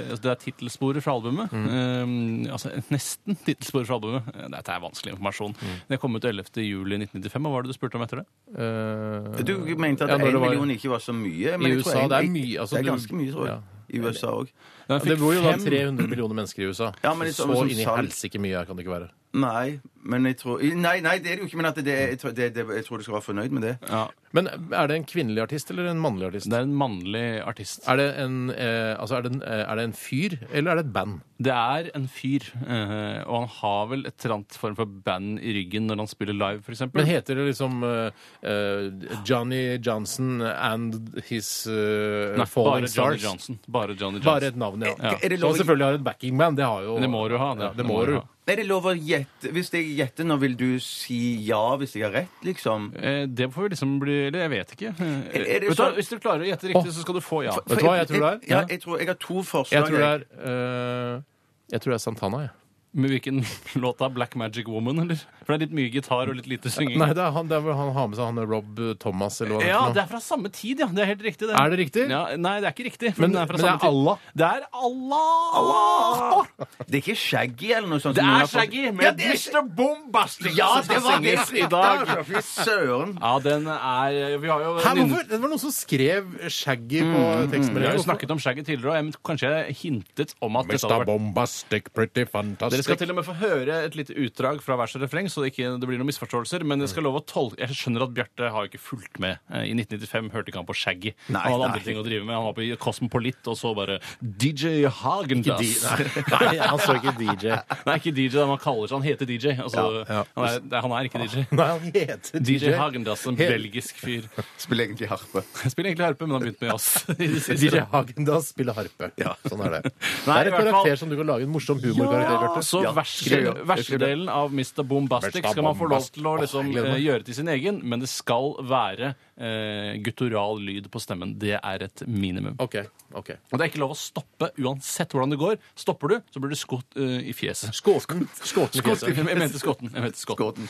[SPEAKER 3] altså, Det er tittelsporet fra albumet.
[SPEAKER 1] Mm.
[SPEAKER 3] Eh, altså nesten tittelsporet fra albumet. Eh, Dette er vanskelig informasjon.
[SPEAKER 1] Mm.
[SPEAKER 3] Det kom ut 11. juli 1995. Hva var det du spurte om etter det?
[SPEAKER 1] Eh,
[SPEAKER 2] Du mente at
[SPEAKER 1] Ja, når
[SPEAKER 2] én
[SPEAKER 1] det var-
[SPEAKER 2] million ikke var så mye. Men
[SPEAKER 1] I
[SPEAKER 2] jeg tror
[SPEAKER 1] USA,
[SPEAKER 2] egentlig-
[SPEAKER 1] det er mye, altså,
[SPEAKER 2] det er
[SPEAKER 1] du-
[SPEAKER 2] ganske mye, tror jeg. I USA òg.
[SPEAKER 3] Den
[SPEAKER 1] det bor jo da
[SPEAKER 3] fem-
[SPEAKER 1] 300 millioner mennesker i USA.
[SPEAKER 2] Ja, men
[SPEAKER 1] så
[SPEAKER 2] liksom som
[SPEAKER 1] inn i
[SPEAKER 2] salg.
[SPEAKER 1] helsike mye kan det ikke være.
[SPEAKER 2] Nei, men jeg tror Nei, nei, det er det jo ikke, men at det, jeg, tror, det, det, jeg tror du skal være fornøyd med det.
[SPEAKER 3] ja,
[SPEAKER 1] Men er det en kvinnelig artist eller en mannlig artist?
[SPEAKER 3] det er en mannlig artist.
[SPEAKER 1] Er det en, eh, altså er det en, eh, er det en fyr, eller er det et band?
[SPEAKER 3] Det er en fyr, eh, og han har vel et eller annet form for band i ryggen når han spiller live, f.eks.
[SPEAKER 1] Men heter det liksom eh, eh, Johnny Johnson and his eh, Falling
[SPEAKER 3] Nei, bare Johnny
[SPEAKER 1] Stars?
[SPEAKER 3] Johnson. Bare Johnny Johnson.
[SPEAKER 1] Bare et navn, ja.
[SPEAKER 2] Er det lov-
[SPEAKER 1] Som selvfølgelig har et backingband. Det har jo
[SPEAKER 3] Det må du ha. Det,
[SPEAKER 1] Ja, det må du.
[SPEAKER 3] ha.
[SPEAKER 2] Er det lov å gjette? Hvis jeg gjetter nå, vil du si ja hvis jeg har rett, liksom?
[SPEAKER 3] Eh, Det får vi liksom bli Eller jeg vet ikke. Eh,
[SPEAKER 2] Er- er det
[SPEAKER 3] vet du hva,
[SPEAKER 2] sånn-
[SPEAKER 3] Hvis du klarer å gjette riktig, så skal du få ja.
[SPEAKER 1] Vet du hva jeg tror det er?
[SPEAKER 2] Ja, jeg, tror, jeg har to forslag.
[SPEAKER 1] Jeg tror det er eh, Jeg tror det er Santana, jeg.
[SPEAKER 3] Med hvilken låt da? Black Magic Woman, eller? For det er litt mye gitar og litt lite synging.
[SPEAKER 1] Nei, det er han, det er vel han har med seg han Rob Thomas, eller hva det
[SPEAKER 3] Mm. ja,
[SPEAKER 1] heter nå.
[SPEAKER 3] det er fra samme tid, ja. Det er helt riktig. Det.
[SPEAKER 1] Er det riktig?
[SPEAKER 3] Ja, nei, det er ikke riktig. for
[SPEAKER 1] Men-
[SPEAKER 3] den er fra
[SPEAKER 1] men det er
[SPEAKER 3] samme tid.
[SPEAKER 1] Allah.
[SPEAKER 3] Det er Allah!
[SPEAKER 2] Det er ikke Shaggy eller noe sånt?
[SPEAKER 3] Det
[SPEAKER 2] som noen har
[SPEAKER 3] er
[SPEAKER 2] fått-
[SPEAKER 3] Shaggy med
[SPEAKER 2] Ja, det er
[SPEAKER 3] Mr. Bombastic
[SPEAKER 2] Ja,
[SPEAKER 3] som
[SPEAKER 2] det
[SPEAKER 3] skal
[SPEAKER 2] var det
[SPEAKER 3] synges
[SPEAKER 2] i
[SPEAKER 3] i dag.
[SPEAKER 2] Fy søren.
[SPEAKER 3] Ja, den er Vi har jo
[SPEAKER 1] Hæ, hvorfor? Det var noen som skrev Shaggy på
[SPEAKER 3] Vi har
[SPEAKER 1] tekstmeldingen.
[SPEAKER 3] jo snakket om Shaggy tidligere, og jeg men- kanskje jeg hintet om at dette hadde vært
[SPEAKER 1] Bombastic, pretty
[SPEAKER 3] Dere
[SPEAKER 1] fantastic.
[SPEAKER 3] skal til og med få høre et lite utdrag fra vers og refreng, så det ikke det blir noen misforståelser. Men jeg skal love å tolke Jeg skjønner at Bjarte har jo ikke fulgt med. Eh, I 1995 hørte ikke han på Shaggy.
[SPEAKER 2] Nei,
[SPEAKER 3] han hadde
[SPEAKER 2] nei.
[SPEAKER 3] andre ting å drive med. Han var på Cosmopolit, og så bare DJ Hagendass.
[SPEAKER 1] Nei, han så ikke DJ.
[SPEAKER 3] Nei, ikke DJ, da. man kaller seg Han heter DJ. Altså,
[SPEAKER 1] Ja, ja.
[SPEAKER 3] Han, er, nei, han er ikke DJ.
[SPEAKER 1] Nei, han heter DJ.
[SPEAKER 3] DJ Hagendass, en
[SPEAKER 1] Helt-
[SPEAKER 3] belgisk fyr.
[SPEAKER 2] Spiller egentlig harpe.
[SPEAKER 3] Jeg spiller egentlig harpe, men han begynte med jazz. i det siste.
[SPEAKER 1] DJ Hagendass spiller harpe. Sånn er det.
[SPEAKER 3] Nei,
[SPEAKER 1] det er en
[SPEAKER 3] i hvert fall-
[SPEAKER 1] karakter som du kan lage en morsom humorkarakter, Bjarte.
[SPEAKER 3] Så
[SPEAKER 2] Ja, skriv det.
[SPEAKER 3] verse- versedelen Altså, av Mr. Bombastic
[SPEAKER 1] Mr.
[SPEAKER 3] skal man få lov til å
[SPEAKER 1] Bombastic.
[SPEAKER 3] liksom,
[SPEAKER 1] Åh, jeg gleder
[SPEAKER 3] eh,
[SPEAKER 1] meg.
[SPEAKER 3] gjøre til sin egen, men det skal være eh, guttural lyd på stemmen. Det er et minimum.
[SPEAKER 1] OK. ok.
[SPEAKER 3] Og det er ikke lov å stoppe uansett hvordan det går. Stopper du, så blir du skutt eh, i fjeset.
[SPEAKER 1] Skåten. Skåten i
[SPEAKER 3] Skutt i
[SPEAKER 1] fjeset.
[SPEAKER 3] fjeset. Jeg mente skotten. Jeg mente skotten.
[SPEAKER 2] Gåten.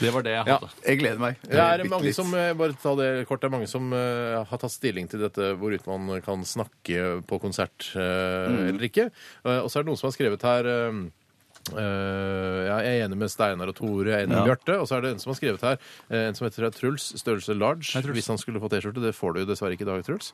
[SPEAKER 3] Det var det jeg
[SPEAKER 1] Ja.
[SPEAKER 3] hadde.
[SPEAKER 2] Jeg gleder meg.
[SPEAKER 1] Det er
[SPEAKER 2] Bitte
[SPEAKER 1] mange
[SPEAKER 2] litt.
[SPEAKER 1] som eh, bare ta det kort, det er mange som eh, har tatt stilling til dette hvorvidt man kan snakke på konsert eh,
[SPEAKER 2] Mm.
[SPEAKER 1] eller ikke. Eh, og så er det noen som har skrevet her eh, eh, ja, jeg er enig med Steinar og Tore, jeg er enig med Bjarte. Og så er det en som har skrevet her, eh, en som heter Truls, størrelse large.
[SPEAKER 3] Truls.
[SPEAKER 1] Hvis han skulle få T-skjorte. Det får du jo dessverre ikke i dag, Truls.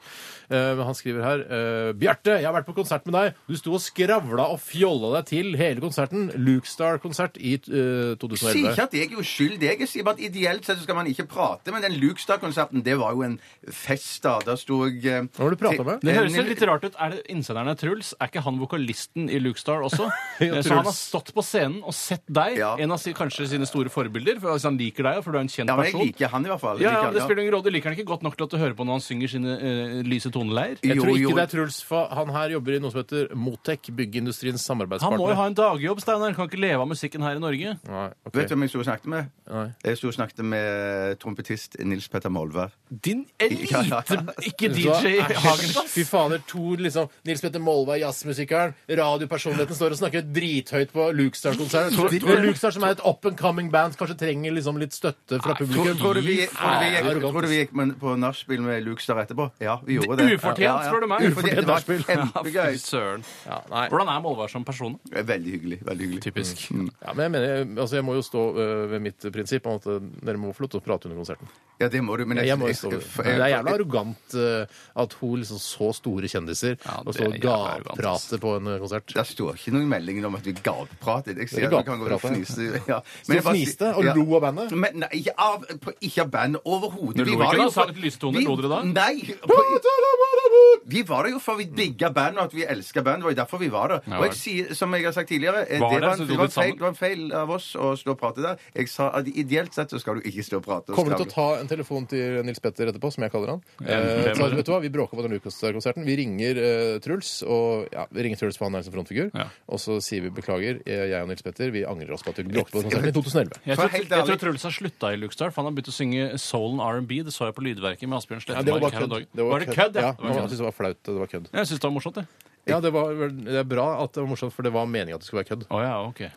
[SPEAKER 1] Eh, men han skriver her eh, Bjarte, jeg har vært på konsert med deg. Du sto og skravla og fjolla deg til hele konserten. Lukestar-konsert i eh,
[SPEAKER 2] Si
[SPEAKER 1] 2011.
[SPEAKER 2] ikke at jeg er uskyldig. Jeg sier bare at Ideelt sett så skal man ikke prate, men den Lukestad-konserten, det var jo en fest, da. Da sto jeg eh,
[SPEAKER 1] Hva var det du prata med?
[SPEAKER 3] Det høres jo litt rart ut. Er det innsenderen er Truls? Er ikke han vokalisten i Luke Star også? Eh,
[SPEAKER 1] Truls.
[SPEAKER 3] Så han har stått på scenen og sett deg,
[SPEAKER 2] Ja.
[SPEAKER 3] en av si- kanskje sine store forbilder, for hvis han liker deg, for du er en kjent
[SPEAKER 2] Ja, men jeg
[SPEAKER 3] person.
[SPEAKER 2] liker han i hvert fall. Jeg
[SPEAKER 3] Ja,
[SPEAKER 2] liker
[SPEAKER 3] ja,
[SPEAKER 2] han,
[SPEAKER 3] det spiller ingen rolle. Du liker han ikke godt nok til at du hører på når han synger sine eh, lyse toneleier.
[SPEAKER 1] Jeg tror
[SPEAKER 2] Jo,
[SPEAKER 1] ikke
[SPEAKER 2] jo.
[SPEAKER 1] det er Truls, for han her jobber i noe som heter Motec, byggeindustriens
[SPEAKER 3] Han
[SPEAKER 1] samarbeidspartner.
[SPEAKER 3] må jo ha en dagjobb, Steinar. Kan ikke leve av musikken her i Norge.
[SPEAKER 1] Nei, ok.
[SPEAKER 2] Vet du hvem jeg sto og snakket med?
[SPEAKER 1] Nei.
[SPEAKER 2] Jeg sto og snakket med trompetist Nils Petter Molvær.
[SPEAKER 3] Din elite, ikke
[SPEAKER 1] Vet du hva?
[SPEAKER 3] DJ
[SPEAKER 1] Æsj,
[SPEAKER 3] Hagendass.
[SPEAKER 1] Fy fader, to liksom Nils Petter Molvær, jazzmusikeren, radiopersonligheten, står og snakker drithøyt på Lukstar-konsert. Lukstar, som er et up and coming band, kanskje trenger liksom litt støtte fra publikum.
[SPEAKER 2] Tror du vi gikk, tror du vi
[SPEAKER 1] Nei,
[SPEAKER 2] gikk,
[SPEAKER 1] arrogant.
[SPEAKER 2] tror du vi gikk med- på nachspiel med Lukstar etterpå? Ja, vi gjorde det.
[SPEAKER 3] Ufortjent,
[SPEAKER 2] Ja, ja.
[SPEAKER 3] spør du meg.
[SPEAKER 2] Ufortjent, det var
[SPEAKER 1] Ufortjent nachspiel.
[SPEAKER 3] Fy
[SPEAKER 2] Kjempegøy.
[SPEAKER 3] søren.
[SPEAKER 1] Ja, nei.
[SPEAKER 3] Hvordan er Molvær som person?
[SPEAKER 2] Veldig hyggelig. veldig hyggelig.
[SPEAKER 3] Typisk.
[SPEAKER 1] Ja, men jeg mener, altså jeg må jo stå øh, ved mitt prinsipp om at øh, dere må få lov til å prate under konserten.
[SPEAKER 2] Ja, det må du. Men
[SPEAKER 1] Jeg må jo stå ved det. Det er jævla arrogant øh, at hun liksom så store kjendiser
[SPEAKER 3] Ja,
[SPEAKER 1] og
[SPEAKER 3] det
[SPEAKER 1] så
[SPEAKER 3] er jævla arrogant, ass.
[SPEAKER 1] gavprate på en øh, konsert.
[SPEAKER 2] Det står ikke noen melding om at vi gappratet. Jeg sier
[SPEAKER 1] Dere
[SPEAKER 2] at vi kan gå og
[SPEAKER 1] gappratet.
[SPEAKER 2] fnise. Ja.
[SPEAKER 1] Så
[SPEAKER 2] jeg bare sier-
[SPEAKER 1] fniste og
[SPEAKER 2] ja.
[SPEAKER 1] lo av bandet?
[SPEAKER 2] Men nei, ikke av, på, ikke av bandet overhodet.
[SPEAKER 3] Men lo ikke da? Sagt lystoner, lo dere da?
[SPEAKER 2] Nei. På, vi var der jo for vi digga band, og at vi elska band. Det var jo derfor vi var der.
[SPEAKER 3] Ja,
[SPEAKER 2] Og jeg
[SPEAKER 3] vel.
[SPEAKER 2] sier, som jeg har sagt tidligere, eh,
[SPEAKER 3] Var
[SPEAKER 2] det
[SPEAKER 3] der,
[SPEAKER 2] var
[SPEAKER 3] så
[SPEAKER 2] en,
[SPEAKER 3] tok
[SPEAKER 2] det var
[SPEAKER 3] dere
[SPEAKER 2] en feil,
[SPEAKER 3] sammen?
[SPEAKER 2] det var en feil av oss å stå og prate der. Jeg sa at ideelt sett så skal du ikke stå og prate. Og
[SPEAKER 1] Kommer du til å
[SPEAKER 2] skravle.
[SPEAKER 1] ta en telefon til Nils Petter etterpå, som jeg kaller han?
[SPEAKER 3] Ja,
[SPEAKER 1] Eh,
[SPEAKER 3] det
[SPEAKER 1] så,
[SPEAKER 3] må du.
[SPEAKER 1] vet du hva, Vi bråker på den Lucas-konserten. Vi ringer eh, Truls, og ja, vi ringer Truls for han er som frontfigur.
[SPEAKER 3] Ja.
[SPEAKER 1] Og så sier vi beklager, eh, jeg og Nils Petter, vi angrer oss på at vi bråkte på den konserten i 2011.
[SPEAKER 3] Jeg
[SPEAKER 2] For
[SPEAKER 3] tror,
[SPEAKER 2] helt
[SPEAKER 3] jeg tror
[SPEAKER 2] ærlig-
[SPEAKER 3] Truls har slutta i Lukstar, for han har begynt å synge soul and R&B. Det så jeg på Lydverket med Asbjørn
[SPEAKER 1] Ja, det var
[SPEAKER 3] Slettemark.
[SPEAKER 1] bare
[SPEAKER 3] her om
[SPEAKER 1] kødd.
[SPEAKER 3] dagen. Var det kødd?
[SPEAKER 1] Ja,
[SPEAKER 3] Ja. Det var
[SPEAKER 1] han
[SPEAKER 3] kødd.
[SPEAKER 1] syntes det var flaut, og det var kødd.
[SPEAKER 3] Jeg syns det var morsomt, jeg.
[SPEAKER 1] Ja, det, var, vel- det er bra at det var morsomt, for det var meninga at det skulle være kødd.
[SPEAKER 3] Å ja, ok.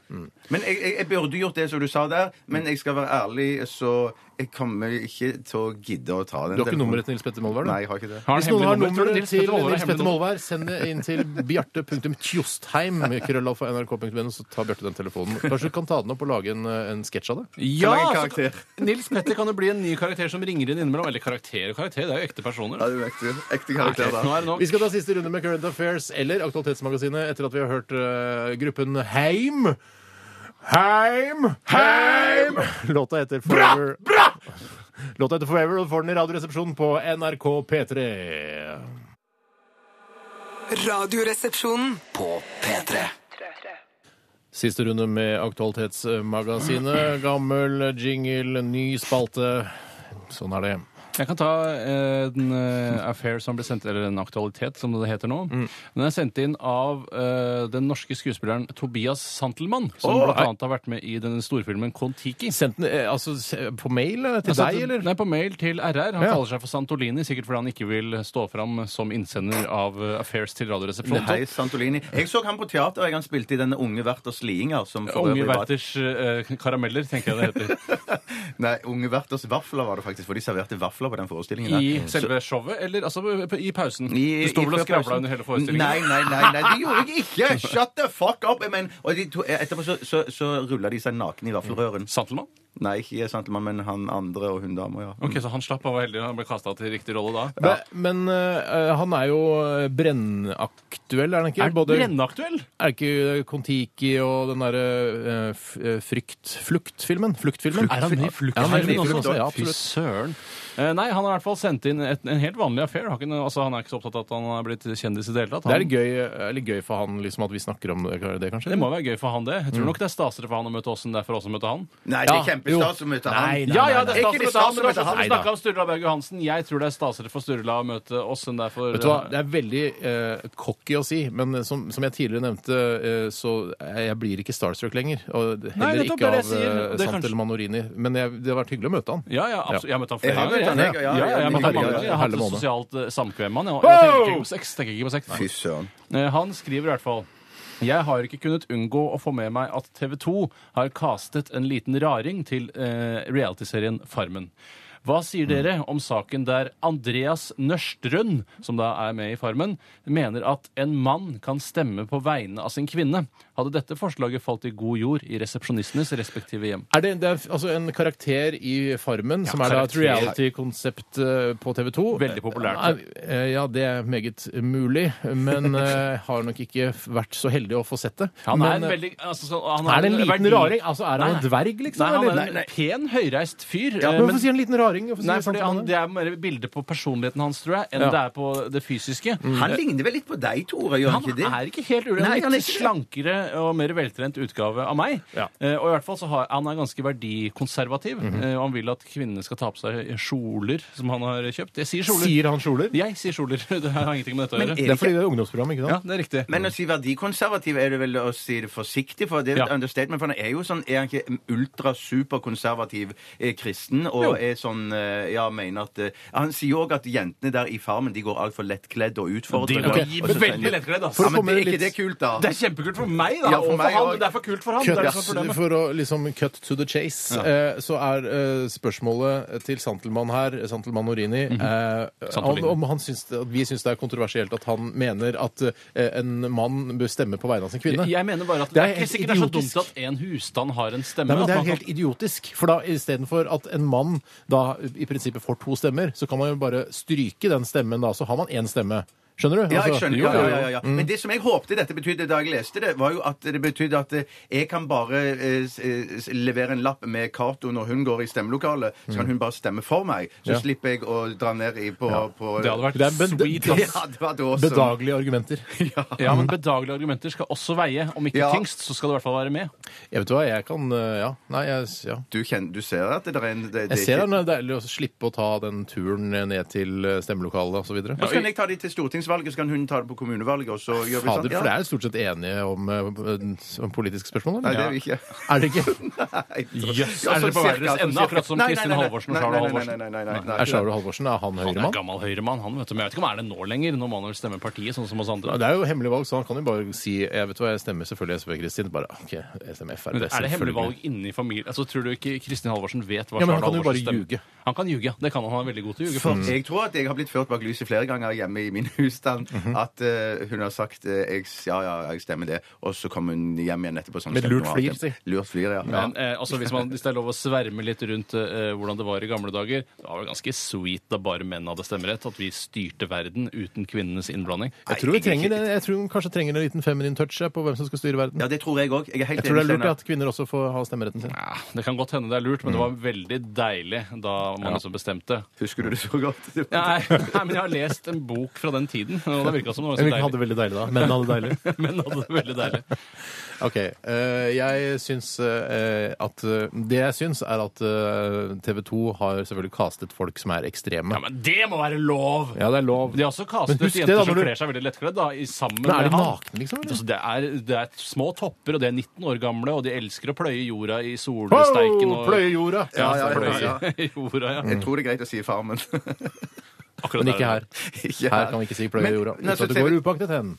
[SPEAKER 2] Men jeg, jeg, jeg burde gjort det som du sa der, men jeg skal være ærlig, så jeg kommer ikke til å gidde å ta den
[SPEAKER 1] Du har ikke
[SPEAKER 2] telefonen.
[SPEAKER 1] nummeret til Nils Petter Molvær? du?
[SPEAKER 2] Nei, jeg har ikke det.
[SPEAKER 3] Har
[SPEAKER 1] Hvis noen har nummeret til Nils Petter Molvær, send det inn til bjarte.tjostheim, krøllalfa nrk.no, så tar Bjarte den telefonen. Kanskje du kan ta den opp og lage en, eh, en sketsj av det?
[SPEAKER 3] Ja,
[SPEAKER 2] Kan lage en
[SPEAKER 3] så
[SPEAKER 2] karakter.
[SPEAKER 3] kan- Nils Petter kan jo bli en ny karakter som ringer inn innimellom. Eller karakter og karakter, det er jo ekte personer.
[SPEAKER 2] Ja, du er ekte, ekte karakter da.
[SPEAKER 3] Nå er det nok.
[SPEAKER 1] Vi skal ta siste runde med Current Affairs eller Aktualitetsmagasinet etter at vi har hørt eh, gruppen Heim. Heim! Heim! Låta heter Forever. Låta heter Forever, og du får den i Radioresepsjonen på NRK P3.
[SPEAKER 6] Radioresepsjonen.
[SPEAKER 5] På P3.
[SPEAKER 1] Siste runde med Aktualitetsmagasinet. Gammel jingle, ny spalte. Sånn er det.
[SPEAKER 3] Jeg kan ta eh, en eh, affair som ble sendt, eller en aktualitet, som det heter nå.
[SPEAKER 2] Mm.
[SPEAKER 3] Den er sendt inn av eh, den norske skuespilleren Tobias Santelmann, som
[SPEAKER 1] Åh,
[SPEAKER 3] blant
[SPEAKER 1] hei.
[SPEAKER 3] annet har vært med i den storfilmen Kon-Tiki.
[SPEAKER 1] Sendt den eh, altså, se- på mail eh, til
[SPEAKER 3] Altså,
[SPEAKER 1] deg, eller?
[SPEAKER 3] Nei, på mail til RR. Han
[SPEAKER 1] Ja.
[SPEAKER 3] kaller seg for Santolini, sikkert fordi han ikke vil stå fram som innsender av eh, Affairs til Radioresepsjonen.
[SPEAKER 2] Hei, Santolini. Jeg så ham på teater. Jeg han spilte i denne Unge verters liinger. som for
[SPEAKER 3] Unge
[SPEAKER 2] øvrig var-
[SPEAKER 3] Werthers eh, karameller, tenker jeg det heter.
[SPEAKER 2] Nei, Unge verters vafler var det faktisk, for de serverte vafler på den forestillingen. der.
[SPEAKER 3] I selve showet, eller altså på- i pausen?
[SPEAKER 2] I-
[SPEAKER 3] du sto vel
[SPEAKER 2] i-
[SPEAKER 3] og skravla under hele forestillingen?
[SPEAKER 2] Nei, nei, nei, nei, det gjorde jeg ikke! Shut the fuck up! Jeg mener, og de to, etterpå så, så, så rulla de seg naken i vaffelrøren.
[SPEAKER 3] Santelmann?
[SPEAKER 2] Nei, ikke Santelmann, men han andre og hun dama, ja.
[SPEAKER 3] Ok, Så han slapp og var heldig han ble kasta til riktig rolle da?
[SPEAKER 1] Men, men eh, han er jo eh, brennaktuell, er han ikke?
[SPEAKER 3] Er
[SPEAKER 1] Både-
[SPEAKER 3] brennaktuell?
[SPEAKER 1] Er det ikke Kon-Tiki og den derre eh, f- eh, frykt... Fluktfilmen? Fluktfilmen?
[SPEAKER 3] Er han med i Flukt?
[SPEAKER 1] Ja, han er med i
[SPEAKER 3] Flukt
[SPEAKER 1] Flukt
[SPEAKER 3] også?
[SPEAKER 1] også, ja,
[SPEAKER 3] Fy
[SPEAKER 1] absolutt.
[SPEAKER 3] søren. Eh, nei, han har i hvert fall sendt inn et, en helt vanlig affair. Har ikke, noe- altså, han er ikke så opptatt av at han er blitt kjendis i det hele tatt.
[SPEAKER 1] Det er
[SPEAKER 3] Han,
[SPEAKER 1] litt gøy, er litt gøy for han liksom, at vi snakker om det, det kanskje?
[SPEAKER 3] det må være gøy for han, det. Jeg tror nok det er stasere for han å møte oss enn det er for oss å møte han.
[SPEAKER 2] Nei, det er
[SPEAKER 1] Ja,
[SPEAKER 2] kjempestas å møte
[SPEAKER 1] Nei,
[SPEAKER 2] han.
[SPEAKER 1] nei,
[SPEAKER 3] Ja, ja, det er
[SPEAKER 2] Ikke
[SPEAKER 3] stasere
[SPEAKER 2] det
[SPEAKER 3] for han.
[SPEAKER 2] stasere
[SPEAKER 3] men det er sånn
[SPEAKER 2] å møte
[SPEAKER 3] som
[SPEAKER 2] han.
[SPEAKER 3] Vi snakka om Sturla Berg Johansen. Jeg tror det er stasere for Sturla å møte oss enn det er for
[SPEAKER 1] Vet du hva, Det er veldig eh, cocky å si, men eh, som, som jeg tidligere nevnte, eh, så er- jeg blir ikke starstruck lenger. Og heller
[SPEAKER 3] Nei, nettopp, det
[SPEAKER 1] ikke
[SPEAKER 3] er det jeg
[SPEAKER 1] av
[SPEAKER 3] sier.
[SPEAKER 1] eh,
[SPEAKER 3] Det er
[SPEAKER 1] Sant
[SPEAKER 3] kanskje-
[SPEAKER 1] eller Manorini. Men jeg, det har vært hyggelig å møte han.
[SPEAKER 3] Ja, ja, absolutt. Jeg har møtt han
[SPEAKER 2] Jeg
[SPEAKER 3] flere
[SPEAKER 2] har møtt han,
[SPEAKER 3] jeg.
[SPEAKER 2] jeg, ja,
[SPEAKER 3] Ja,
[SPEAKER 2] ja,
[SPEAKER 3] ja, jeg har møtt han mange
[SPEAKER 1] herlig
[SPEAKER 3] ganger. Jeg har hatt
[SPEAKER 1] måned.
[SPEAKER 3] et sosialt eh, samkvem med han. Jeg, jeg tenker ikke på sex. Tenker ikke på sex nei.
[SPEAKER 2] Fy søren.
[SPEAKER 3] Eh, Han skriver i hvert fall jeg har ikke kunnet unngå å få med meg at TV 2 har castet en liten raring til eh, realityserien Farmen. Hva sier dere om saken der Andreas Nørstrøn, som da er med i Farmen, mener at en mann kan stemme på vegne av sin kvinne? Hadde dette forslaget falt i god jord i resepsjonistenes respektive hjem?
[SPEAKER 1] Er det, det er altså en karakter i Farmen, som er da et
[SPEAKER 3] karakter.
[SPEAKER 1] reality-konsept eh, på TV 2.
[SPEAKER 3] Veldig populært.
[SPEAKER 1] Eh, Ja, det er meget mulig, men eh, har nok ikke vært så heldig å få sett det.
[SPEAKER 3] Han er,
[SPEAKER 1] Men,
[SPEAKER 3] en
[SPEAKER 1] eh,
[SPEAKER 3] veldig, altså, så- han
[SPEAKER 1] er det en
[SPEAKER 3] en
[SPEAKER 1] liten
[SPEAKER 3] verdi-
[SPEAKER 1] raring? Altså, Er han
[SPEAKER 3] Nei.
[SPEAKER 1] en dverg, liksom?
[SPEAKER 3] Nei, han
[SPEAKER 1] eller?
[SPEAKER 3] er en pen, høyreist fyr. eh,
[SPEAKER 1] Men
[SPEAKER 3] men-
[SPEAKER 1] Hvorfor sier han liten raring? Hvorfor sier
[SPEAKER 3] Nei,
[SPEAKER 1] han
[SPEAKER 3] fordi
[SPEAKER 1] sånn som
[SPEAKER 3] han,
[SPEAKER 1] han
[SPEAKER 3] Det
[SPEAKER 1] er?
[SPEAKER 3] er mer bilde på personligheten hans, tror jeg, enn
[SPEAKER 1] Ja.
[SPEAKER 3] det er på det fysiske.
[SPEAKER 2] Han ligner vel litt på deg, Tore, gjør Mm.
[SPEAKER 3] Han
[SPEAKER 2] han ikke det?
[SPEAKER 3] er ikke helt ulik. Han
[SPEAKER 2] Nei,
[SPEAKER 3] er
[SPEAKER 2] han er
[SPEAKER 3] litt
[SPEAKER 2] ikke det.
[SPEAKER 3] slankere og mer veltrent utgave av meg.
[SPEAKER 1] Ja.
[SPEAKER 3] Eh, og i hvert fall så har, Han er ganske verdikonservativ. eh, og Han vil at kvinnene skal ta på seg kjoler som han har kjøpt. Jeg sier kjoler.
[SPEAKER 1] Sier han kjoler?
[SPEAKER 3] Jeg sier kjoler. Det har ingenting med dette å
[SPEAKER 2] Men
[SPEAKER 3] gjøre.
[SPEAKER 2] er
[SPEAKER 1] Det er fordi det er ungdomsprogram, ikke
[SPEAKER 3] Ja,
[SPEAKER 1] sant?
[SPEAKER 3] det er riktig.
[SPEAKER 2] Men å si verdikonservativ er det vel å si det forsiktig, for det er et
[SPEAKER 3] Ja.
[SPEAKER 2] understatement. For han er jo sånn, er han ikke ultrasuperkonservativ eh, kristen, og
[SPEAKER 3] Jo.
[SPEAKER 2] er sånn han eh, ja, mener at eh, Han sier jo òg at jentene der i Farmen de går altfor lettkledd og utfordrende.
[SPEAKER 3] De går
[SPEAKER 2] Og så tenker jeg-
[SPEAKER 3] veldig altså. lettkledd, ass.
[SPEAKER 2] Ja,
[SPEAKER 1] Altså, For å
[SPEAKER 2] men
[SPEAKER 1] komme
[SPEAKER 2] det, er
[SPEAKER 1] litt-
[SPEAKER 2] ikke det kult, da?
[SPEAKER 3] Det er kjempekult for meg, da.
[SPEAKER 2] Ja, for
[SPEAKER 3] og
[SPEAKER 2] meg
[SPEAKER 3] for han,
[SPEAKER 2] også.
[SPEAKER 3] det er for kult for han.
[SPEAKER 1] Cut,
[SPEAKER 3] det er det som er problemet.
[SPEAKER 1] for å liksom cut to the chase, eh, så er eh, spørsmålet til Santelmann her, Santelmann Norini,
[SPEAKER 3] Mhm.
[SPEAKER 1] eh, om,
[SPEAKER 3] Santolini.
[SPEAKER 1] om han syns det, at vi syns det er kontroversielt at han mener at eh, en mann bør stemme på vegne av sin kvinne.
[SPEAKER 3] Jeg mener bare at
[SPEAKER 1] Det
[SPEAKER 3] det
[SPEAKER 1] er
[SPEAKER 3] er ikke
[SPEAKER 1] helt
[SPEAKER 3] sikkert det er så
[SPEAKER 1] idiotisk.
[SPEAKER 3] dumt at en husstand har en stemme.
[SPEAKER 1] Nei, men Det
[SPEAKER 3] at
[SPEAKER 1] er
[SPEAKER 3] man
[SPEAKER 1] helt idiotisk. For da istedenfor at en mann da i prinsippet får to stemmer, så kan man jo bare stryke den stemmen da, så har man én stemme. Skjønner du?
[SPEAKER 2] Ja, jeg
[SPEAKER 1] Altså-
[SPEAKER 2] skjønner. Ja, ja, ja, ja.
[SPEAKER 1] Mm.
[SPEAKER 2] Men det som jeg håpte dette betydde da jeg leste det, var jo at det betydde at eh, jeg kan bare eh, s- eh, s- levere en lapp med Cato når hun går i stemmelokalet, så
[SPEAKER 3] Mm.
[SPEAKER 2] kan hun bare stemme for meg. Så
[SPEAKER 1] Ja.
[SPEAKER 2] slipper jeg å dra ned i på, på
[SPEAKER 3] kan- det hadde vært
[SPEAKER 1] Det er bed-
[SPEAKER 3] sweet. ass.
[SPEAKER 2] Ja, det var det også.
[SPEAKER 1] Bedagelige argumenter.
[SPEAKER 3] Ja, men
[SPEAKER 1] Mm.
[SPEAKER 3] Bedagelige argumenter skal også veie. Om ikke
[SPEAKER 2] Ja.
[SPEAKER 3] tyngst, så skal det i hvert fall være med.
[SPEAKER 1] Jeg vet hva, jeg kan eh, Ja. Nei, jeg, ja.
[SPEAKER 2] Du, kjenner, du ser at det der er en det, det er
[SPEAKER 1] Jeg ser
[SPEAKER 2] ikke-
[SPEAKER 1] det er deilig å slippe å ta den turen ned til eh, stemmelokalet osv.
[SPEAKER 2] Og så kan jeg ta de til stortingsvalget, så kan hun ta det på kommunevalget, og så gjør vi
[SPEAKER 1] Fader,
[SPEAKER 2] sånn.
[SPEAKER 1] for det er jo stort sett enige om, eh, om politiske spørsmål,
[SPEAKER 2] Nei,
[SPEAKER 1] eller?
[SPEAKER 2] det er vi ikke.
[SPEAKER 1] Er det ikke?
[SPEAKER 2] Nei.
[SPEAKER 3] Jøss,
[SPEAKER 2] Ja,
[SPEAKER 3] er dere
[SPEAKER 2] sånn
[SPEAKER 3] på hver
[SPEAKER 2] cirka,
[SPEAKER 3] deres
[SPEAKER 2] sånn
[SPEAKER 3] ende,
[SPEAKER 2] cirka.
[SPEAKER 3] akkurat som
[SPEAKER 2] Nei, nei,
[SPEAKER 3] Kristin
[SPEAKER 2] nei, nei,
[SPEAKER 3] Halvorsen og
[SPEAKER 2] nei,
[SPEAKER 3] Charlo
[SPEAKER 2] nei,
[SPEAKER 3] Halvorsen?
[SPEAKER 2] Nei, nei, nei, nei, nei.
[SPEAKER 1] Er Sjaulo Halvorsen er han
[SPEAKER 3] Han er
[SPEAKER 1] høyremann?
[SPEAKER 3] gammel høyremann, han. vet du, Men jeg vet ikke om han er det nå lenger. Nå må han vel stemme partiet, sånn som oss andre.
[SPEAKER 1] Ja, Det er jo hemmelig valg, så han kan jo bare si jeg vet hva, jeg stemmer selvfølgelig SV, Kristin. Bare OK, jeg stemmer FRP.
[SPEAKER 3] Men er det hemmelig
[SPEAKER 1] selvfølgelig.
[SPEAKER 3] valg inni familien? Altså, tror du ikke Kristin Halvorsen vet hva
[SPEAKER 1] Ja, men han
[SPEAKER 3] Charlo
[SPEAKER 1] kan jo
[SPEAKER 3] Halvorsen
[SPEAKER 1] bare
[SPEAKER 3] stemmer?
[SPEAKER 1] ljuge. Mm.
[SPEAKER 3] Han kan ljuge. Det kan han. Han er veldig god til å ljuge.
[SPEAKER 2] For jeg tror at jeg har blitt ført bak lyset flere ganger hjemme i min husstand.
[SPEAKER 1] Mhm.
[SPEAKER 2] At eh, hun har sagt eh, jeg, ja, ja, jeg stemmer det, og så kommer hun hjem igjen etterpå. Sånn,
[SPEAKER 1] Med
[SPEAKER 2] stemmer
[SPEAKER 1] lurt
[SPEAKER 2] noe
[SPEAKER 1] flir,
[SPEAKER 2] annet.
[SPEAKER 1] si.
[SPEAKER 2] Lurt flir, ja.
[SPEAKER 3] Men eh, altså, hvis, man, hvis det er lov å sverme litt rundt eh, hvordan det var i gamle dager Det var vel ganske sweet da bare menn hadde stemmerett, at vi styrte verden uten kvinnenes innblanding.
[SPEAKER 1] Jeg tror, vi trenger, det- jeg tror hun kanskje trenger en liten feminin touch jeg, på hvem som skal styre verden.
[SPEAKER 2] ja, det tror jeg òg. Jeg er helt
[SPEAKER 1] Jeg tror det er
[SPEAKER 2] enig.
[SPEAKER 1] lurt ja,
[SPEAKER 2] Steinar.
[SPEAKER 1] at kvinner også får ha stemmeretten sin.
[SPEAKER 3] Ja, det kan godt hende det er lurt, men det
[SPEAKER 1] Mm.
[SPEAKER 3] var veldig deilig da man liksom bestemte.
[SPEAKER 2] Husker du det så godt?
[SPEAKER 3] Nei, nei, men jeg har lest en bok fra den tiden, og det virka som det var
[SPEAKER 1] Jeg
[SPEAKER 3] så
[SPEAKER 1] vil ikke ha det
[SPEAKER 3] deilig.
[SPEAKER 1] veldig deilig da. Menn hadde det deilig.
[SPEAKER 3] Men hadde det veldig deilig.
[SPEAKER 1] Ok, eh, Jeg syns eh, at eh, Det jeg syns, er at eh, TV 2 har selvfølgelig castet folk som er ekstreme.
[SPEAKER 3] Ja, men det må være lov!
[SPEAKER 1] Ja, det er lov.
[SPEAKER 3] De har også
[SPEAKER 1] Men
[SPEAKER 3] kastet
[SPEAKER 1] husk det
[SPEAKER 3] jenter
[SPEAKER 1] da,
[SPEAKER 3] som
[SPEAKER 1] når du-
[SPEAKER 3] kler seg veldig lettkledd, da, i sammen
[SPEAKER 1] Men er de
[SPEAKER 3] med han.
[SPEAKER 1] nakne, liksom? eller?
[SPEAKER 3] Altså, det, er, det er små topper, og de er 19 år gamle, og de elsker å pløye jorda i solsteiken.
[SPEAKER 1] Wow,
[SPEAKER 3] Og...
[SPEAKER 1] Pløye jorda!
[SPEAKER 3] Ja, ja,
[SPEAKER 2] ja,
[SPEAKER 3] pløye
[SPEAKER 2] ja.
[SPEAKER 3] jorda, ja.
[SPEAKER 2] Jeg tror det er greit å si Farmen.
[SPEAKER 3] Akkurat
[SPEAKER 1] Mm. Men
[SPEAKER 3] der.
[SPEAKER 1] ikke her.
[SPEAKER 2] Ikke
[SPEAKER 1] Her kan vi ikke si pløye
[SPEAKER 2] Men-
[SPEAKER 1] jorda.
[SPEAKER 2] Nei,
[SPEAKER 1] Så
[SPEAKER 2] så
[SPEAKER 1] det
[SPEAKER 2] TV
[SPEAKER 1] går upaktet hen.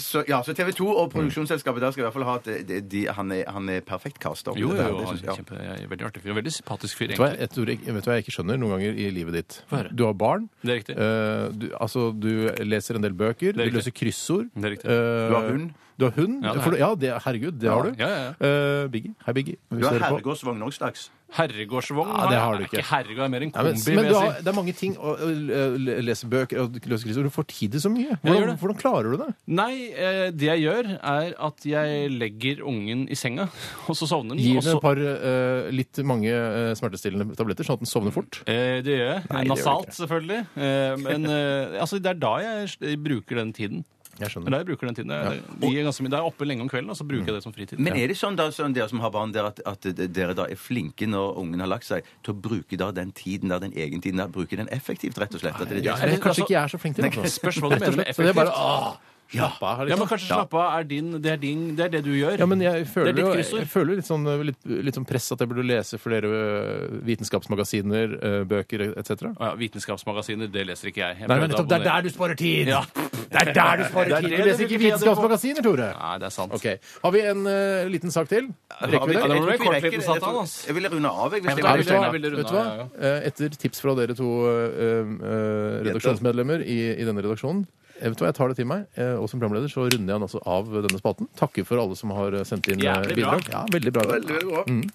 [SPEAKER 2] Så, ja, så TV 2 og produksjonsselskapet der skal i hvert fall ha at eh, de, de, han, er, han er perfekt caster.
[SPEAKER 3] Jo, jo,
[SPEAKER 2] Det her,
[SPEAKER 3] jo.
[SPEAKER 2] det
[SPEAKER 3] han
[SPEAKER 2] synes jeg,
[SPEAKER 3] er
[SPEAKER 2] ja.
[SPEAKER 3] Kjempe, jeg er veldig artig fyr. Veldig sympatisk fyr,
[SPEAKER 1] Vet du, hva,
[SPEAKER 3] egentlig.
[SPEAKER 1] jeg, tror jeg, vet du hva jeg ikke skjønner noen ganger i livet ditt?
[SPEAKER 3] Få høre.
[SPEAKER 1] Du har barn.
[SPEAKER 3] Det er riktig.
[SPEAKER 1] eh, du, altså, du leser en del bøker. Du
[SPEAKER 3] riktig.
[SPEAKER 1] løser kryssord.
[SPEAKER 3] Det er riktig.
[SPEAKER 1] eh,
[SPEAKER 2] Du har hund.
[SPEAKER 1] Du har hund? Ja,
[SPEAKER 3] Ja,
[SPEAKER 1] det
[SPEAKER 3] det er-
[SPEAKER 1] for, ja det, herregud, det har du.
[SPEAKER 3] ja, ja,
[SPEAKER 1] Eh, Biggie. Hei, Biggie. Hvis
[SPEAKER 2] Du har
[SPEAKER 1] hører på.
[SPEAKER 2] herregårdsvogn òg, slags.
[SPEAKER 3] Herregårdsvogn?
[SPEAKER 1] Ja, det har du ikke.
[SPEAKER 3] Er ikke herregård er mer en
[SPEAKER 1] Nei, men,
[SPEAKER 3] kombi,
[SPEAKER 1] men
[SPEAKER 3] vil
[SPEAKER 1] du
[SPEAKER 3] jeg
[SPEAKER 1] har,
[SPEAKER 3] si.
[SPEAKER 1] det er mange ting å, å, å lese bøker og løse kryssord. Du får tid til så mye.
[SPEAKER 3] gjør
[SPEAKER 1] Hvordan,
[SPEAKER 3] det.
[SPEAKER 1] hvordan klarer du det?
[SPEAKER 3] Nei, eh, det jeg gjør, er at jeg legger ungen i senga, og så sovner den.
[SPEAKER 1] Gi
[SPEAKER 3] og
[SPEAKER 1] henne
[SPEAKER 3] så-
[SPEAKER 1] et par eh, litt mange eh, smertestillende tabletter, sånn at den sovner fort.
[SPEAKER 3] Eh, det gjør jeg.
[SPEAKER 1] Nei, det gjør du
[SPEAKER 3] Nasalt,
[SPEAKER 1] ikke.
[SPEAKER 3] selvfølgelig. Eh, men eh, altså, det er da jeg s- bruker den tiden.
[SPEAKER 1] Jeg
[SPEAKER 3] Det er da
[SPEAKER 1] skjønner.
[SPEAKER 3] jeg bruker den tiden. Jeg, det, de er ganske, mye- det er oppe lenge om kvelden, og så
[SPEAKER 1] Mm.
[SPEAKER 3] bruker jeg det som fritid.
[SPEAKER 2] Men er det sånn da, sånn dere som har barn, der at, at dere da er flinke når ungen har lagt seg, til å bruke da den tiden der, den egen tiden der, bruke den effektivt, rett og slett? At det er det
[SPEAKER 1] Ja,
[SPEAKER 2] som-
[SPEAKER 1] eller
[SPEAKER 3] altså-
[SPEAKER 1] kanskje ikke jeg er så flink til det.
[SPEAKER 3] Nei,
[SPEAKER 1] altså.
[SPEAKER 3] spørs hva du
[SPEAKER 1] Rett og
[SPEAKER 3] mener med
[SPEAKER 1] slett. Så det er bare,
[SPEAKER 3] effektivt.
[SPEAKER 1] «Åh, slapp av,
[SPEAKER 3] Ja,
[SPEAKER 1] liksom.
[SPEAKER 3] men kanskje slapp av er din, det, er din, det er det du gjør.
[SPEAKER 1] Ja, men jeg føler,
[SPEAKER 3] det er
[SPEAKER 1] jo,
[SPEAKER 3] ditt
[SPEAKER 1] jeg
[SPEAKER 3] kryssord.
[SPEAKER 1] føler litt, sånn, litt, litt sånn press at jeg burde lese flere øh, vitenskapsmagasiner, øh, bøker etc.
[SPEAKER 3] Å ja, vitenskapsmagasiner, det leser ikke jeg. jeg
[SPEAKER 1] Nei,
[SPEAKER 3] prøvde
[SPEAKER 1] men nettopp,
[SPEAKER 3] å
[SPEAKER 1] det er
[SPEAKER 3] abonnere.
[SPEAKER 1] der du sparer tid!
[SPEAKER 3] Ja.
[SPEAKER 1] Det er der du sparer
[SPEAKER 3] Det er
[SPEAKER 1] tid!
[SPEAKER 3] det
[SPEAKER 1] Du
[SPEAKER 3] du
[SPEAKER 1] leser ikke
[SPEAKER 3] bruker tiden på.
[SPEAKER 1] vitenskapsmagasiner, Tore!
[SPEAKER 3] Nei, det er sant.
[SPEAKER 1] Ok, Har vi en øh, liten sak til?
[SPEAKER 2] Har vi-
[SPEAKER 1] Rekker vi
[SPEAKER 3] Ja,
[SPEAKER 1] det?
[SPEAKER 3] det var
[SPEAKER 2] jeg
[SPEAKER 3] vel
[SPEAKER 2] tror ikke vi
[SPEAKER 3] kortlivten
[SPEAKER 2] rekker-
[SPEAKER 3] satt
[SPEAKER 2] jeg tror-
[SPEAKER 3] av, ass.
[SPEAKER 2] Jeg vil runde av, jeg. hvis
[SPEAKER 3] Ja, men
[SPEAKER 2] jeg
[SPEAKER 3] da
[SPEAKER 2] var
[SPEAKER 3] er vi
[SPEAKER 1] Vet du hva?
[SPEAKER 3] Jeg vil runde
[SPEAKER 1] Vet du hva?
[SPEAKER 3] av, ja,
[SPEAKER 1] Eh, Etter tips fra dere to øh, øh, redaksjonsmedlemmer i, i denne redaksjonen eh, Vet du hva, Jeg tar det til meg, eh, og som programleder så runder jeg den altså av denne spalten. Takker for alle som har eh, sendt inn eh,
[SPEAKER 3] Jævlig bra.
[SPEAKER 1] bidrag. Ja, veldig bra. Mm.
[SPEAKER 2] Veldig, veldig bra.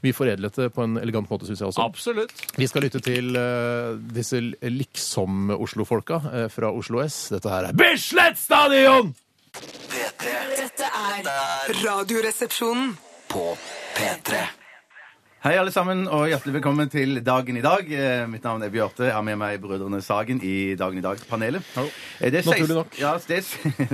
[SPEAKER 1] Vi foredlet det på en elegant måte, syns jeg også.
[SPEAKER 3] Absolutt.
[SPEAKER 1] Vi skal lytte til eh, disse liksom-Oslo-folka eh, fra Oslo S. Dette her er Bislett Stadion!
[SPEAKER 5] P3
[SPEAKER 6] Dette er Radioresepsjonen.
[SPEAKER 5] på P3
[SPEAKER 2] Hei, alle sammen, og hjertelig velkommen til Dagen i dag. Eh, Mitt navn er Bjarte. Jeg har med meg brødrene Sagen i Dagen i dag-panelet. Eh, det er
[SPEAKER 1] Naturlig
[SPEAKER 2] 16
[SPEAKER 1] nok. Mm.
[SPEAKER 2] Ja, det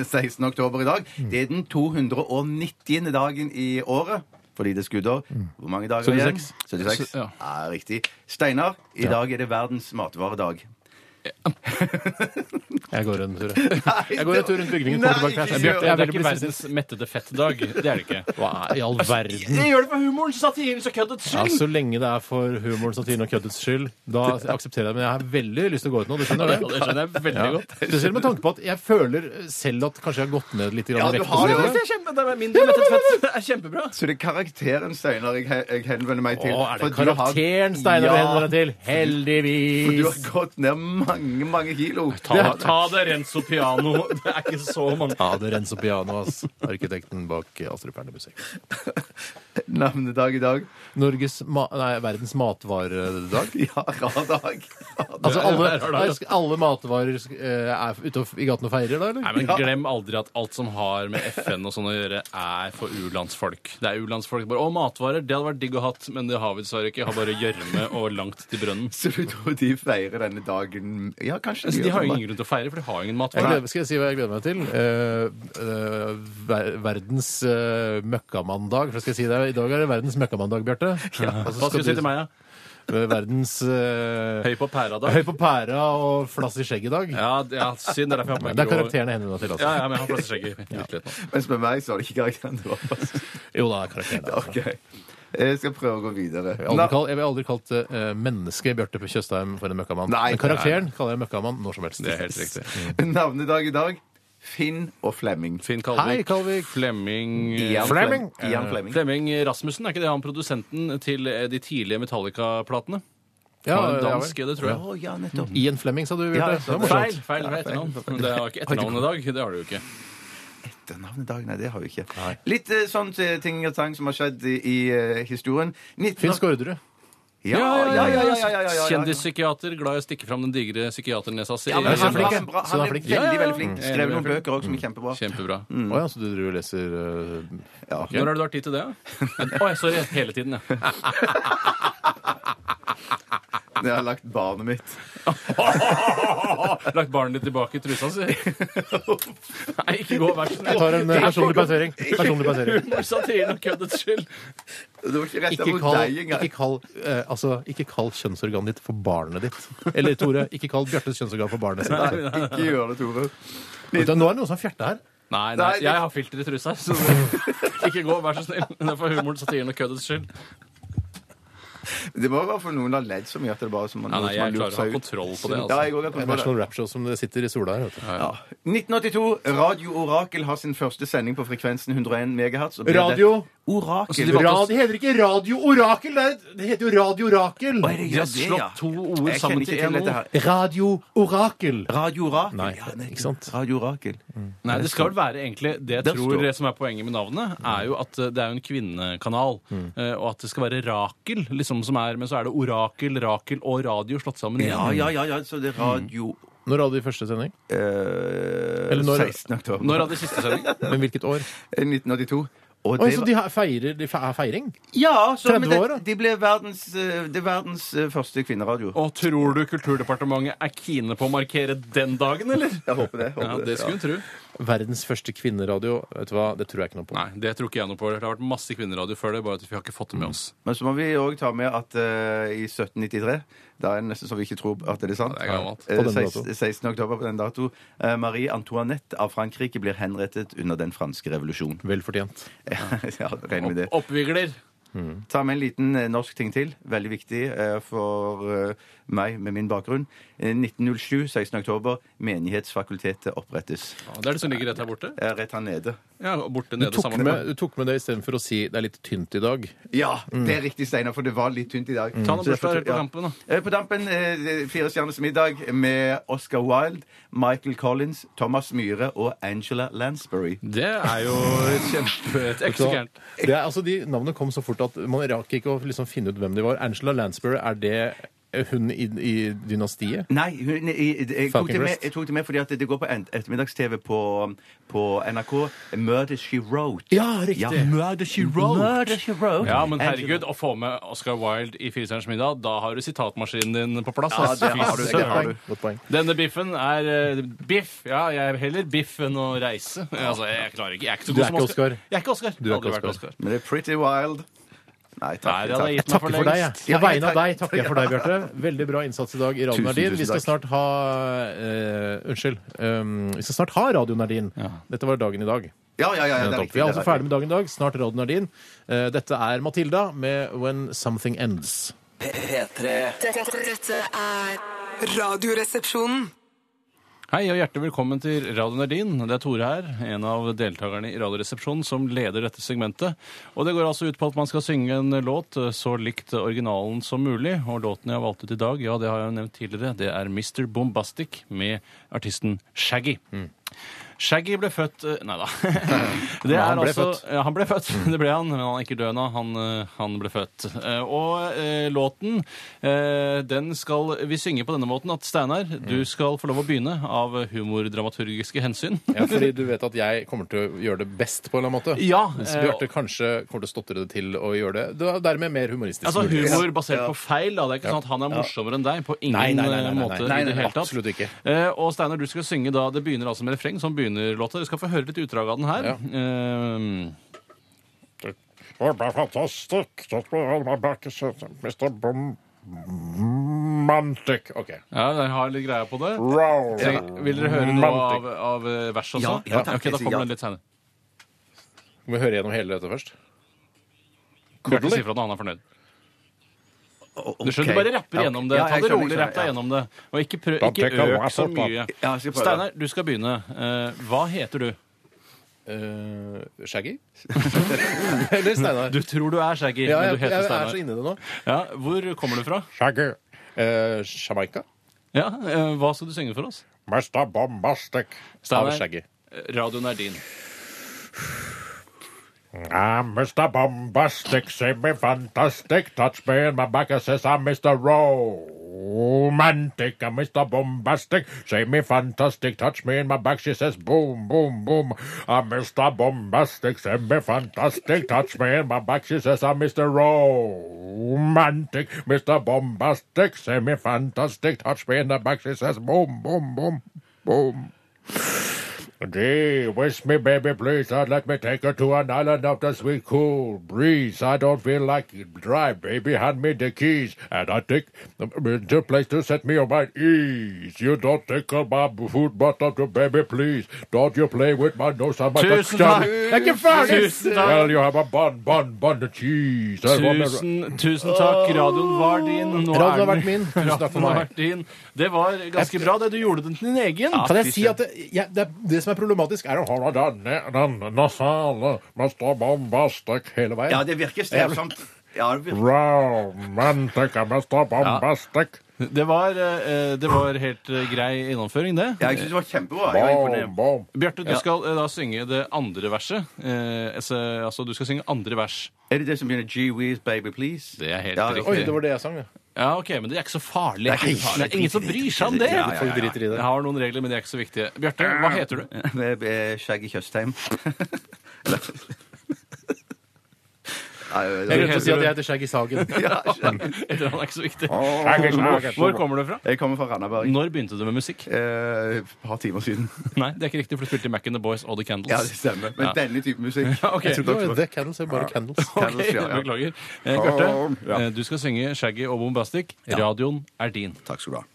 [SPEAKER 2] er 16. oktober i dag. Det er den 290. dagen i året. Fordi det er skuddår.
[SPEAKER 1] Mm.
[SPEAKER 2] Hvor mange dager
[SPEAKER 1] 76.
[SPEAKER 2] igjen? 76.
[SPEAKER 3] Ja.
[SPEAKER 2] Ja. riktig. Steinar, i dag er det verdens matvaredag.
[SPEAKER 1] Jeg går en tur. jeg. Jeg går en tur rundt bygningen.
[SPEAKER 2] Nei,
[SPEAKER 1] kommer tilbake til
[SPEAKER 2] ikke
[SPEAKER 1] her.
[SPEAKER 3] Bjarte, det
[SPEAKER 1] Jeg
[SPEAKER 3] er
[SPEAKER 1] vil
[SPEAKER 3] ikke
[SPEAKER 1] bli
[SPEAKER 3] verdens mettede fettdag. Det er det ikke. Altså,
[SPEAKER 1] Hva i all verden?
[SPEAKER 3] Jeg gjør det for humorens, satirens og køddets
[SPEAKER 1] Ja, så lenge det er for humoren, satiren og køddets skyld, da aksepterer jeg det. Men jeg har veldig lyst til å gå ut nå. Du skjønner
[SPEAKER 3] Ja,
[SPEAKER 1] det?
[SPEAKER 3] det skjønner jeg veldig
[SPEAKER 1] Ja.
[SPEAKER 3] godt.
[SPEAKER 1] Spesielt med tanke på at jeg føler selv at kanskje jeg har gått ned litt grann
[SPEAKER 2] Ja,
[SPEAKER 1] i
[SPEAKER 2] du
[SPEAKER 1] vekt.
[SPEAKER 2] har
[SPEAKER 1] og så
[SPEAKER 2] det.
[SPEAKER 1] videre.
[SPEAKER 3] Det er kjempe, det er mindre mettet fett. Det er kjempebra.
[SPEAKER 2] Så det er karakteren Steinar jeg, he- jeg henvender meg til.
[SPEAKER 1] Å, er det
[SPEAKER 2] For du har-
[SPEAKER 1] karakteren Steinar du
[SPEAKER 2] Ja,
[SPEAKER 1] henvender deg til?
[SPEAKER 2] for Du har
[SPEAKER 1] Heldigvis!
[SPEAKER 2] gått ned mange, mange kilo.
[SPEAKER 3] altså, Ta, ta det Renzo Piano. Det er ikke så mange
[SPEAKER 1] Ja, det renser piano, ass. Arkitekten bak eh, Astrup Erne-musikk.
[SPEAKER 2] Navnedag i dag.
[SPEAKER 1] Norges ma nei, verdens matvaredag.
[SPEAKER 2] Ja, rar dag.
[SPEAKER 1] Altså, alle,
[SPEAKER 3] det er rar dag.
[SPEAKER 1] alle matvarer eh, er ute og f- i gaten og feirer da, eller?
[SPEAKER 3] Nei, men Glem aldri at alt som har med FN og sånn å gjøre, er for u-landsfolk. Det er u-landsfolk bare Å, matvarer, det hadde vært digg å hatt, men det har vi dessverre ikke. Har bare gjørme og langt til brønnen.
[SPEAKER 2] Så du tror de feirer denne dagen Ja, kanskje
[SPEAKER 3] Altså, de har
[SPEAKER 2] gjør
[SPEAKER 3] jo
[SPEAKER 2] det.
[SPEAKER 3] ingen grunn til å feire, for de har jo ingen
[SPEAKER 1] Jeg
[SPEAKER 3] matvarer.
[SPEAKER 1] gleder, skal jeg si hva jeg gleder meg til? Eh, eh, ver verdens eh, møkkamandag. For skal jeg si det, I dag er det verdens møkkamandag, Bjarte. Og så
[SPEAKER 3] Hva skal du si til meg, da?
[SPEAKER 1] eh, Verdens eh,
[SPEAKER 3] Høy på pæra-dag?
[SPEAKER 1] høy på pæra og flass i skjegg i dag.
[SPEAKER 3] Ja, det- ja, synd. Det er derfor jeg har på meg
[SPEAKER 1] Det er
[SPEAKER 3] grå-
[SPEAKER 1] karakterene hennes til. Altså.
[SPEAKER 3] Ja, ja, men jeg har plass i skjegget. Litt lett nå.
[SPEAKER 2] Mens med meg så var det ikke karakteren det var.
[SPEAKER 1] Jo da, det er karakterene. Altså.
[SPEAKER 2] OK. Jeg skal prøve å gå videre.
[SPEAKER 1] Jeg, har aldri kalt, jeg vil aldri kalt eh, mennesket Bjarte Tjøstheim for en møkkamann.
[SPEAKER 2] Nei,
[SPEAKER 1] Men karakteren kaller jeg møkkamann når som helst.
[SPEAKER 3] Det er helt riktig.
[SPEAKER 2] Na- Navnedag i dag. Finn og Flemming.
[SPEAKER 3] Finn
[SPEAKER 1] Hei,
[SPEAKER 3] Kalvik.
[SPEAKER 1] Kalvik.
[SPEAKER 3] Flemming eh,
[SPEAKER 2] Ian
[SPEAKER 1] Flemming.
[SPEAKER 2] Flem- Ian Flemming.
[SPEAKER 3] Flemming Rasmussen, er ikke det han produsenten til eh, de tidlige Metallica-platene?
[SPEAKER 1] Ja,
[SPEAKER 3] Han var en
[SPEAKER 1] ja,
[SPEAKER 3] dansk,
[SPEAKER 1] vel.
[SPEAKER 3] det tror jeg. Mm.
[SPEAKER 2] Å, ja, nettopp.
[SPEAKER 1] Ian Flemming, sa du,
[SPEAKER 2] Ja,
[SPEAKER 1] Bjarte.
[SPEAKER 2] jeg
[SPEAKER 1] Det
[SPEAKER 2] sa
[SPEAKER 1] var
[SPEAKER 2] det.
[SPEAKER 1] morsomt.
[SPEAKER 3] Feil, feil det var etternavn. Det var ikke etternavn i dag. Det har du jo ikke.
[SPEAKER 2] Det navnedag, nei, det har vi ikke. Litt eh, sånn eh, ting og tang som har skjedd i, i eh, historien. 19...
[SPEAKER 1] Finn Skårderud.
[SPEAKER 2] Ja, ja, ja, ja, ja, ja, ja, ja, ja.
[SPEAKER 3] Kjendispsykiater, glad i å stikke fram den digre psykiaternesa si.
[SPEAKER 2] Ja, men
[SPEAKER 1] så
[SPEAKER 2] han,
[SPEAKER 1] flink,
[SPEAKER 2] var
[SPEAKER 1] ja.
[SPEAKER 2] en bra,
[SPEAKER 1] Så
[SPEAKER 2] han
[SPEAKER 1] han er
[SPEAKER 2] er
[SPEAKER 1] flink.
[SPEAKER 3] Ja,
[SPEAKER 2] veldig,
[SPEAKER 3] ja, ja.
[SPEAKER 2] veldig flink.
[SPEAKER 3] Mm.
[SPEAKER 2] Skrev noen bøker også som er kjempebra.
[SPEAKER 3] Kjempebra.
[SPEAKER 2] Mm.
[SPEAKER 1] Å ja, så du driver og leser eh,
[SPEAKER 2] Ja.
[SPEAKER 3] Når har du hatt tid til det? da? Å, jeg sorry. Hele tiden, ja.
[SPEAKER 2] Jeg har lagt barnet mitt.
[SPEAKER 3] Lagt barnet ditt tilbake i trusa si. Nei, ikke gå, vær så
[SPEAKER 1] Jeg
[SPEAKER 3] snill.
[SPEAKER 1] tar en eh, personlig plassering. Personlig plassering.
[SPEAKER 3] Humor, satiren og køddets skyld.
[SPEAKER 2] Det var ikke retta
[SPEAKER 1] Ikke
[SPEAKER 2] mot
[SPEAKER 1] kall,
[SPEAKER 2] deg engang.
[SPEAKER 1] ikke, kall, eh, altså, ikke kall kjønnsorganet ditt for barnet ditt. Eller Tore, ikke kall Bjartes kjønnsorgan for barnet sitt.
[SPEAKER 2] Nei, Ikke gjør det, Tore.
[SPEAKER 1] Vet du, Nå er det noen som har fjerta her.
[SPEAKER 3] Nei, nei,
[SPEAKER 2] Nei, det-
[SPEAKER 3] jeg har filter i trusa, så ikke gå, vær så snill. Det er for humoren, satiren og køddets skyld.
[SPEAKER 2] Det må være for noen har ledd så mye at det bare som man,
[SPEAKER 3] Ja, nei,
[SPEAKER 2] som man
[SPEAKER 3] jeg klarer
[SPEAKER 2] lurt
[SPEAKER 3] å ha
[SPEAKER 2] seg ut.
[SPEAKER 3] kontroll på det,
[SPEAKER 2] Ja,
[SPEAKER 3] altså.
[SPEAKER 2] jeg også
[SPEAKER 1] Det
[SPEAKER 2] har
[SPEAKER 1] er
[SPEAKER 2] kontroll på det.
[SPEAKER 1] National Rap Show som det sitter i sola her. Vet du.
[SPEAKER 2] Ja. 1982. Radio Orakel har sin første sending på frekvensen 101 MHz. og ble
[SPEAKER 1] Radio.
[SPEAKER 2] det- Orakel.
[SPEAKER 3] de valgte
[SPEAKER 1] Ra- det heter ikke Radio Orakel, det, er, det heter jo Radio Orakel.
[SPEAKER 2] Å, er
[SPEAKER 3] De
[SPEAKER 2] det- ja,
[SPEAKER 3] har
[SPEAKER 2] det, ja.
[SPEAKER 3] slått to ord
[SPEAKER 2] Jeg kjenner
[SPEAKER 3] sammen
[SPEAKER 2] ikke
[SPEAKER 3] til
[SPEAKER 2] til
[SPEAKER 3] én
[SPEAKER 2] dette
[SPEAKER 3] ord.
[SPEAKER 2] her.
[SPEAKER 1] Radio Orakel.
[SPEAKER 2] Radio Orakel.
[SPEAKER 1] Nei,
[SPEAKER 2] Ja, nettopp.
[SPEAKER 1] ikke sant? Mm.
[SPEAKER 2] Radio Orakel.
[SPEAKER 3] Nei, det skal vel være egentlig Det jeg
[SPEAKER 2] Der
[SPEAKER 3] tror
[SPEAKER 2] står-
[SPEAKER 3] det som er poenget med navnet, er jo at eh, det er jo en kvinnekanal.
[SPEAKER 1] Mm.
[SPEAKER 3] eh, Og at det skal være Rakel, liksom som er Men så er det Orakel, Rakel og radio slått sammen. i
[SPEAKER 2] Ja,
[SPEAKER 3] en.
[SPEAKER 2] ja, ja, ja, så det er radio
[SPEAKER 1] Når hadde de første sending?
[SPEAKER 2] eh,
[SPEAKER 1] Eller når-
[SPEAKER 2] 16. oktober.
[SPEAKER 3] Når hadde de siste sending?
[SPEAKER 1] Men hvilket år?
[SPEAKER 2] 1982. Og
[SPEAKER 1] Oi,
[SPEAKER 2] det
[SPEAKER 1] så
[SPEAKER 2] var-
[SPEAKER 1] de har- feirer de fe- er feiring?
[SPEAKER 2] ja, så,
[SPEAKER 1] 30
[SPEAKER 2] men
[SPEAKER 1] år, da.
[SPEAKER 2] det, de ble verdens, eh, det er verdens eh, første kvinneradio.
[SPEAKER 3] Og tror du Kulturdepartementet er kine på å markere den dagen, eller?
[SPEAKER 2] Jeg håper det.
[SPEAKER 3] Ja,
[SPEAKER 2] Håper
[SPEAKER 3] Det skulle hun tro.
[SPEAKER 1] Verdens første kvinneradio. Vet du hva, det tror jeg ikke noe på.
[SPEAKER 3] Nei, det tror ikke jeg noe på. Det har vært masse kvinneradio før det, bare at vi har ikke fått det
[SPEAKER 2] Mm.
[SPEAKER 3] med oss.
[SPEAKER 2] Men så må vi òg ta med at eh, i 1793 Det er nesten så vi ikke tror at det er sant.
[SPEAKER 3] Ja, det er gammelt.
[SPEAKER 2] Eh,
[SPEAKER 1] På denne
[SPEAKER 2] 16,
[SPEAKER 1] dato.
[SPEAKER 2] 16. oktober på den dato. eh, Marie Antoinette av Frankrike blir henrettet under den franske revolusjon.
[SPEAKER 1] Vel fortjent.
[SPEAKER 2] ja, regner med det.
[SPEAKER 3] Oppvigler.
[SPEAKER 2] Ta med en liten eh, norsk ting til. Veldig viktig eh, for eh, meg med min bakgrunn. Eh, 1907, 16. oktober, Menighetsfakultetet opprettes.
[SPEAKER 3] Ja, det er det som ligger rett her borte.
[SPEAKER 2] Eh, Rett her nede.
[SPEAKER 3] Ja, og borte
[SPEAKER 1] Du
[SPEAKER 3] nede
[SPEAKER 1] tok
[SPEAKER 3] sammen
[SPEAKER 1] med,
[SPEAKER 3] med
[SPEAKER 1] du tok med det istedenfor å si det er litt tynt i dag.
[SPEAKER 2] Ja, det er riktig, Steinar, for det var litt tynt i dag.
[SPEAKER 3] Ta noen
[SPEAKER 2] Så jeg
[SPEAKER 3] bursdager på
[SPEAKER 2] fortell- ja.
[SPEAKER 3] kampen, da.
[SPEAKER 2] Eh, På dampen, eh, Fire stjerners middag med Oscar Wilde, Michael Collins, Thomas Myhre og Angela Lansbury.
[SPEAKER 3] Det er jo kjempe... Det er ikke
[SPEAKER 1] Så,
[SPEAKER 3] så gærent.
[SPEAKER 1] det er, altså, de Navnene kom så fort at man rakk ikke å liksom finne ut hvem de var. Angela Lansbury, er det eh, hun i, i dynastiet?
[SPEAKER 2] Nei, hun, jeg, jeg, tok
[SPEAKER 1] Falcon
[SPEAKER 2] det med,
[SPEAKER 1] Crest.
[SPEAKER 2] jeg tok det med fordi at det går på en- ettermiddags-TV på, på NRK. Murder She Wrote.
[SPEAKER 1] Ja, riktig.
[SPEAKER 2] Murder She Wrote. Murder She Wrote.
[SPEAKER 3] Ja, men
[SPEAKER 2] Angela-
[SPEAKER 3] herregud, å få med Oscar Wilde i Firestjerners middag, da har du sitatmaskinen din på plass.
[SPEAKER 2] Ja,
[SPEAKER 3] ass.
[SPEAKER 2] det har
[SPEAKER 3] Fy
[SPEAKER 2] du, det
[SPEAKER 3] søren.
[SPEAKER 2] har du.
[SPEAKER 1] Godt poeng.
[SPEAKER 3] Denne biffen er eh, biff. Ja, jeg er heller biff enn å reise. Altså, jeg klarer ikke. Jeg er ikke så
[SPEAKER 1] Du
[SPEAKER 3] god
[SPEAKER 1] er
[SPEAKER 3] som
[SPEAKER 1] ikke
[SPEAKER 3] Oscar.
[SPEAKER 1] Oscar.
[SPEAKER 3] Jeg er ikke Oscar.
[SPEAKER 1] Du er
[SPEAKER 3] Aldri
[SPEAKER 1] ikke
[SPEAKER 3] vært
[SPEAKER 1] Oscar.
[SPEAKER 3] Oscar.
[SPEAKER 2] Men det er Pretty Wild. Nei,
[SPEAKER 3] Nei,
[SPEAKER 2] takk.
[SPEAKER 3] det hadde jeg
[SPEAKER 2] takk.
[SPEAKER 1] Jeg takker
[SPEAKER 3] gitt meg for
[SPEAKER 1] for deg. jeg.
[SPEAKER 3] lengst.
[SPEAKER 2] Ja,
[SPEAKER 1] På
[SPEAKER 2] jeg
[SPEAKER 1] vegne av
[SPEAKER 2] takker-
[SPEAKER 1] deg takker jeg for deg, Bjarte. Veldig bra innsats i dag i Radio
[SPEAKER 2] Tusen,
[SPEAKER 1] Nardin.
[SPEAKER 2] tusen
[SPEAKER 1] Vi skal
[SPEAKER 2] takk.
[SPEAKER 1] snart ha eh, Unnskyld. Um, vi skal snart ha Radio Nardin. Dette var dagen i dag.
[SPEAKER 2] Ja, ja, ja, ja, det er
[SPEAKER 1] Nettopp.
[SPEAKER 2] riktig.
[SPEAKER 1] Vi er altså ferdig med dagen i dag. Snart Radio Nardin. Eh, dette er Matilda med When Something Ends.
[SPEAKER 5] P3.
[SPEAKER 6] Dette, dette er Radioresepsjonen.
[SPEAKER 3] Hei og hjertelig velkommen til Radio Nardin. Det er Tore her, en av deltakerne i Radioresepsjonen som leder dette segmentet. Og det går altså ut på at man skal synge en låt eh, så likt originalen som mulig. Og låten jeg har valgt ut i dag, ja, det har jeg jo nevnt tidligere, det er Mr. Bombastic med artisten Shaggy.
[SPEAKER 1] Mm.
[SPEAKER 3] Shaggy ble født eh, Nei da. Det
[SPEAKER 1] Ja,
[SPEAKER 3] er
[SPEAKER 1] han ble
[SPEAKER 3] altså,
[SPEAKER 1] født.
[SPEAKER 3] ja, han ble født. Det ble han, men han er ikke død nå. Han, eh, han ble født. Eh, Og eh, låten, eh, den skal vi synge på denne måten at Steinar, du
[SPEAKER 1] Mm.
[SPEAKER 3] skal få lov å begynne av humordramaturgiske hensyn.
[SPEAKER 1] Ja, fordi du vet at jeg kommer til å gjøre det best på en eller annen måte.
[SPEAKER 3] Ja,
[SPEAKER 1] Mens
[SPEAKER 3] eh,
[SPEAKER 1] Bjarte kanskje kommer til å stotre det til å gjøre det. det er dermed mer humoristisk.
[SPEAKER 3] Altså
[SPEAKER 1] mulig.
[SPEAKER 3] humor basert på feil, da. Det er ikke sånn at han er morsommere enn deg på ingen
[SPEAKER 1] Nei, nei, nei, nei,
[SPEAKER 3] eh,
[SPEAKER 1] nei,
[SPEAKER 3] måte
[SPEAKER 1] nei, nei,
[SPEAKER 3] i det hele tatt.
[SPEAKER 1] absolutt ikke.
[SPEAKER 3] Eh, og Steinar, du skal synge da Det begynner altså med refreng, som begynner låta. Dere skal få høre litt utdrag av den her. Eh,
[SPEAKER 4] Det ble fantastisk. Det ble eh, back Mr. Bomantic. OK.
[SPEAKER 3] ja, jeg har litt greia på det.
[SPEAKER 4] Wow.
[SPEAKER 3] Tre- Vil dere høre noe av, av eh, vers også?
[SPEAKER 2] Ja, ja, takk.
[SPEAKER 3] Ok, da kommer den litt senere.
[SPEAKER 1] Må vi høre gjennom hele dette først?
[SPEAKER 3] Bjarte sier fra når han er fornøyd. Du skjønner, du bare rapper gjennom det.
[SPEAKER 2] Ja,
[SPEAKER 3] Ta
[SPEAKER 2] jeg
[SPEAKER 3] det
[SPEAKER 2] skjønner,
[SPEAKER 3] rolig,
[SPEAKER 2] jeg
[SPEAKER 3] rapp deg
[SPEAKER 2] skjønner,
[SPEAKER 3] gjennom det. Og ikke, prøv,
[SPEAKER 4] Da
[SPEAKER 3] ikke
[SPEAKER 4] tenker jeg
[SPEAKER 3] øk så
[SPEAKER 4] meg på,
[SPEAKER 3] mye.
[SPEAKER 2] Ja, jeg skal prøve.
[SPEAKER 3] Steinar, du skal begynne. Eh, hva heter du?
[SPEAKER 1] Eh, Shaggy? Eller Steinar?
[SPEAKER 3] Du tror du er
[SPEAKER 1] Ja,
[SPEAKER 3] Shaggy,
[SPEAKER 1] jeg,
[SPEAKER 3] men du
[SPEAKER 1] jeg
[SPEAKER 3] heter
[SPEAKER 1] er så
[SPEAKER 3] Steinar.
[SPEAKER 1] inne i det nå.
[SPEAKER 3] Ja, hvor kommer du fra?
[SPEAKER 4] Shaggy.
[SPEAKER 1] Eh, Jamaica?
[SPEAKER 3] Ja, eh, Hva skal du synge for oss?
[SPEAKER 4] Mr. Bombastic.
[SPEAKER 1] Av Shaggy.
[SPEAKER 3] eh, radioen er din.
[SPEAKER 4] I'm Mr. Bombastic, see me fantastic, touch me in my back and says I'm Mr. Romantic. I'm Mr. Bombastic, see me fantastic, touch me in my back, she says boom, boom, boom. I'm Mr. Bombastic, see me fantastic, touch me in my back, she says I'm Mr. Romantic. Mr. Bombastic, see me fantastic, touch me in the back, she says boom, boom, boom, boom. Gee, wish me, baby, please. I'd let me take her to an island of the sweet cool breeze. I don't feel like it drive, baby. Hand me the keys, and I take um, the place to set me on my ease. You don't take all my food, but up to baby, please. Don't you play with my nose and my
[SPEAKER 3] Tusen
[SPEAKER 4] stomach.
[SPEAKER 3] takk.
[SPEAKER 4] Thank you, Fergus.
[SPEAKER 3] Tusen takk.
[SPEAKER 4] Well, you have a bun, bun, bun of cheese. I want a-
[SPEAKER 3] Tusen, tusen takk. Radioen var din. Nå
[SPEAKER 1] Radioen
[SPEAKER 3] er
[SPEAKER 1] har
[SPEAKER 3] den-
[SPEAKER 1] vært min. Tusen takk for
[SPEAKER 3] Radioen har
[SPEAKER 1] meg.
[SPEAKER 3] vært din. Det var ganske bra, det. Du gjorde den til din egen.
[SPEAKER 1] Kan jeg si at det, jeg, det, er- det som er problematisk, er å ha
[SPEAKER 4] Har jeg den- den nasale, Mr. Bombastic, hele veien?
[SPEAKER 2] Ja, det virker strevsomt. Ja, det virker.
[SPEAKER 4] Romantic, Mr. Bombastic.
[SPEAKER 3] Det var, eh, det var helt eh, grei gjennomføring, det.
[SPEAKER 2] Ja, jeg syns det var kjempebra. Jeg var
[SPEAKER 4] Boom,
[SPEAKER 2] imponert.
[SPEAKER 4] boom.
[SPEAKER 3] Bjarte, du skal eh, da synge det andre verset. Eh, altså, altså, du skal synge andre vers.
[SPEAKER 2] Er det det som begynner Gee Wees, baby, please?
[SPEAKER 3] Det er helt
[SPEAKER 2] Ja,
[SPEAKER 3] riktig.
[SPEAKER 1] Oi, det var det jeg sang, ja.
[SPEAKER 3] Ja, ok, Men det er ikke så farlig.
[SPEAKER 2] Det er ikke så farlig.
[SPEAKER 3] Det er ingen som bryr seg om det.
[SPEAKER 2] Ja, ja, ja, ja.
[SPEAKER 1] Folk driter i det.
[SPEAKER 3] Jeg har noen regler, men de er ikke så viktige. Bjarte, hva heter du?
[SPEAKER 2] Med eh, Shaggy Tjøstheim.
[SPEAKER 1] Jeg
[SPEAKER 2] Eller-
[SPEAKER 1] glemte å si at jeg heter Shaggy Sagen.
[SPEAKER 2] Ja, Shaggy.
[SPEAKER 3] Eller han er ikke så viktig.
[SPEAKER 4] Shaggy, shaggy,
[SPEAKER 3] Hvor kommer du fra?
[SPEAKER 2] Jeg kommer fra Randaberg.
[SPEAKER 3] Når begynte du med musikk?
[SPEAKER 2] Eh, Et par timer siden.
[SPEAKER 3] Nei, det er ikke riktig, for du spilte i Mac and the Boys og The
[SPEAKER 2] Ja,
[SPEAKER 3] Candles.
[SPEAKER 2] det stemmer. Men
[SPEAKER 3] Ja.
[SPEAKER 2] denne type musikk
[SPEAKER 3] ok.
[SPEAKER 2] Jeg
[SPEAKER 1] Det
[SPEAKER 2] tror
[SPEAKER 1] var jo
[SPEAKER 2] det var-
[SPEAKER 1] The Candles, det var bare Candles.
[SPEAKER 2] Candles, ja, ja.
[SPEAKER 3] Beklager. Eh, Bjarte, eh, du skal synge Shaggy og Bombastic. Radioen er din.
[SPEAKER 2] Takk skal du ha.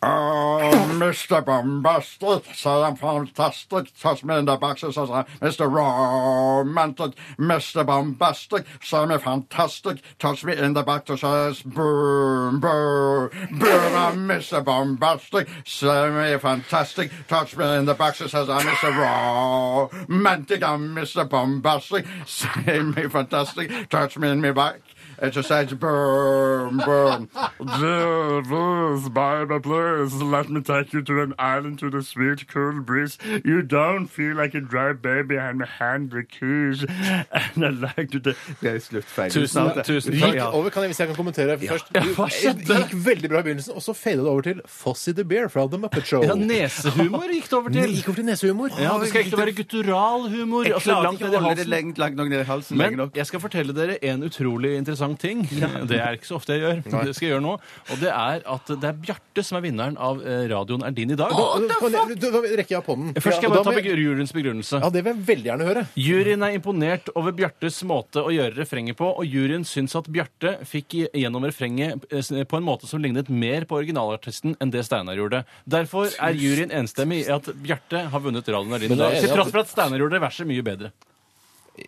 [SPEAKER 2] Ah,
[SPEAKER 4] Oh, Mr. Bombastic, so I'm fantastic. Touch me in the box, says I'm Mr. Romantic. Mr. Bombastic, so I'm fantastic. Touch me in the box, says boom, boom, boom. I'm Mr. Bombastic, so I'm fantastic. Touch me in the box, says I'm Mr. Romantic. I'm Mr. Bombastic, so I'm fantastic. Touch me in my back. It's just says boom, boom. Dear Liz, Bible, please, let me take you to an island to the sweet, cool breeze. You don't feel like a dry baby and hand the keys. And I like to...
[SPEAKER 2] Det er sluttfeil.
[SPEAKER 3] Tusen, tusen
[SPEAKER 1] Det
[SPEAKER 3] takk.
[SPEAKER 1] gikk over, kan jeg, hvis jeg kan kommentere først.
[SPEAKER 3] Ja, hva skjedde?
[SPEAKER 1] Det gikk veldig bra i begynnelsen, og så fadet det over til Fossy the Bear fra The Muppet Show.
[SPEAKER 3] Ja, nesehumor gikk det over
[SPEAKER 1] Det
[SPEAKER 3] til.
[SPEAKER 1] gikk over til nesehumor.
[SPEAKER 3] Ja, det skal egentlig være guttural humor.
[SPEAKER 2] Jeg
[SPEAKER 3] Altså
[SPEAKER 2] klarer
[SPEAKER 3] langt
[SPEAKER 2] ikke
[SPEAKER 3] ned
[SPEAKER 2] å
[SPEAKER 3] i
[SPEAKER 2] holde det
[SPEAKER 3] halsen.
[SPEAKER 2] lengt, langt nok ned i halsen lenge
[SPEAKER 3] Men
[SPEAKER 2] nok.
[SPEAKER 3] jeg skal fortelle dere en utrolig interessant ting. Det er ikke så ofte jeg gjør. Det skal jeg gjøre nå. Og det er at det er Bjarte som er vinneren av eh, Radioen er din i dag. eh,
[SPEAKER 1] Kan jeg- Da rekker jeg opp hånden.
[SPEAKER 3] Først
[SPEAKER 1] Ja,
[SPEAKER 3] skal jeg
[SPEAKER 1] og da
[SPEAKER 3] bare ta
[SPEAKER 1] må jeg-
[SPEAKER 3] begru- juryens begrunnelse.
[SPEAKER 1] Ja, det vil jeg veldig gjerne høre.
[SPEAKER 3] Juryen er imponert over Bjartes måte å gjøre refrenget på, og juryen syns at Bjarte fikk i- gjennom refrenget eh, s- på en måte som lignet mer på originalartisten enn det Steinar gjorde. Derfor er juryen enstemmig i at Bjarte har vunnet Radioen er din i
[SPEAKER 1] Men jeg er
[SPEAKER 3] dag, til
[SPEAKER 1] enig at-
[SPEAKER 3] tross for at Steinar gjorde verset mye bedre.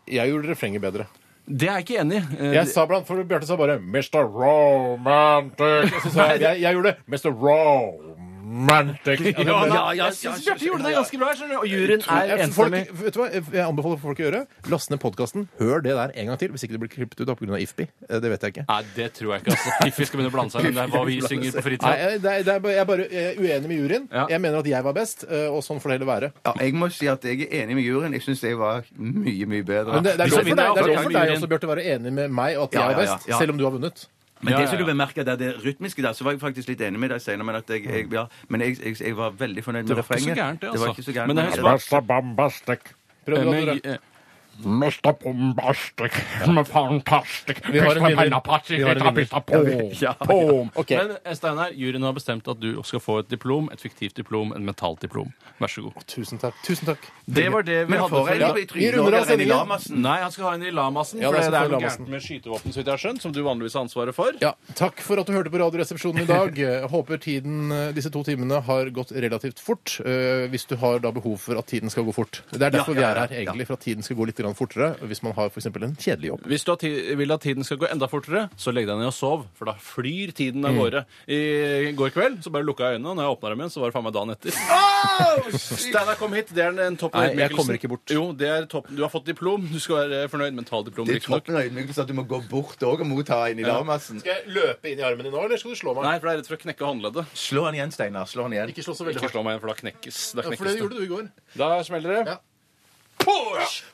[SPEAKER 1] Jeg gjorde refrenget bedre.
[SPEAKER 3] Det er jeg ikke enig i. Eh,
[SPEAKER 1] Jeg sa blant, for Bjarte sa bare 'Mr. Romantic'. Og så sa jeg, jeg jeg gjorde 'Mr. Romantic'. Ja,
[SPEAKER 3] Ja,
[SPEAKER 1] men-
[SPEAKER 3] da, jeg syns Bjarte gjorde det ganske bra, skjønner du. Og juryen er
[SPEAKER 1] Jeg- Folk,
[SPEAKER 3] enstemmig.
[SPEAKER 1] vet du hva? Jeg anbefaler folk å gjøre Last ned podkasten. Hør det der en gang til, hvis ikke det blir klippet ut da, på grunn av IFBI. Eh, Det vet jeg ikke.
[SPEAKER 3] Nei, det tror jeg ikke. altså. If vi skal begynne å blande seg inn i hva vi synger på
[SPEAKER 1] Nei,
[SPEAKER 3] fritida.
[SPEAKER 1] jeg, det er, det er, bare- jeg er bare jeg er uenig med juryen.
[SPEAKER 3] Ja.
[SPEAKER 1] Jeg mener at jeg var best, eh, og sånn får det heller være.
[SPEAKER 2] Ja, jeg må si at jeg er enig med juryen. Jeg syns jeg var mye, mye bedre.
[SPEAKER 1] Men det, det er
[SPEAKER 3] Hvis
[SPEAKER 1] lov
[SPEAKER 3] jeg
[SPEAKER 1] for deg,
[SPEAKER 3] vinner,
[SPEAKER 1] det er lov
[SPEAKER 3] jeg
[SPEAKER 1] for
[SPEAKER 3] avslører
[SPEAKER 1] deg
[SPEAKER 3] juryen.
[SPEAKER 1] også, Bjarte, å være enig med meg og at jeg
[SPEAKER 2] Ja,
[SPEAKER 1] er
[SPEAKER 2] ja, ja,
[SPEAKER 1] best,
[SPEAKER 2] ja.
[SPEAKER 1] selv om du har vunnet.
[SPEAKER 2] Men
[SPEAKER 3] Ja,
[SPEAKER 2] det
[SPEAKER 3] ja,
[SPEAKER 2] som
[SPEAKER 3] ja.
[SPEAKER 2] du bemerker der, det rytmiske der, så var jeg faktisk litt enig med deg senere, men, at jeg, jeg, ja, men jeg, jeg, jeg var veldig fornøyd med
[SPEAKER 3] Det var ikke så
[SPEAKER 2] refrenget.
[SPEAKER 3] gærent, det,
[SPEAKER 2] Det var
[SPEAKER 3] altså.
[SPEAKER 2] ikke så gærent.
[SPEAKER 3] Men det er
[SPEAKER 2] men-
[SPEAKER 3] jo svart.
[SPEAKER 1] Prøv du, André.
[SPEAKER 3] Med- eh,
[SPEAKER 4] Mr. Bombastic, Mr. Fantastic,
[SPEAKER 1] Vi har en
[SPEAKER 4] Mr.
[SPEAKER 1] vinner.
[SPEAKER 4] Penapastic,
[SPEAKER 1] Vi har en
[SPEAKER 4] Mr.
[SPEAKER 1] vinner.
[SPEAKER 4] Pista Pom. Pom.
[SPEAKER 1] Ok.
[SPEAKER 3] Men eh, Steinar, juryen har bestemt at du skal få et diplom, et fiktivt diplom, en mentalt diplom. Vær så god.
[SPEAKER 1] Tusen takk. Tusen takk.
[SPEAKER 3] Det var det vi
[SPEAKER 2] Men
[SPEAKER 3] hadde
[SPEAKER 2] får
[SPEAKER 3] for i
[SPEAKER 2] jeg
[SPEAKER 3] dag.
[SPEAKER 2] noe i
[SPEAKER 1] Vi runder av
[SPEAKER 2] trynet enn i
[SPEAKER 1] sendingen.
[SPEAKER 2] Lamassen?
[SPEAKER 3] Nei, han skal ha en i Lamassen,
[SPEAKER 1] Ja, det
[SPEAKER 3] for det
[SPEAKER 1] er
[SPEAKER 3] er noe
[SPEAKER 1] Lamassen.
[SPEAKER 3] gærent med skytevåpen, så vidt jeg har skjønt, som du vanligvis har ansvaret for.
[SPEAKER 1] Ja, takk for at du hørte på Radioresepsjonen i dag. Jeg Håper tiden, eh, disse to timene har gått relativt fort. eh, Hvis du har da behov for at tiden skal gå fort. Det er derfor vi
[SPEAKER 2] ja, ja,
[SPEAKER 1] er her, egentlig. For at tiden skal gå litt grann fortere hvis man har f.eks. en kjedelig jobb.
[SPEAKER 3] Hvis du har ti- vil at tiden skal gå enda fortere, så legg deg ned og sov, for da flyr tiden
[SPEAKER 1] Mm.
[SPEAKER 3] av gårde. I går kveld så bare lukka jeg øynene, og når jeg åpna dem igjen, så var det faen meg dagen etter. Steinar, kom hit. Det er en- en topp
[SPEAKER 1] Nei, jeg kommer ikke bort.
[SPEAKER 3] Jo, det er toppen. Du har fått diplom. Du skal være fornøyd. Mentaldiplom,
[SPEAKER 2] Det er
[SPEAKER 3] riktignok.
[SPEAKER 2] toppen av ydmykelsen at du må gå bort og motta en i Lamassen.
[SPEAKER 1] Skal jeg løpe inn i armen din nå, eller skal du slå
[SPEAKER 3] Nei, for jeg er redd for å knekke håndleddet.
[SPEAKER 2] Slå han igjen, Steinar. Slå han igjen.
[SPEAKER 1] Ikke slå så veldig
[SPEAKER 3] Ikke
[SPEAKER 1] hardt.
[SPEAKER 3] slå meg igjen, for da knekkes.
[SPEAKER 1] Ja,
[SPEAKER 3] Da
[SPEAKER 1] For det
[SPEAKER 3] knekkes det.
[SPEAKER 1] gjorde du i går.
[SPEAKER 3] Da smeller det.
[SPEAKER 1] Ja.
[SPEAKER 3] Push!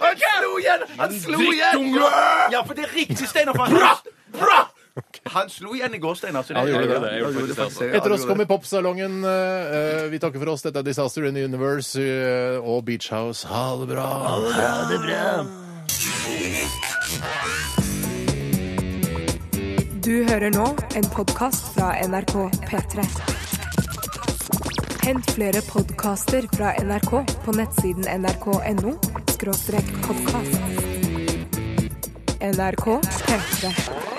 [SPEAKER 2] Han slo igjen! Han slo igjen!
[SPEAKER 3] Drittunge!
[SPEAKER 2] Ja, for det er riktig, Steinar. for han- Han slo igjen i går, Steinar. så det-
[SPEAKER 3] Ja, han gjorde det.
[SPEAKER 2] Ja,
[SPEAKER 3] Jeg gjorde faktisk det, altså.
[SPEAKER 2] Ja, han
[SPEAKER 1] Etter oss
[SPEAKER 2] gjorde
[SPEAKER 1] kommer
[SPEAKER 2] det.
[SPEAKER 1] Popsalongen. eh, eh, Vi takker for oss. Dette er Disaster in the Universe eh, og Beach House. Ha det bra.
[SPEAKER 8] Du hører nå en podkast fra NRK P3. Hent flere podkaster fra NRK på nettsiden nrk.no podkast. NRK P3.